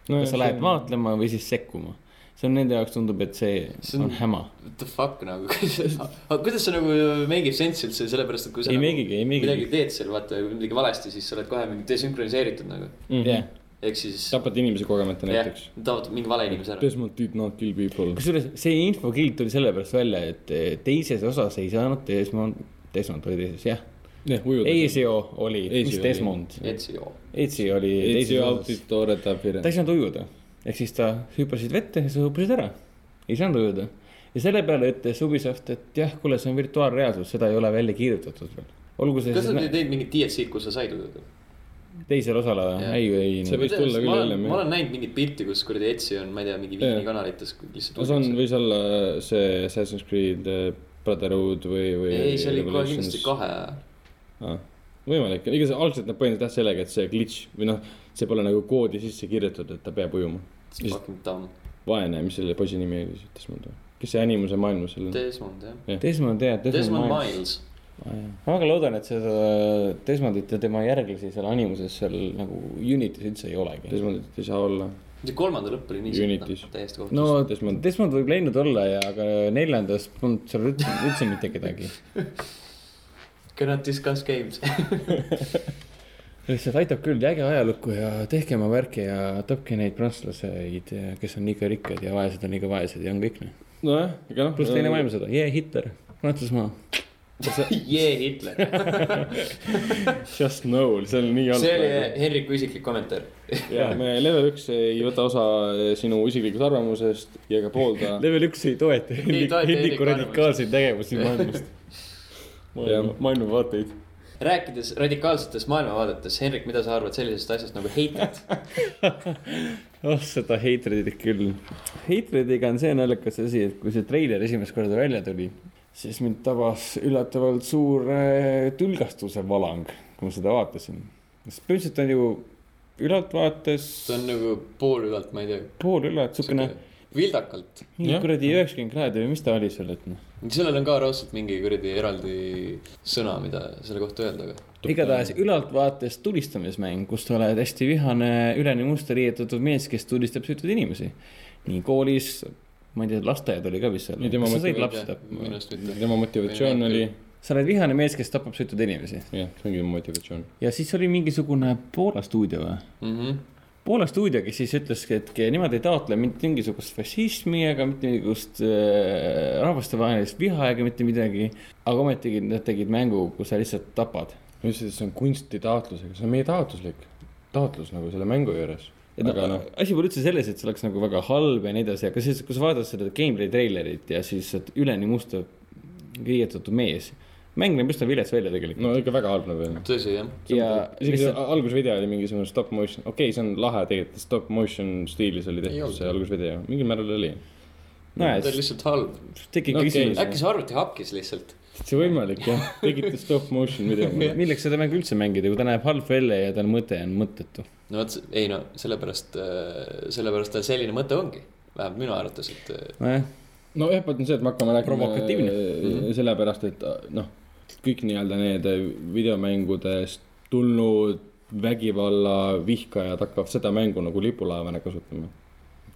kas sa lähed vaatlema või siis sekkuma . see on nende jaoks tundub , et see,
See
on...
on-
on häma .
What the fuck nagu , aga kuidas see nagu make ib sense'i üldse , sellepärast et kui sa
ei
nagu
meigigi , ei
midagi
meigigi .
teed seal , vaata , midagi valesti , siis sa oled kohe mingi desünkroniseeritud nagu .
Mhm.
jah ,
ehk siis ,
tapad inimesi kogemata
jah
näiteks .,
taotled mingi vale inimese ära .
Desmond did not kill people .
kusjuures see infokild tuli sellepärast välja , et eh, teises osas ei saanud Desmond , Desmond oli teises , jah .
jah , ujuda .
Ezio oli , mis
Ezio oli.
Desmond ?
Ezio .
Ezio oli
Ezio
teises osas .
autitor et
ta
appearance
ei . saanud ujuda , ehk siis ta hüppasid vette ja sa hüppasid ära . ei saanud ujuda . ja selle peale ütles Ubisoft , et jah , kuule , see on virtuaalreaalsus , seda ei ole välja kirjutatud veel . olgu see
kas
siis
sa
nä-
teed mingit DLC-d , kus sa said ujuda ?
teisel osal ,
Jah.
ei , ei .
See võis tulla küll hiljem, jah.
ma olen näinud mingit pilti , kus kuradi Ezio on , ma ei tea , mingi
Jah.
viinikanalites lihtsalt
no see on , võis olla see Assassin's Creed eh, Brotherhood või , või .
ei , see oli kohe kindlasti . kahe ajal .
võimalik , ega see algselt nad põhjendasid jah sellega , et see glitch või noh , see pole nagu koodi sisse kirjutatud , et ta peab ujuma . Siis-
Fucking dumb .
vaene , mis selle poisi nimi oli , Desmond või ? kes see animuse maailmas seal on ?
Desmond jah .
Desmond jah ,
Desmond
Desmond Miles .
Miles .
ma väga loodan , et seda Desmondit ja tema järglasi seal animuses seal nagu Unitis üldse ei olegi .
Desmondit ei saa olla .
see kolmanda lõpp oli nii sitt,
Unitis.
noh, täiesti kohutav
no
Des- Desmond-
Desmond, Desmond võib läinud olla ja , aga neljandas polnud seal üldse, üldse mitte kedagi .
no. . Cannot discuss games .
lihtsalt aitab küll , jääge ajalukku ja tehke oma värki ja tapke neid prantslaseid , kes on liiga rikkad ja vaesed on liiga vaesed ja on kõik noh .
nojah , ega noh .
pluss teine maailmasõda , jee Hitler , Prantsusmaa .
Jee , Hitler .
Just no , see on nii halb .
see oli . Henriku isiklik kommentaar .
ja me level üks ei võta osa äh, sinu isiklikust arvamusest ja ka poolda .
level üks ei toeta
Ei toeta Henriku
Henriku
arvamust.
radikaalseid tegevusi maailmast .
Maailma-
maailmavaateid .
rääkides radikaalsetest maailmavaadetest , Henrik , mida sa arvad sellisest asjast nagu heited ?
oh seda heitreidit küll . heitreidiga on see naljakas asi , et kui see treiler esimest korda välja tuli , siis mind tabas üllatavalt suur äh, tülgastuse valang , kui ma seda vaatasin . sest põhimõtteliselt on ju ülaltvaates
see on nagu poolülalt , ma ei tea .
pool üle , et siukene
vildakalt .
mingi
Jah.
kuradi üheksakümmend kraadi või mis ta oli seal , et noh .
sellel on ka raudselt mingi kuradi eraldi sõna , mida selle kohta öelda , aga
igatahes ülaltvaates tulistamismäng , kus sa oled hästi vihane , üleni musta riietatud mees , kes tulistab süütuid inimesi . nii koolis , ma ei tea , lasteaed oli ka vist seal
Ei, tema .
sa said
mõtlevad,
lapsi
minu
tapma .
arust mitte .
tema motivatsioon oli ,
sa oled vihane mees , kes tapab süütuid inimesi
jah , see ongi tema motivatsioon .
ja siis oli mingisugune Poola stuudio või ?
Mhm,
Poola stuudio , kes siis ütles , et nemad ei taotle mitte mingisugust fašismi ega mitte mingisugust äh, rahvastevahelist viha ega mitte midagi . aga ometigi nad tegid mängu , kus sa lihtsalt tapad .
ma ütlesin , et see on kunstitaotlusega , see on meie taotluslik taotlus nagu selle mängu juures .
et
Aga
aga
noh.
noh , asi pole üldse selles , et see oleks nagu väga halb ja nii edasi , aga siis , kui sa vaatad seda gameplay treilerit ja siis et üleni musta riietatud mees , mäng näeb üsna vilets välja tegelikult
no ikka väga halb nagu on .
tõsi jah .
ja
isegi see
lihtsalt
algusvideo oli mingisugune stop motion , okei okay, , see on lahe tegelikult , stop motion stiilis oli
Ei
tehtud
olnud.
see algusvideo , mingil määral oli .
nojah
ta oli , lihtsalt halb .
tekib
No okei.
küsimus
äkki see arvuti hakkis lihtsalt ?
täitsa võimalik jah , tegite stop motion video mulle .
milleks seda mängu üldse mängida , kui ta näeb halb välja ja ta mõte on mõttetu .
no vot , ei no sellepärast , sellepärast tal selline mõte ongi , vähemalt minu arvates , et äh,
nojah ,
no jah , vaat on see , et me hakkame rääkima . äh,
Provokatiivne. . Mhm.
sellepärast , et noh , kõik nii-öelda need äh, videomängudest tulnud vägivalla vihkajad hakkavad seda mängu nagu lipulaevana kasutama .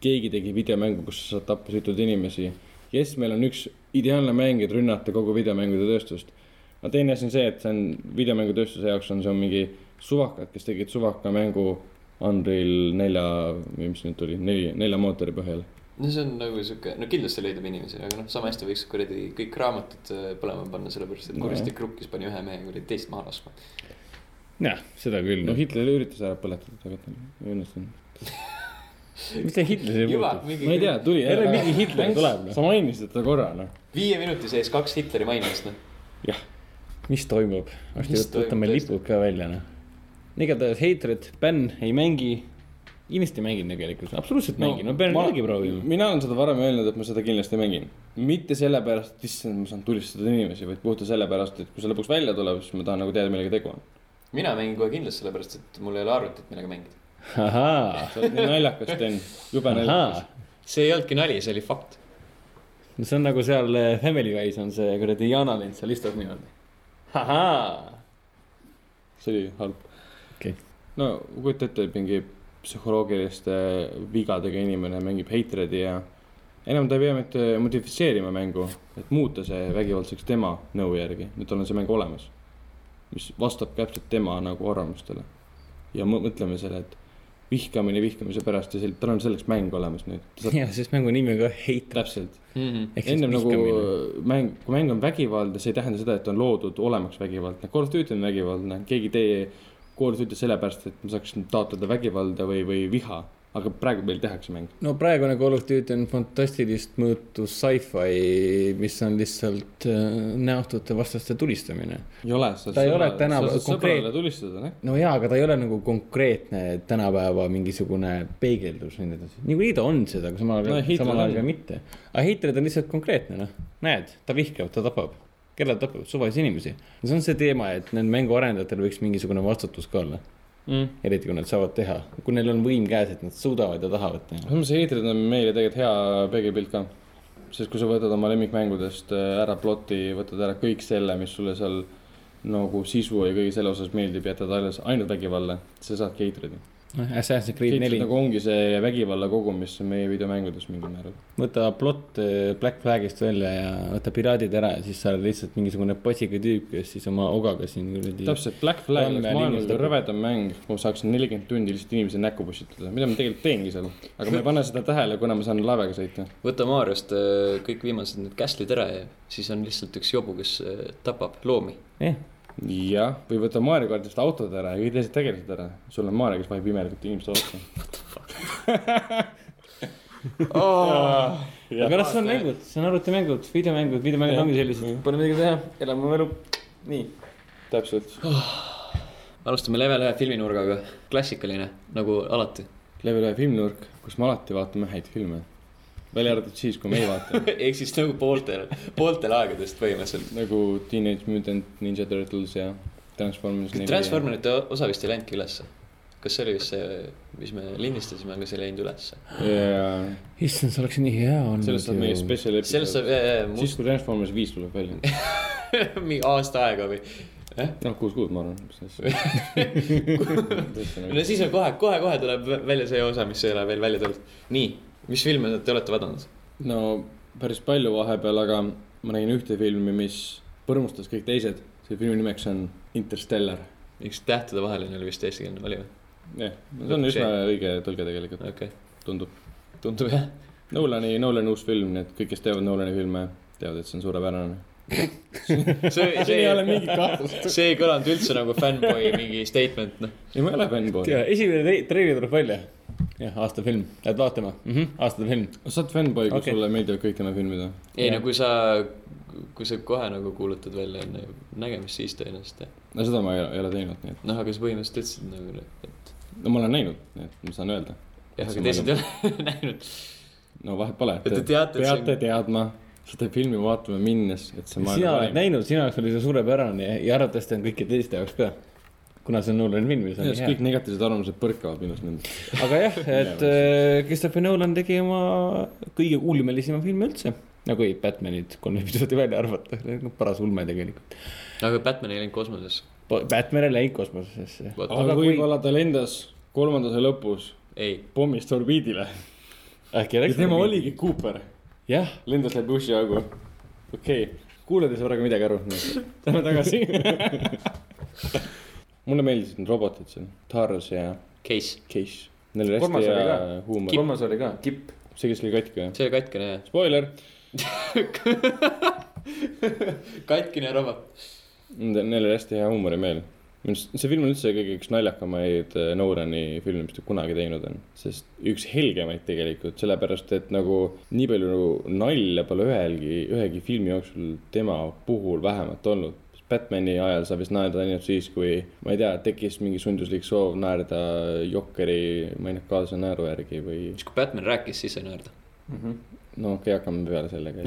keegi tegi videomängu , kus sa saad tappa sõitud inimesi . jess , meil on üks ideaalne mäng , et rünnata kogu videomängude tööstust . no teine asi on see , et see on videomängutööstuse jaoks on see on mingi suvakad , kes tegid suvaka mängu Unreal nelja , või mis nüüd tuli , neli , nelja mootori põhjal .
no see on nagu sihuke , no kindlasti leidub inimesi , aga noh , sama hästi võiks kuradi kõik raamatud äh, põlema panna , sellepärast et
Nojah.
kuristik rukkis , pani ühe mehe kuradi teist maha laskma .
jah , seda küll
no
no, .
Hitler üritas ära põletada , aga ta ei õnnestunud .
mis see Hitleri
juba
puutub ?
ma ei
mingi
tea , tuli
Jälle mingi Hitler tuleb, noh.
sa mainisid seda korra , noh .
viie minuti sees kaks Hitleri mainimist , noh .
mis toimub ? varsti
Mis
võt-
toimub
võtame
tõesti?
lipud ka välja , noh . igatahes Hatred , Ben ei mängi . inimesed ei mängi tegelikult , absoluutselt ei mängi , no pean jällegi proovima .
mina olen seda varem öelnud , et ma seda kindlasti mängin . mitte sellepärast , et issand , ma saan tulistada inimesi , vaid puhtalt sellepärast , et kui see lõpuks välja tuleb , siis ma tahan nagu teada , millega tegu on .
mina mängin kohe kindlasti sellepärast , et mul ei ole arvutit , millega mängida .
ahaa ,
sa oled nii naljakas , Sten , jube
ahaa
naljakas .
see ei olnudki nali , see oli fakt .
no see on nagu seal äh, Family Guy's on see kuradi Yana lind , seal istub niimoodi . ahaa ,
see oli halb .
Okei.
no kujuta ette , et mingi psühholoogiliste vigadega inimene mängib Hatredi ja enam ta ei pea mitte modifitseerima mängu , et muuta see vägivaldseks tema nõu järgi , nüüd tal on see mäng olemas , mis vastab täpselt tema nagu arvamustele . ja mõ- mõtleme selle , et vihkamine vihkamise pärast ja sel- , tal on selleks mäng olemas nüüd , ta saab
ja siis mängu nimi on ka Hatred .
täpselt ,
Mhm.
ehk siis
ennem nagu
vihkamine .
mäng , kui mäng on vägivaldne , see ei tähenda seda , et on loodud olemaks vägivaldne . Call of Duty on vägivaldne , keegi ei tee Call of Duty sellepärast , et me saaks taotleda vägivalda või , või viha , aga praegu meil tehakse mäng .
no praegune Call of Duty on fantastilist mõõtu sci-fi , mis on lihtsalt äh, näotute vastaste tulistamine .
ei ole , sa
Ta ei ole tänav- konkreet-
sõbrale tulistada , noh .
no jaa , aga ta ei ole nagu konkreetne tänapäeva mingisugune peegeldus ja nii edasi . niikuinii ta on seda , aga samal
No,
ajal no, ,
Hitler
samal ajal
on.
ka mitte . aga Hitler on lihtsalt konkreetne , noh , näed , ta vihkab , ta tapab , keda ta tapab , suvalisi inimesi . see on see teema , et need mänguarendajatel võiks mingisugune vastutus ka olla ,
selles
eriti kui nad saavad teha , kui neil on võim käes , et nad suudavad ja tahavad teha .
mõttes Hatred on meile tegelikult hea peegelpilt ka . sest kui sa võtad oma lemmikmängudest äh, ära ploti , võtad ära kõik selle , mis sulle seal nagu sisu ja kõige selle osas meeldib , jätad alles ainult vägivalla , sa saadki Hatredi .
noh , Assassin's Creed
Hatred
neli ,
nagu ongi see vägivalla kogum , mis on meie videomängudes mingil määral .
võta plott äh, Black Flagist välja ja võta piraadid ära ja siis sa oled lihtsalt mingisugune passiga tüüp , kes siis oma ogaga siin kuradi
täpselt , Black Flag
Kolme
oleks
ja
maailma
liinist
kõige
lõpeb.
rõvedam mäng , ma saaksin nelikümmend tundi lihtsalt inimese näkku pussitada , mida ma tegelikult teengi seal . aga ma ei pane seda tähele , kuna ma saan laevaga sõita .
võta Maarjast äh, kõik viimased need käslid ära ja siis on lihtsalt üks jobu , kes äh, tapab loomi .
eh, .
jah , või võta Mario kaardist autod ära ja kõik teised tegelased ära . sul on Mario , kes vahib imelikult inimeste otsa .
aga noh , see on mängud , see on arvutimängud , videomängud , videomängud ongi sellised , pole midagi teha , elame oma elu . nii .
täpselt .
alustame level ühe filminurgaga , klassikaline nagu alati .
level ühe filminurk , kus me alati vaatame häid filme . välja arvatud siis , kui me ei vaata .
ehk siis nagu pooltel , pooltel aegadest põhimõtteliselt .
nagu Teenage Mutant Ninja Turtles ja Transformers .
Transformerite osa vist ei läinudki ülesse . kas see oli vist see , mis me lindistasime , aga see ei läinud ülesse ?
jaa ,
issand , see oleks nii hea olnud .
sellest saab meie . spetsial
sellest
episood .
saab jaa, jaa,
siis , kui Transformers viis tuleb välja .
must mingi aasta aega või .
noh , kuus kuud , ma arvan , mis
no
asja .
siis on kohe , kohe-kohe tuleb välja see osa , mis ei ole veel välja tulnud . nii , mis filme te olete vaadanud ?
no päris palju vahepeal , aga ma nägin ühte filmi , mis põrmustas kõik teised . see filmi nimeks on Interstellar .
üks tähtedevaheline oli vist eestikeelne , oli või ?
jah , see on üsna õige tõlge tegelikult ,
okei okay. ,
tundub .
tundub jah .
Nolani , Nolani uus film , nii et kõik , kes teavad Nolani filme , teavad , et see on suurepärane .
see , see
siin ei ole , mingit kahtlust .
see ei kõlanud üldse nagu fännboi mingi statement , noh .
ei , ma ei ole fännboi .
ja esimene tre- treiler tuleb välja . jah , aasta film , lähed vaatama mm -hmm. , aasta film .
sa oled fännboi , kui
Okei.
sulle meeldivad kõik tema filmid või ?
ei
Jah.
no kui sa , kui sa kohe nagu kuulutad välja enne nägemist , siis tõenäoliselt jah .
no seda ma ei ole , ei ole teinud , nii et .
noh , aga sa põhimõtteliselt ütlesid nagu , et
no ma olen näinud , nii et ma saan öelda .
jah , aga teised ei ole näinud .
no vahet pole .
Et te teate, et see-
peate teadma , seda filmi vaatame minnes , et see
sina
maailma
oled
parim .
näinud , sinu jaoks oli see suurepärane ja- ja arvatavasti on kõikide teiste jaoks ka . kuna see on Nolan film , siis on nii hea
kõik . negatiivsed arvamused põrkavad minust nendest .
aga jah , et äh, Christopher Nolan tegi oma kõige ulmelisema filmi üldse . no kui Batmanid kolm episoodi välja arvata , paras ulme tegelikult .
aga Batman ei läinud kosmosesse .
Batman ei läinud kosmosesse .
Vot.
aga kui võib-olla ta lendas kolmandase lõpus
ei ,
pommist orbiidile
äkki
ja
läks .
tema oligi . Cooper ,
jah ,
lendas läbi usi augu . okei okay. , kuuled ei saa praegu midagi aru . Lähme tagasi . mulle meeldisid need robotid siin , Taros ja
case ,
Case . Neil oli hästi
Kolmas oli
hea
ka.
huumor .
kolmas oli ka , Kipp .
see , kes oli katki või ?
see oli katkine jah .
Spoiler ,
katkine robot .
neil oli hästi hea huumorimeel . see film on üldse kõige üks naljakamaid eh, Nolani filme , mis ta kunagi teinud on , sest üks helgemaid tegelikult , sellepärast et nagu nii palju nalja pole ühelgi , ühegi filmi jooksul tema puhul vähemalt olnud . Batman'i ajal sa vist naerda ainult siis , kui ma ei tea , tekkis mingi sunduslik soov naerda Jokeri mainekaalse naeru järgi või
siis kui Batman rääkis , siis sai naerda .
no okei okay, , hakkame peale sellega .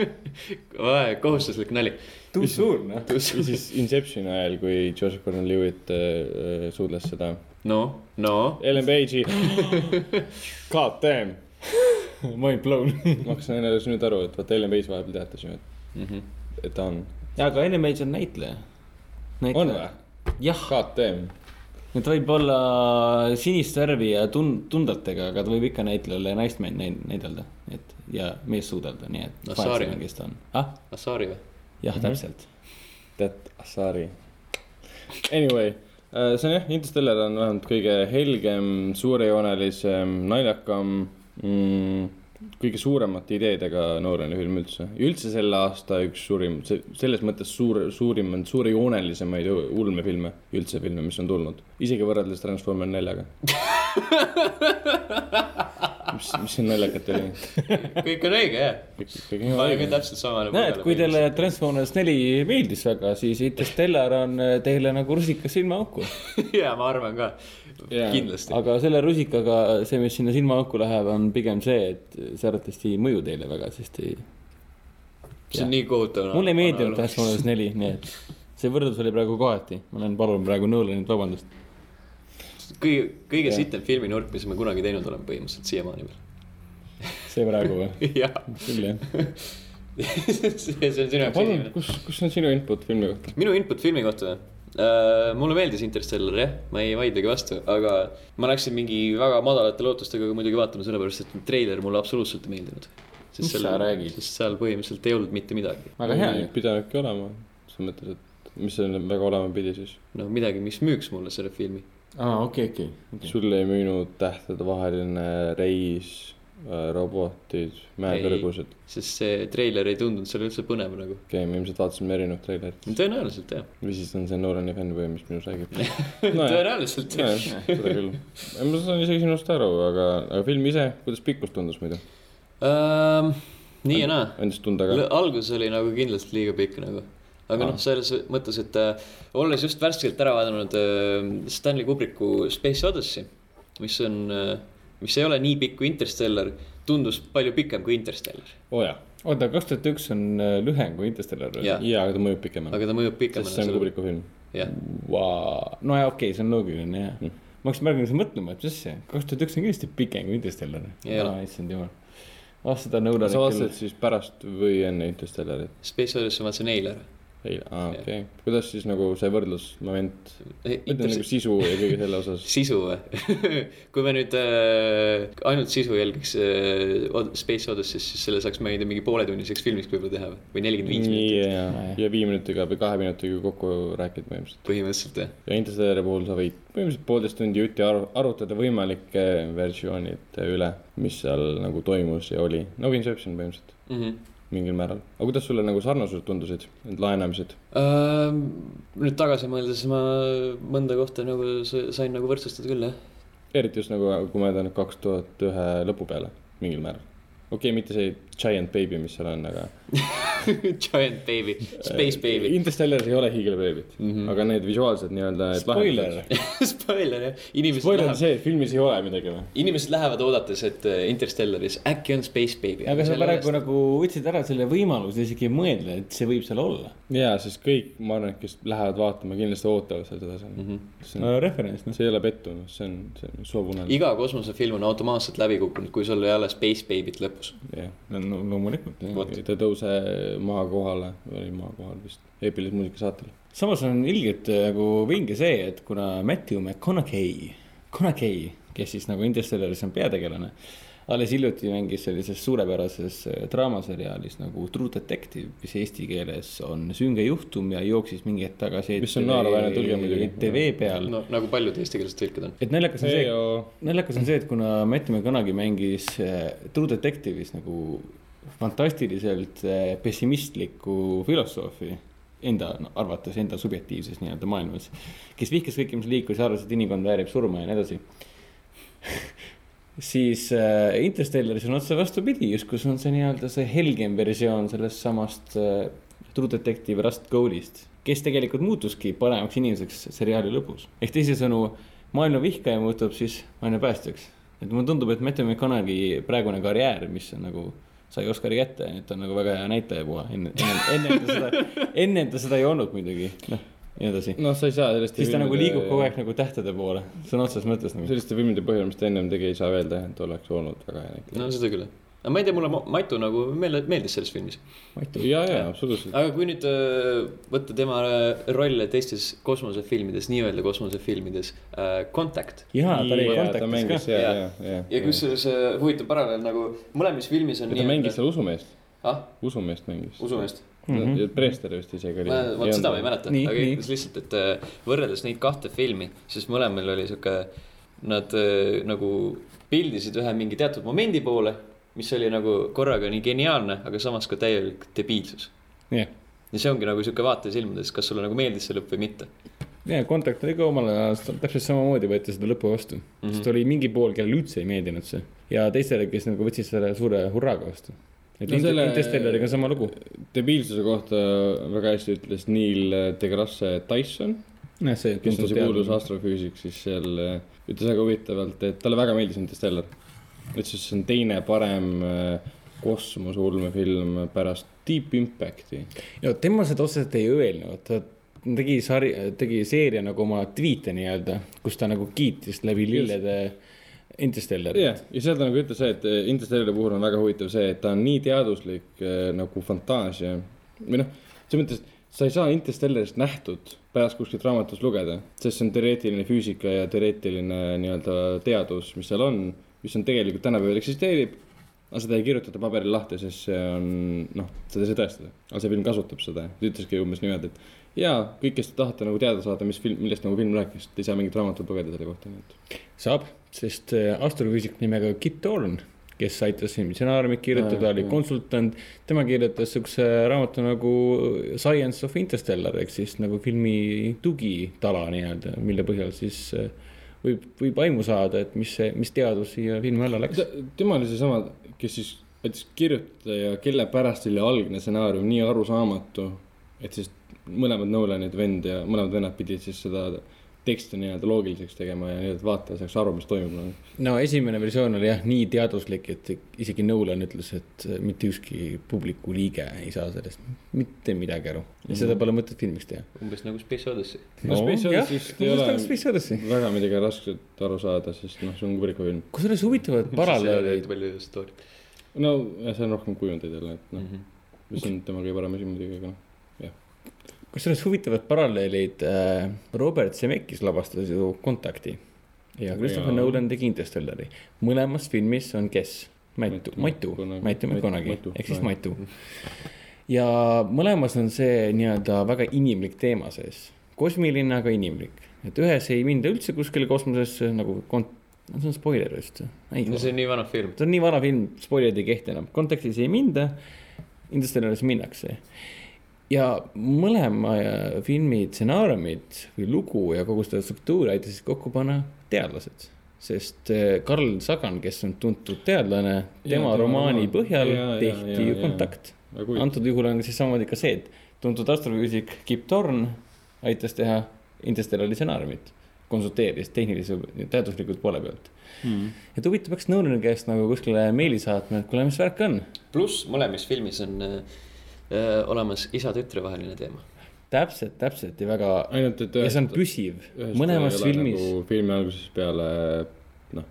kohustuslik nali .
too soon , noh .
või siis Inception'i ajal , kui George Gordon-Lewitt äh, äh, suudles seda
no , no .
Ellen Page'i God damn .
Mind blown .
ma hakkasin enne just nüüd aru , et vaata Ellen Page vahepeal teatas ju , et ,
mhm.
et ta on .
aga Enemies on näitleja .
on või ??
jah ,
God damn .
ta võib olla sinist värvi ja tun- , tundetega , aga ta võib ikka näitlejale ja naist näi- näidelda , et ja meest suudelda , nii et
No, Mhm.
vahet
sorry.
seal on, kes ta on . ah ,
Asari või ?
jah , täpselt .
That Asari . Anyway , see on jah , Interstellar on vähemalt kõige helgem , suurejoonelisem , naljakam mm, , kõige suuremate ideedega noorene film üldse . ja üldse selle aasta üks suurim , selles mõttes suur , suurim , suurejoonelisemaid ulmefilme , üldse filme , mis on tulnud . isegi võrreldes Transformer neljaga . mis , mis siin naljakat oli ?
kõik on õige jah . ma olin ka täpselt samale
näed , kui . teile Transformers neli meeldis väga , siis Interstellar on teile nagu rusikas silmaauku .
ja ma arvan ka
Jaa.
yeah. , kindlasti .
aga selle rusikaga see , mis sinna silmaauku läheb , on pigem see , et see arvatavasti ei mõju teile väga , sest ei ,
see on nii kohutav .
mulle ei meeldinud Transformers neli , nii et see võrdlus oli praegu kohati . ma olen , palun praegu Nolanilt vabandust .
kõige , kõige
Jah.
sitem filminurk , mis me kunagi teinud oleme põhimõtteliselt siiamaani veel .
see praegu või ?
jah ,
küll jah .
see see on sinu jaoks
palun ,
esimene .
kus , kus on sinu input filmi kohta ?
minu input filmi kohta uh, . mulle meeldis Interstellar jah , ma ei vaidlegi vastu , aga ma läksin mingi väga madalate lootustega muidugi vaatama , sellepärast et treiler mulle absoluutselt ei meeldinud .
Mis sa räägid?
sest seal põhimõtteliselt ei olnud mitte midagi .
väga hea ju .
pidanudki olema , selles mõttes , et mis see nüüd väga olema pidi siis .
noh , midagi , mis müüks mulle selle filmi .
aa , okei , okei .
sulle ei müünud tähtedevaheline reis , robotid , mäekõrgused .
sest see treiler ei tundunud seal üldse põnev nagu .
okei okay, , me ilmselt vaatasime erinevat treilerit
tõenäoliselt jah
või siis on see Norani fännivõi , mis minus räägib .
no, . tõenäoliselt jah .
nojah , seda küll . ma saan isegi sinust aru , aga , aga film ise , kuidas pikkus tundus muidu ?
Ähm, nii ja naa .
andis tunda ka ?
algus oli nagu kindlasti liiga pikk nagu . aga
Ah.
noh , selles mõttes , et äh, olles just värskelt ära vaadanud äh, Stanley Kubricku Space Odyssey , mis on äh, , mis ei ole nii pikk kui Interstellar , tundus palju pikem kui Interstellar ,
oo Oh, jaa ,
oota , kaks tuhat üks on äh, lühem kui Interstellar või ?
Jah.
jaa , aga ta mõjub pikemana .
aga ta mõjub
Ah. sest see on
pikemana .
Kubriku film .
jah ,
Wow. no jaa , okei okay, , see on loogiline jah mm. . ma hakkasin praegu lihtsalt mõtlema , et mis asja , kaks tuhat üks on kindlasti pikem kui Interstellar .
Ei ole.
issand jumal . ah seda Nolan
sa vaatasid siis pärast või enne Interstellarit ?
Space Odyssey ma vaatasin eile ära .
ei , aa Ah, okei okay. , kuidas siis nagu see võrdlusmoment , ütleme nagu
Interstellar
sisu ja kõige selle osas ,
sisu või ? kui me nüüd äh, ainult sisu jälgiks äh, Od- Space Odyssey's , siis selle saaks ma ei tea , mingi pooletunniseks filmiks võib-olla teha või- või nelikümmend viis minutit
ja , ja viie minutiga või kahe minutiga kokku rääkida põhimõtteliselt .
põhimõtteliselt jah .
ja Interstellari puhul sa võid põhimõtteliselt poolteist tundi jutti aru , arutada võimalike versioonide üle , mis seal nagu toimus ja oli , nagu Inception põhimõtteliselt
mm . -hmm.
mingil määral . aga kuidas sulle nagu sarnasused tundusid , need laenamised ?
Uh, nüüd tagasi mõeldes ma mõnda kohta nagu sa- sain nagu võrdsustada küll jah .
eriti just nagu , kui ma jätan kaks tuhat ühe lõpu peale mingil määral . okei okay, , mitte see giant baby , mis seal on , aga .
Giant baby , space baby .
Äh, Mhm. Interstellaris ei ole hiigelbeebit mm , -hmm. aga need visuaalsed nii-öelda .
Spoiler.
spoiler jah , inimesed
spoiler on
lähevad ,
see , et filmis ei ole midagi või ?
inimesed lähevad oodates , et äh, Interstellaris äkki on Space Baby .
aga sa praegu nagu võtsid ära selle võimaluse isegi mõelda , et see võib seal olla .
jaa , sest kõik , ma arvan , et kes lähevad vaatama , kindlasti ootavad seda seal mm . -hmm. See, on,
referents , noh .
see ei ole pettumus , see on , see on soovunelm .
iga kosmosefilm on automaatselt läbi kukkunud , kui sul ei ole Space Baby't lõpus .
jah ,
no loomulikult .
ta ei tõuse maa kohale , oli maa kohal vist , eepilise muusika saatel .
samas on ilgelt äh, nagu vinge see , et kuna Matthew McConaughey , Conaughey , kes siis nagu Interstellaris on peategelane , alles hiljuti mängis sellises suurepärases äh, draamaseriaalis nagu True Detective , mis eesti keeles on sünge juhtum ja jooksis mingi hetk tagasi .
Mis on naeruväärne tõlge muidugi.
TV peal no.
no nagu paljud eestikeelsed tõlked on .
et naljakas on see ,
Heio.
naljakas on see , et kuna Matthew McConaughey mängis äh, True Detective'is nagu fantastiliselt äh, pessimistlikku filosoofi enda no, arvates , enda subjektiivses nii-öelda maailmas , kes vihkas kõike , mis liikus ja arvas , et inimkond väärib surma ja nii edasi . siis äh, Interstellaris on otse vastupidi , justkui see on see nii-öelda see helgem versioon sellest samast äh, True Detective Rust Goldist , kes tegelikult muutuski paremaks inimeseks seriaali lõpus . ehk teisisõnu , maailma vihkaja muutub siis maailma päästjaks . et mulle tundub , et Matthew McConaughey praegune karjäär , mis on nagu sai Oscari kätte , et on nagu väga hea näitleja puha , enne , enne ta seda , enne ta seda ei olnud muidugi , noh , ja nii edasi .
noh , sa ei saa sellest .
siis ta nagu liigub kogu aeg nagu tähtede poole , sõna otseses mõttes nagu .
selliste filmide põhjal , mis ta ennem tegi , ei saa öelda , et oleks olnud väga hea näitleja
no seda küll , jah . aga ma ei tea , mulle Ma- Matu nagu meeldis , meeldis selles filmis .
no, . ja , ja absoluutselt .
aga kui nüüd äh, võtta tema rolle teistes kosmosefilmides , nii-öelda kosmosefilmides , Contact .
jaa , ta oli
ta
kontaktis
mängis
ka .
ja , ja
Jaa. ,
ja .
ja kusjuures äh, huvitav paralleel nagu mõlemas filmis on
ta mängis seal usumeest ,
ah ,
usumeest mängis .
usumeest .
ja Preester vist isegi oli
ma , vot seda ma ei . mäleta ,
Nii,
aga
nii.
ütles lihtsalt , et äh, võrreldes neid kahte filmi , siis mõlemal oli sihuke , nad äh, nagu pildisid ühe mingi teatud momendi poole , mis oli nagu korraga nii geniaalne , aga samas ka täielik debiilsus .
jah ,
ja see ongi nagu sihuke vaatesilmades , kas sulle nagu meeldis see lõpp või mitte .
ja kontakt oli ka omal ajal täpselt samamoodi võeti seda lõpu vastu mm , -hmm. sest oli mingi pool , kellele üldse ei meeldinud see ja teistele , kes nagu võtsid selle suure hurraaga vastu . et
No
no
selle-
selle... Interstellariga on sama lugu .
debiilsuse kohta väga hästi ütles Neil deGrasse Tyson ,
jah , see .
kes on see kuulus astrofüüsik , siis seal äh, ütles väga huvitavalt , et talle väga meeldis Interstellar . ütles , et see on teine parem äh, kosmoseulmefilm pärast Deep Impacti .
no tema seda otseselt ei öelnud , ta tegi sari , tegi seeria nagu oma tweet'e nii-öelda , kus ta nagu kiitis läbi lillede Interstellari
jah , ja seal ta nagu ütles , et äh, Interstellari puhul on väga huvitav see , et ta on nii teaduslik äh, nagu fantaasia või noh , selles mõttes , et sa ei saa Interstellarist nähtud pärast kuskilt raamatust lugeda , sest see on teoreetiline füüsika ja teoreetiline nii-öelda teadus , mis seal on , mis on tegelikult tänapäeval eksisteerib . aga seda ei kirjutata paberil lahti , sest see on noh , seda ei saa tõestada , aga see film kasutab seda , ta ütleski umbes niimoodi , et ja kõik , kes te tahate nagu teada saada , mis film , millest nagu film rääkis , te ei saa mingit raamatut lugeda selle kohta , nii et .
saab , sest äh, astrofüüsik nimega Kit Thorne , kes aitas siin stsenaariumit kirjutada , oli konsultant , tema kirjutas siukse raamatu nagu Science of Interstellar ehk siis nagu filmi tugitala nii-öelda , mille põhjal siis äh, võib , võib aimu saada , et mis see , mis teadus siia filmi alla läks .
Ta- tema oli seesama , kes siis aitas kirjutada ja kelle pärast oli algne stsenaarium nii arusaamatu , et siis mõlemad Nolanid vend ja mõlemad vennad pidid siis seda teksti nii-öelda loogiliseks tegema ja nii-öelda vaataja saaks aru , mis toimub nagu .
no esimene versioon oli jah nii teaduslik , et isegi Nolan ütles , et äh, mitte ükski publiku liige ei saa sellest mitte midagi aru ja seda pole mõtet filmiks teha .
umbes nagu Space Odyssey .
No Mhm. Space Odyssey'st ei ole-
Space Odyssey .
väga midagi rasket aru saada , sest noh , see on Kubricku film .
kusjuures huvitavad paralleelid ,
palju story'd .
no ja see on rohkem kujundeid jälle , et noh , mis on tema kõige parem asi muidugi , aga noh ,
kusjuures huvitavad paralleelid äh, . Robert Zemeckis lavastas ju Kontakti ja Christopher
Jaa.
Nolan tegi Interstellari . mõlemas filmis on kes ? Matu ,
Matu
Matu ,
McConaughey.
Matu McConaughey
Matu-
ehk siis
Matu.
Matu . ja mõlemas on see nii-öelda väga inimlik teema sees , kosmiline , aga inimlik , et ühes ei minda üldse kuskile kosmosesse nagu kont- , see on spoiler vist , ei
no see on nii vana film .
ta on nii vana film , spoilerid ei kehti enam , kontekstis ei minda , Interstellaris minnakse . ja mõlema äh, filmi stsenaariumid või lugu ja kogu seda struktuuri aitasid kokku panna teadlased , sest äh, Carl Sagan , kes on tuntud teadlane , tema
tema
romaani
romaan.
põhjal
Jaa, jaa,
tehti
jaa,
ju
jaa.
kontakt .
väga huvitav .
antud juhul on siis samamoodi ka see , et tuntud astrofüüsik Kip Thorne aitas teha Interstellari stsenaariumit . konsulteeris tehnilise , teaduslikult poole pealt
Mhm.
hmm. . et huvitav , peaks nõuniku käest nagu kuskile meili saatma , et kuule , mis värk on .
pluss mõlemas filmis on äh, äh, olemas isa-tütre vaheline teema .
täpselt , täpselt ja väga ,
ainult , et
ja see on püsiv , mõlemas filmis nagu... .
nagu, . filmi algusest peale noh ,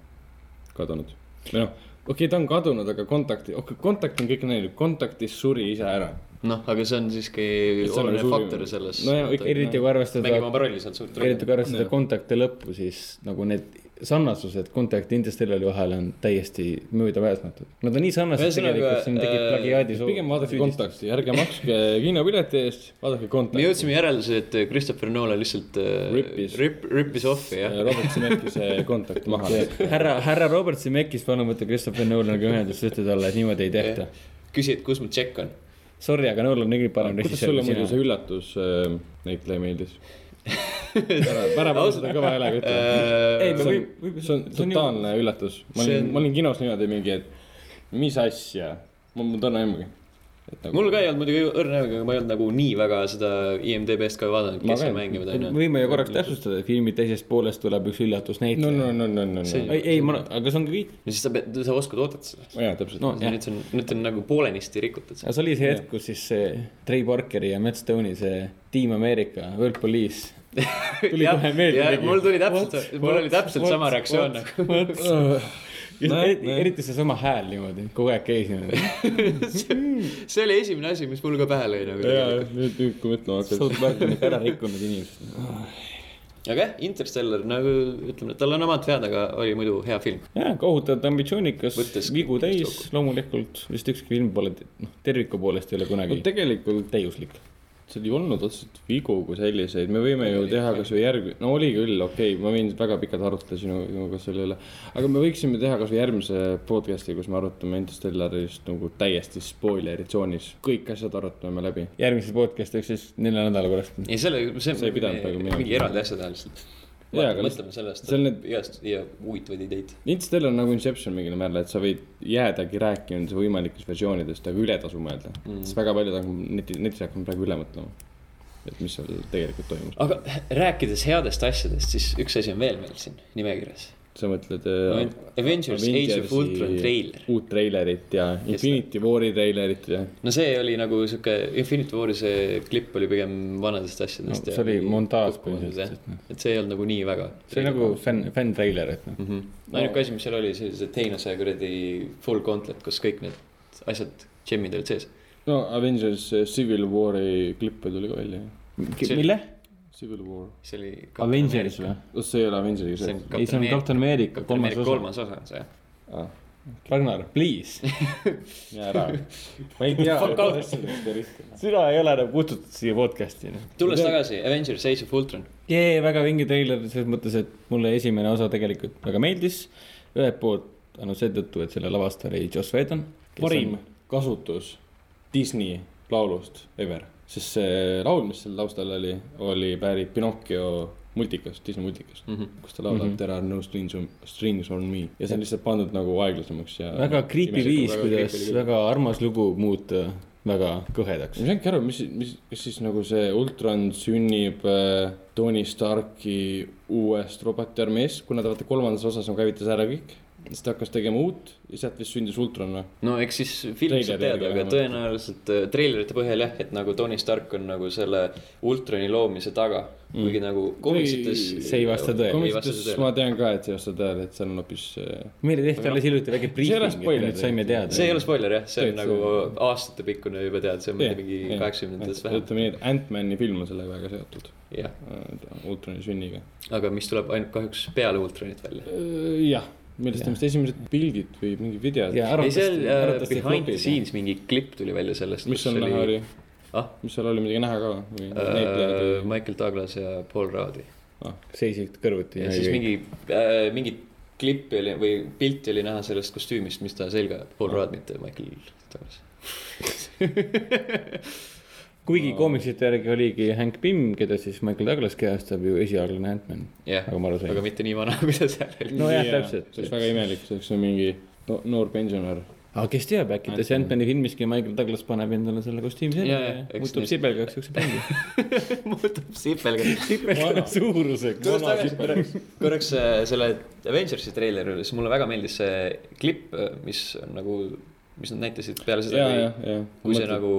kadunud või noh , okei okay, , ta on kadunud , aga kontakti , okei okay, , kontakt on kõik näinud , kontaktis suri ise ära .
noh , aga see on siiski
see on
oluline
suur-
faktor selles
No jaa, ikka-
eriti kui arvestada
mängib , oma rolli seal suurt
eriti
rolli .
kui arvestada
Jah.
kontakti lõppu , siis nagu need sarnasused kontakti Interstellari vahel on täiesti möödapääsmatud . Nad on nii sarnased
Ühesõnaga,
tegelikult , siin tekib
äh,
plagiaadi soov .
pigem vaadake . kontakti , ärge makske kinopileti eest ,
me
vaadake kontakti .
jõudsime järeldusele , et äh, Christopher Nolan lihtsalt äh,
Rippis.
rip, rippis off'i jah .
Robert Zemeckis eh, see kontakt Äh, maha .
härra , härra Robert Zemeckis , palun võta Christopher Nolaniga ühendust , ütle talle , et niimoodi ei tehta .
küsi , et kus mu tšekk on .
Sorry , aga Nolan on kõige parem
kuidas sulle muidu see üllatus äh, näitleja meeldis ? ära , ära pane seda kõva häälega
Ei, me
ütlema .
võib- võib-
see on
see on ju-
totaalne üllatus . ma
Äh, see
olin
on- ,
ma olin kinos niimoodi mingi , et mis asja , ma , ma täna ei mõelgi . nagu-
mul ka ei olnud muidugi õrna aimugi , aga ma ei olnud nagu nii väga seda IMDB-st ka vaadanud ,
Ma
kes seal
ka ei-
mängivad onju .
võime ju korraks täpsustada , et filmi teisest poolest tuleb üks üllatusnäitleja
no , no , no , no , no ,
See-
no ,
ei , ei , ma , aga see ongi kõik .
ja siis sa pead , sa oskad oodata seda .
jaa , täpselt .
no jah ,
nüüd see on , nüüd on nagu poolenisti rikutud see .
aga see oli see hetk , kus siis see Trey Parkeri ja Matt Stone'i see Team America , World Police . tuli
Jah,
kohe meelde
jah,
kõigile.
mul tuli täpselt
What? ,
mul oli täpselt
What?
sama
What?
reaktsioon nagu .
eriti , eriti seesama hääl niimoodi , kogu aeg käis niimoodi .
see oli esimene asi , mis mul ka pähe lõi nagu
jaa
tegelikult .,
nüüd , nüüd kui mõtlema hakkad .
South Park on ikka ära rikkunud inimesed .
aga jah , Interstellar nagu ütleme , tal on omad vead , aga oli muidu hea film .
jaa , kohutavalt ambitsioonikas
Võttes ,
vigu täis
kokku. ,
loomulikult vist ükski film pole , noh , terviku poolest ei ole
no
kunagi
tegelikult
täiuslik .
seal ei olnud otseselt vigu kui selliseid , me võime ju teha kasvõi järg- , no oli küll , okei okay, , ma võin väga pikalt arutleda sinu , sinuga selle üle , aga me võiksime teha kasvõi järgmise podcast'i , kus me arutame Interstellarist nagu täiesti spoileri tsoonis , kõik asjad arutame me läbi .
järgmises podcast'i ehk siis nelja nädala pärast .
ei , selle , see
Sa ei pidanud praegu midagi-
mingi eraldi asja teha lihtsalt .
Jaa, aga
mõtleme sellest ,
see on need-
igast ja huvitavaid ideid .
Interstellar on nagu Inception mingil määral , et sa võid jäädagi rääkima nendest võimalikest versioonidest , aga üle tasu mõelda mm. , sest väga paljud on neti , netis hakkavad praegu üle mõtlema , et mis seal tegelikult toimus .
aga rääkides headest asjadest , siis üks asi on veel meil siin nimekirjas .
sa mõtled äh,
Avengers Age of
Avengersi
Ultron treiler .
uut treilerit ja Infinity War'i treilerit ja
no see oli nagu sihuke Infinity War'i see klipp oli pigem vanadest
No,
asjadest .
see oli montaaž põhimõtteliselt , et noh ,
et see ei olnud nagu nii väga .
see oli nagu fänn , fänntreiler , et noh mm -hmm.
no ainuke asi , mis seal oli , see oli see Teenuse kuradi full gauntlet , kus kõik need asjad , džemmid olid sees .
no Avengers eh, Civil War'i klippe tuli ka välja .
See-
mille ?
Civil War ,
see oli .
Avengers või ??
kas see ei ole Avengersiga
see
see
on ?
ei , see on Captain America kolmas
kolmas,
osa .
kolmas osa on see jah .
aa ,
Ragnar , please .
jää Ah, ära . ma ei tea
Fuck off.
asjadest eriti .
sina ei ole enam kutsutud siia podcast'i . noh.
tulles . tagasi Avengers Age of Ultron ,
jee , väga vinge treiler selles mõttes , et mulle esimene osa tegelikult väga meeldis . ühelt poolt ainult seetõttu , et selle lavastaja oli Joss Whedon .
parim . kasutus Disney laulust ever , sest see laul , mis seal taustal oli , oli pärit Pinocchio multikast , Disney multikast
Mhm.
mm , -hmm. kus ta laulab mm
Mhm.
-hmm. There are no strings on , strings on me ja see on lihtsalt pandud nagu aeglasemaks ja . nagu
väga creepy viis , kuidas väga armas lugu muuta väga kõhedaks
ma . ei saanudki aru , mis , mis , kas siis nagu see Ultron sünnib äh, Tony Starki uuest robotiarmeest , kuna ta vaata kolmandas osas nagu käivitas ära kõik , siis ta hakkas tegema uut ja sealt vist sündis Ultron noh. või ?
no eks siis film saab
Treileri
teada ,
järgi
aga
vähemalt.
tõenäoliselt äh, treilerite põhjal jah , et nagu Tony Stark on nagu selle Ultroni loomise taga mm. , kuigi nagu komiksites .
see ei vasta tõele.
ei vasta
komisjonis
tõele .
ma tean ka , et see ei vasta tõele , et seal on hoopis äh,
meile tehti alles hiljuti väike
ole
briefing , et
spoiler
me nüüd saime teada .
see ei ole spoiler jah , see on
Tegelikult
nagu
see-
aastatepikkune juba tead , see on
jah,
mingi
jah.
kaheksakümnendates
Et-
vähemalt .
ütleme nii , et Ant-Mani film on sellega väga seotud
jah ,
äh, Ultroni sünniga .
aga mis tuleb ainult kahjuks peale Ultronit välja .
Eh,
jah , millest on vist esimesed pildid või mingi videod ,
ja
ei , seal äh,
arvatavasti
behind the
flopib.
scenes mingi klipp tuli välja sellest .
mis seal näha oli ,
ah ,
mis seal oli midagi näha ka või
äh,
näitlejad või ?
Michael Douglas ja Paul Raadi .
seisid kõrvuti
ja siis . mingi äh, , mingi klippi oli või pilti oli näha sellest kostüümist , mis ta selga ajab , Paul Raad , mitte Michael Douglas .
kuigi komiksite järgi oligi Hank Pim , keda siis Michael Douglas kehastab ju esialgne Ant-Man .
jah ,
Aga ma aru sain.
aga mitte nii vana , kui ta seal oli .
nojah , täpselt .
see oleks väga imelik , see oleks mingi no, noor pensionär ,
aga kes teab , äkki ta see Ant-Mani filmiski Michael Douglas paneb endale selle kostüümi selga
Jaa, jaa,
ja
eks
muutub
nii.
sipelgaks siukse pangi .
muutub sipelga .
sipelga suuruseks .
tulles tagasi korraks , korraks äh, selle Avengersi treileri juures , mulle väga meeldis see klipp , mis on nagu , mis nad näitasid peale seda
ja ,, ja , ja .
kui see nagu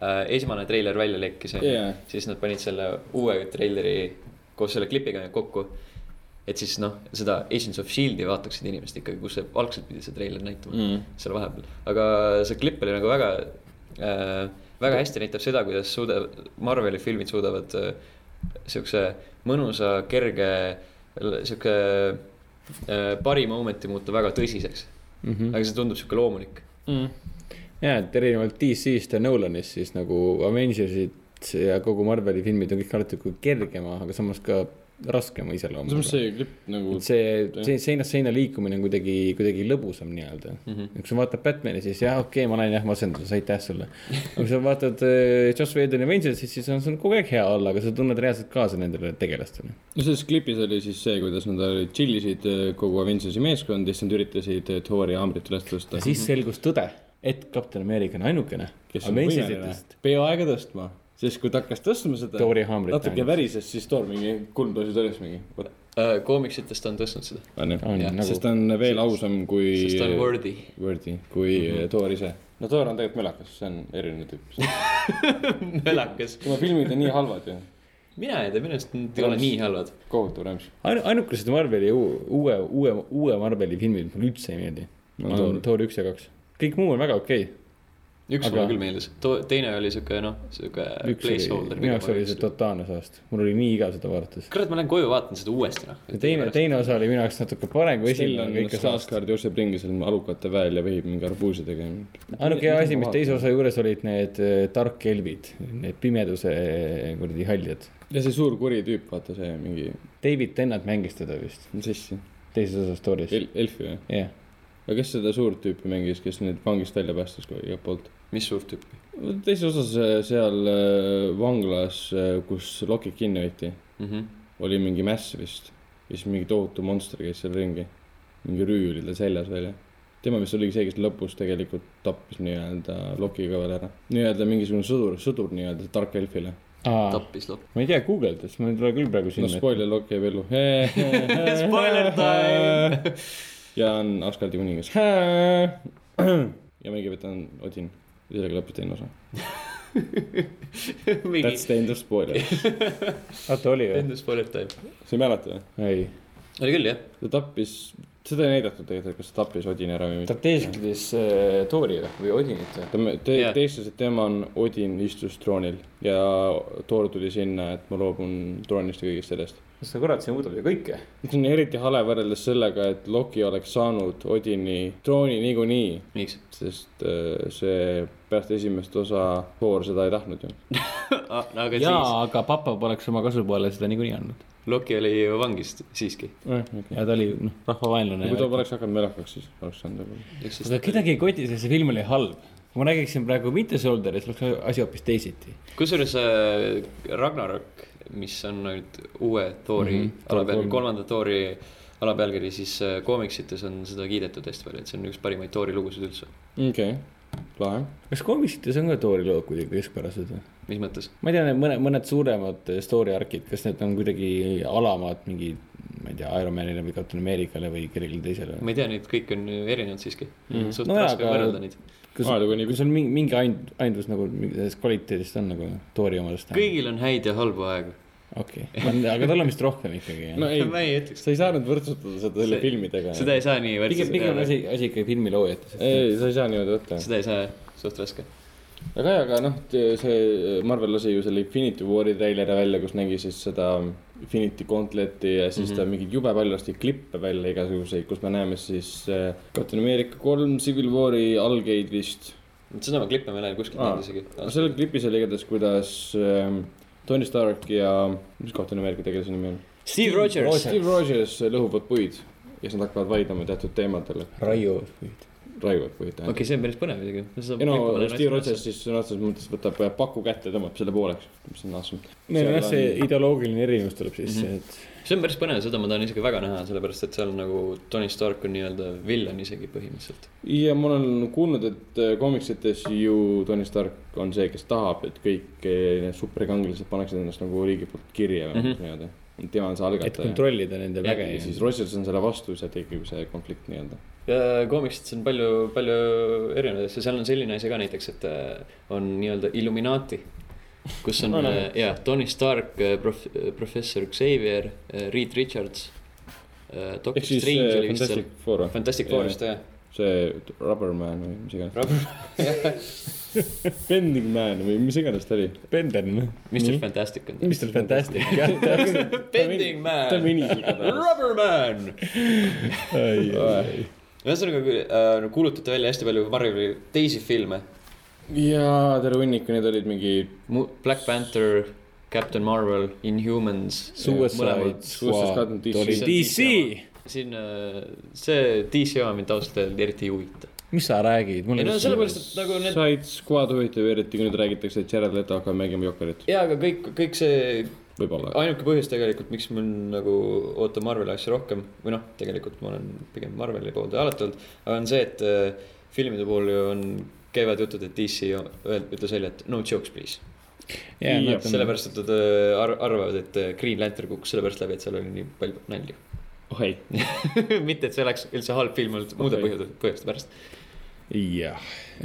äh, esimene treiler välja lekkis , onju .
jah ,
siis nad panid selle uue treileri koos selle klipiga kokku . et siis noh , seda Agents of Shield'i E vaataksid inimesed ikkagi , kus see algselt pidi see treiler näitama mm. seal vahepeal , aga see klipp oli nagu väga äh, , väga hästi näitab seda , kuidas suuda- , Marveli filmid suudavad äh, siukse mõnusa , kerge , siuke äh, parim momenti muuta väga tõsiseks , aga see tundub siuke loomulik .
Mm. ja , et erinevalt DC-st ja Nolanist siis nagu Avengersid ja kogu Marveli filmid on kõik alati kui kergema , aga samas ka raskema iseloomuga
samas . see klipp nagu
Et see , see seinast seina liikumine on kuidagi , kuidagi lõbusam nii-öelda mm . -hmm. kui sa vaatad Batman'i , siis jah , okei okay, , ma olen jah masenduses , aitäh sulle . aga kui sa vaatad äh, Joss Whedoni Avengersit , siis on sul kogu aeg hea olla , aga sa tunned reaalselt kaasa nendele tegelastele .
no selles klipis oli siis see , kuidas nad olid- tšillisid eh, kogu Avengersi meeskond ja siis nad üritasid eh, Thori haamrit üles tõsta
ja . siis selgus tõde , et kapten Ameerika on ainukene , kes
kes on võimeline
Avengersitest
peaaegu tõstma , siis kui ta hakkas tõstma seda
Thori haamrit
natuke
tähendab.
värises , siis Thor mingi kolm doosi tõrjus mingi .
koomiksitest Äh, on tõstnud seda ,
on jah ,
on
Jah,
nagu
sest ta on veel ausam kui .
sest ta on worthy .
Wordi kui mm
Mhm.
-hmm. Thor ise . no Thor on tegelikult mölakas , see on eriline tüüp .
mölakas .
tema filmid on nii halvad ju ,
mina ei tea , minu arust nad ei ole nii halvad .
kohutav rämps .
ainu- , ainukesed Marveli uu- uue , uue , uue Marveli filmid mulle üldse ei meeldi
No
no, . on Thor üks ja kaks , kõik muu on väga okei okay. .
üks
Aga-
mulle küll meeldis , teine oli siuke noh , siuke
üks oli ,
placeholder .
minu jaoks oli see totaalne saast , mul oli nii igav seda vaadates .
kurat , ma lähen koju vaatan seda uuesti noh .
ja teine , teine osa oli minu jaoks natuke parem kui
Still
esimene ,
on
aga ikka saast .
Skarsgård jookseb ringi seal alukate väel ja vehib mingi arbuusidega .
ainuke hea asi , mis teise osa juures olid need äh, tarkelvid , need pimeduse äh, kuradi haljad .
ja see suur kuri tüüp , vaata see mingi
David Tennant mängis teda vist
sissi ,
teises osas Thoris .
El- , Elfi või ?
jah ,
aga kes seda suurt tüüpi mängis , kes nüüd vangist välja päästis kogu- igalt poolt ?
mis suurt tüüpi ?
teises osas äh, seal äh, vanglas , kus lokid kinni hoiti ,
Mhm.
oli mingi mäss vist . ja siis mingi tohutu monster käis seal ringi . mingi rüü oli tal seljas veel ja . tema vist oligi see , kes lõpus tegelikult tappis nii-öelda loki ka veel ära . nii-öelda mingisugune sõdur , sõdur nii-öelda tark elfile .
ma
tappis lop- .
ei tea , guugeldas , mul ei tule küll praegu
no
silme .
spoiler , loki jääb ellu . Spoiler
time! .
ja on Asgardi kuningas . ja mängivad on Odin . ja sellega lõpeb teine osa .
mingi
That's the end of spoiler .
oota , oli või ?
enda spoiler time .
sa ei mäleta või ?
ei ,
oli küll jah ,
ta tappis , seda ei näidatud tegelikult , kas ta tappis Odini ära või mitte .
ta teeskles Thori või , või Odinit või ?
ta me- te-
Jah.
yeah. teistes , et tema on , Odin istus troonil ja Thor tuli sinna , et ma loobun troonist ja kõigest sellest .
kas ta kurat , see muudab ju kõike .
see on eriti hale võrreldes sellega , et Loki oleks saanud Odini trooni niikuinii ,
miks ?
sest äh, see pärast esimest osa Thor seda ei tahtnud ju .
Ah, no aga
jaa ,
siis ,
aga papa poleks oma kasupoole seda niikuinii andnud .
Loki oli ju vangist siiski .
ja ta oli , noh , rahvavaenlane .
kui ta poleks hakanud mälakaks , siis oleks saanud võib-olla .
eks siis
aga , kedagi ei koti , sest see film oli halb . kui ma räägiksin praegu mitte Solderist , oleks asi hoopis teisiti .
kusjuures äh, Ragnarok , mis on nüüd uue Thori mm -hmm. alapealkiri , kolmanda Thori alapealkiri , siis äh, koomiksites on seda kiidetud hästi palju , et see on üks parimaid Thori lugusid üldse .
okei okay. , lahe .
kas komiksites on ka Tori lood kuidagi keskpärased või ?
mis mõttes ?
ma ei tea , need mõned , mõned suuremad eh, story arc'id , kas need on kuidagi alamad mingi , ma ei tea , Ironmanile või Captain Americale või kellelegi teisele või ?
ma ei tea , neid kõik on ju erinevad siiski mm. . suht
No
no
jaa,
raske
aga-
aga... võrrelda neid .
kas
Aa, nagu nii-
kas on mingi , mingi aind- , aindlus nagu mingi sellest kvaliteedist on nagu Tori omadest ?
kõigil on häid ja halbu aegu .
okei , aga tal on vist rohkem ikkagi
no
no, .
ei ,
ma ei ütleks .
sa ei saanud võrdsustada seda selle
See-
filmidega .
seda ei saa nii
pigem , pigem on
võrdsustada .
asi , asi ikkagi filmi loojates .
ei , sa ei saa niimoodi võtta .
seda ei saa jah, suht raske .
aga jaa , aga noh , see äh, Marvel lasi ju selle Infinity War'i treileri välja , kus nägi siis seda Infinity Gauntleti ja
Mhm.
siis mm -hmm. ta mingeid jube palju lasti klippe välja igasuguseid , kus me näeme siis äh, Captain America kolm , Civil War'i algeid vist .
seda ma klippe ma ei näe kuskilt
Aa.
näinud isegi .
sellel klipis oli igatahes , kuidas äh, Tony Stark ja , mis Captain America tegelase nimi on ?
Steve Rogers .
Steve Rogers lõhuvad puid ja siis nad hakkavad vaidlema teatud teemadel ,
raiuvad puid .
raiuvad puid tähendab .
okei , see on päris põnev isegi .
ei no Steve Rogers siis sõna otseses mõttes võtab äh, paku kätte , tõmbab selle pooleks , mis on awesome .
nojah , see ideoloogiline erinevus tuleb sisse mm , -hmm. et
see on päris põnev , seda ma tahan isegi väga näha , sellepärast et seal nagu Tony Stark on nii-öelda villan isegi põhimõtteliselt .
ja ma olen kuulnud , et äh, koomiksites ju Tony Stark on see , kes tahab , et kõik eh, need superkangelased paneksid ennast nagu riigi poolt kirja mm
Mhm.
-hmm. nii-öelda . tema on see
et
algataja .
kontrollida nende
ja
väge
siis . Rogers on selle vastu , siis tekib see konflikt nii-öelda .
ja koomiksites on palju , palju erinevaid asju , seal on selline asi ka näiteks , et äh, on nii-öelda Illuminati , kus on
No näed.
äh, jah , Tony Stark , prof- , professor Xavier , Reed Richards , Doctor
ehk siis
Strange
eh,
oli vist seal
Fantastic . Four või ?
Fantastic Fourist jah ,
see Rubberman või mis iganes .
jah ,
Bending Man või mis iganes ta oli .
Benden .
Mr Fantastic on ta .
Mr noh. Fantastic , jah , täpselt .
Bending
ta on
Man ,
inimesed igatahes .
Rubberman .
Ai.
ühesõnaga kui, äh, no, kuulutati välja hästi palju Marveli teisi filme .
ja terve hunnik , need olid mingi
Black Panther , Captain Marvel , Inhumans .
Suicide Squad
Squad on DC.
oli DC .
siin äh, see DC oma mind ausalt öelda eriti ei huvita .
mis sa räägid ?
ei no sellepärast , et nagu need
Side Squad huvitav , eriti kui nüüd räägitakse , et Jared Leto hakkab mängima Jokkerit ,
ja , aga kõik , kõik see
võib-olla .
ainuke põhjus tegelikult , miks mul nagu ootab Marveli asju rohkem või noh , tegelikult ma olen pigem Marveli pooldaja alati olnud , aga on see , et äh, filmide puhul ju on , käivad jutud , et DC öel- ütles välja , et no jokes please .
Jah,
jah ,
sellepärast , et nad äh, ar- arvavad , et äh, Green Lantern kukkus sellepärast läbi , et seal oli nii palju nalju .
oh ei ,
mitte , et see oleks üldse halb film olnud muude
Okei.
põhjude , põhjuste pärast
jah ,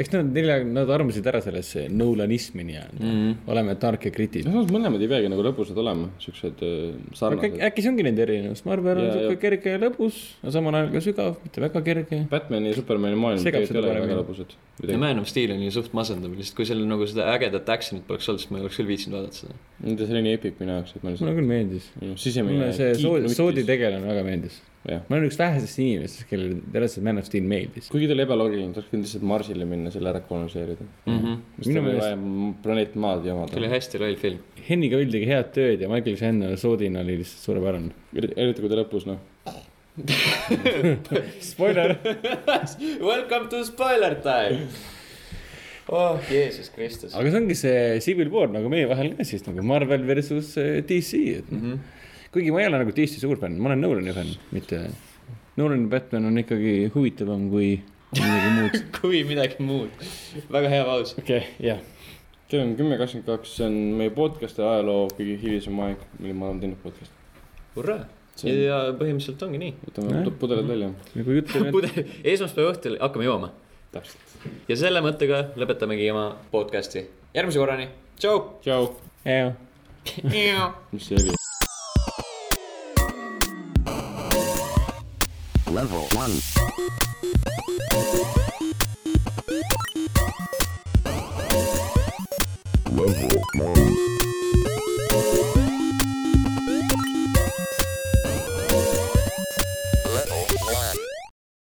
eks nad nelja , nad armusid ära sellesse Nolanismi
Mhm.
nii-öelda mm. . oleme tark ja kriitiline .
samas mõlemad ei peagi nagu lõbusad olema , siuksed äh, sarnased .
äkki see ongi nende erinevus , Marvel on
Jaa,
siuke
jah.
kerge ja lõbus , aga samal ajal ka sügav , mitte väga kerge .
Batman'i ja Superman'i maailm
Segab
tegelikult ei
seda
ole väga
paremini.
lõbusad .
ja Man of Steel on ju suht masendav , lihtsalt kui seal nagu seda ägedat action'it poleks olnud , siis ma ei oleks küll viitsinud vaadata seda .
Nende selline epic minu jaoks , et ma
mulle
lihtsalt ,
küll meeldis .
minu sisemine
mulle see soodi , soodi . tegelane väga meeldis .
jah ,
ma olen üks vähestest inimestest , kellele tõenäoliselt Man of Steel meeldis .
kuigi ta oli ebaloogiline , ta oleks pidanud lihtsalt Marsile minna , selle ära koloniseerida .
Mhm.
mis
Minu
tal oli
meelest-
vaja planeet Maad
see oli
jamada .
hästi loll film .
Henny Cavill tegi head tööd ja Michael Shannon soodina oli lihtsalt suurepärane .
eriti kui ta lõpus , noh ,
Spoiler .
Welcome to spoiler time . oh Jeesus Kristus .
aga see ongi see Civil War nagu meie vahel ka siis nagu Marvel versus eh, DC , et noh .
Mhm.
kuigi ma ei ole nagu DC suur fänn , ma olen Nolani fänn , mitte . Nolani Batman on ikkagi huvitavam kui midagi muud .
kui midagi muud . väga hea paus .
okei okay, , jah . kell on kümme kakskümmend kaks , see on meie podcast'i ajaloo kõige hilisem aeg , millal me oleme teinud podcast'i .
hurraa .
See on-
ja põhimõtteliselt ongi nii .
võtame
Nojah.
pu- pudelid välja .
nagu jutt on ,
pudel , esmaspäeva õhtul hakkame jooma .
täpselt .
ja selle mõttega lõpetamegi oma podcast'i . järgmise korrani , tšau .
tšau .
et jah
mis see oli ?
Level 1. Level 1.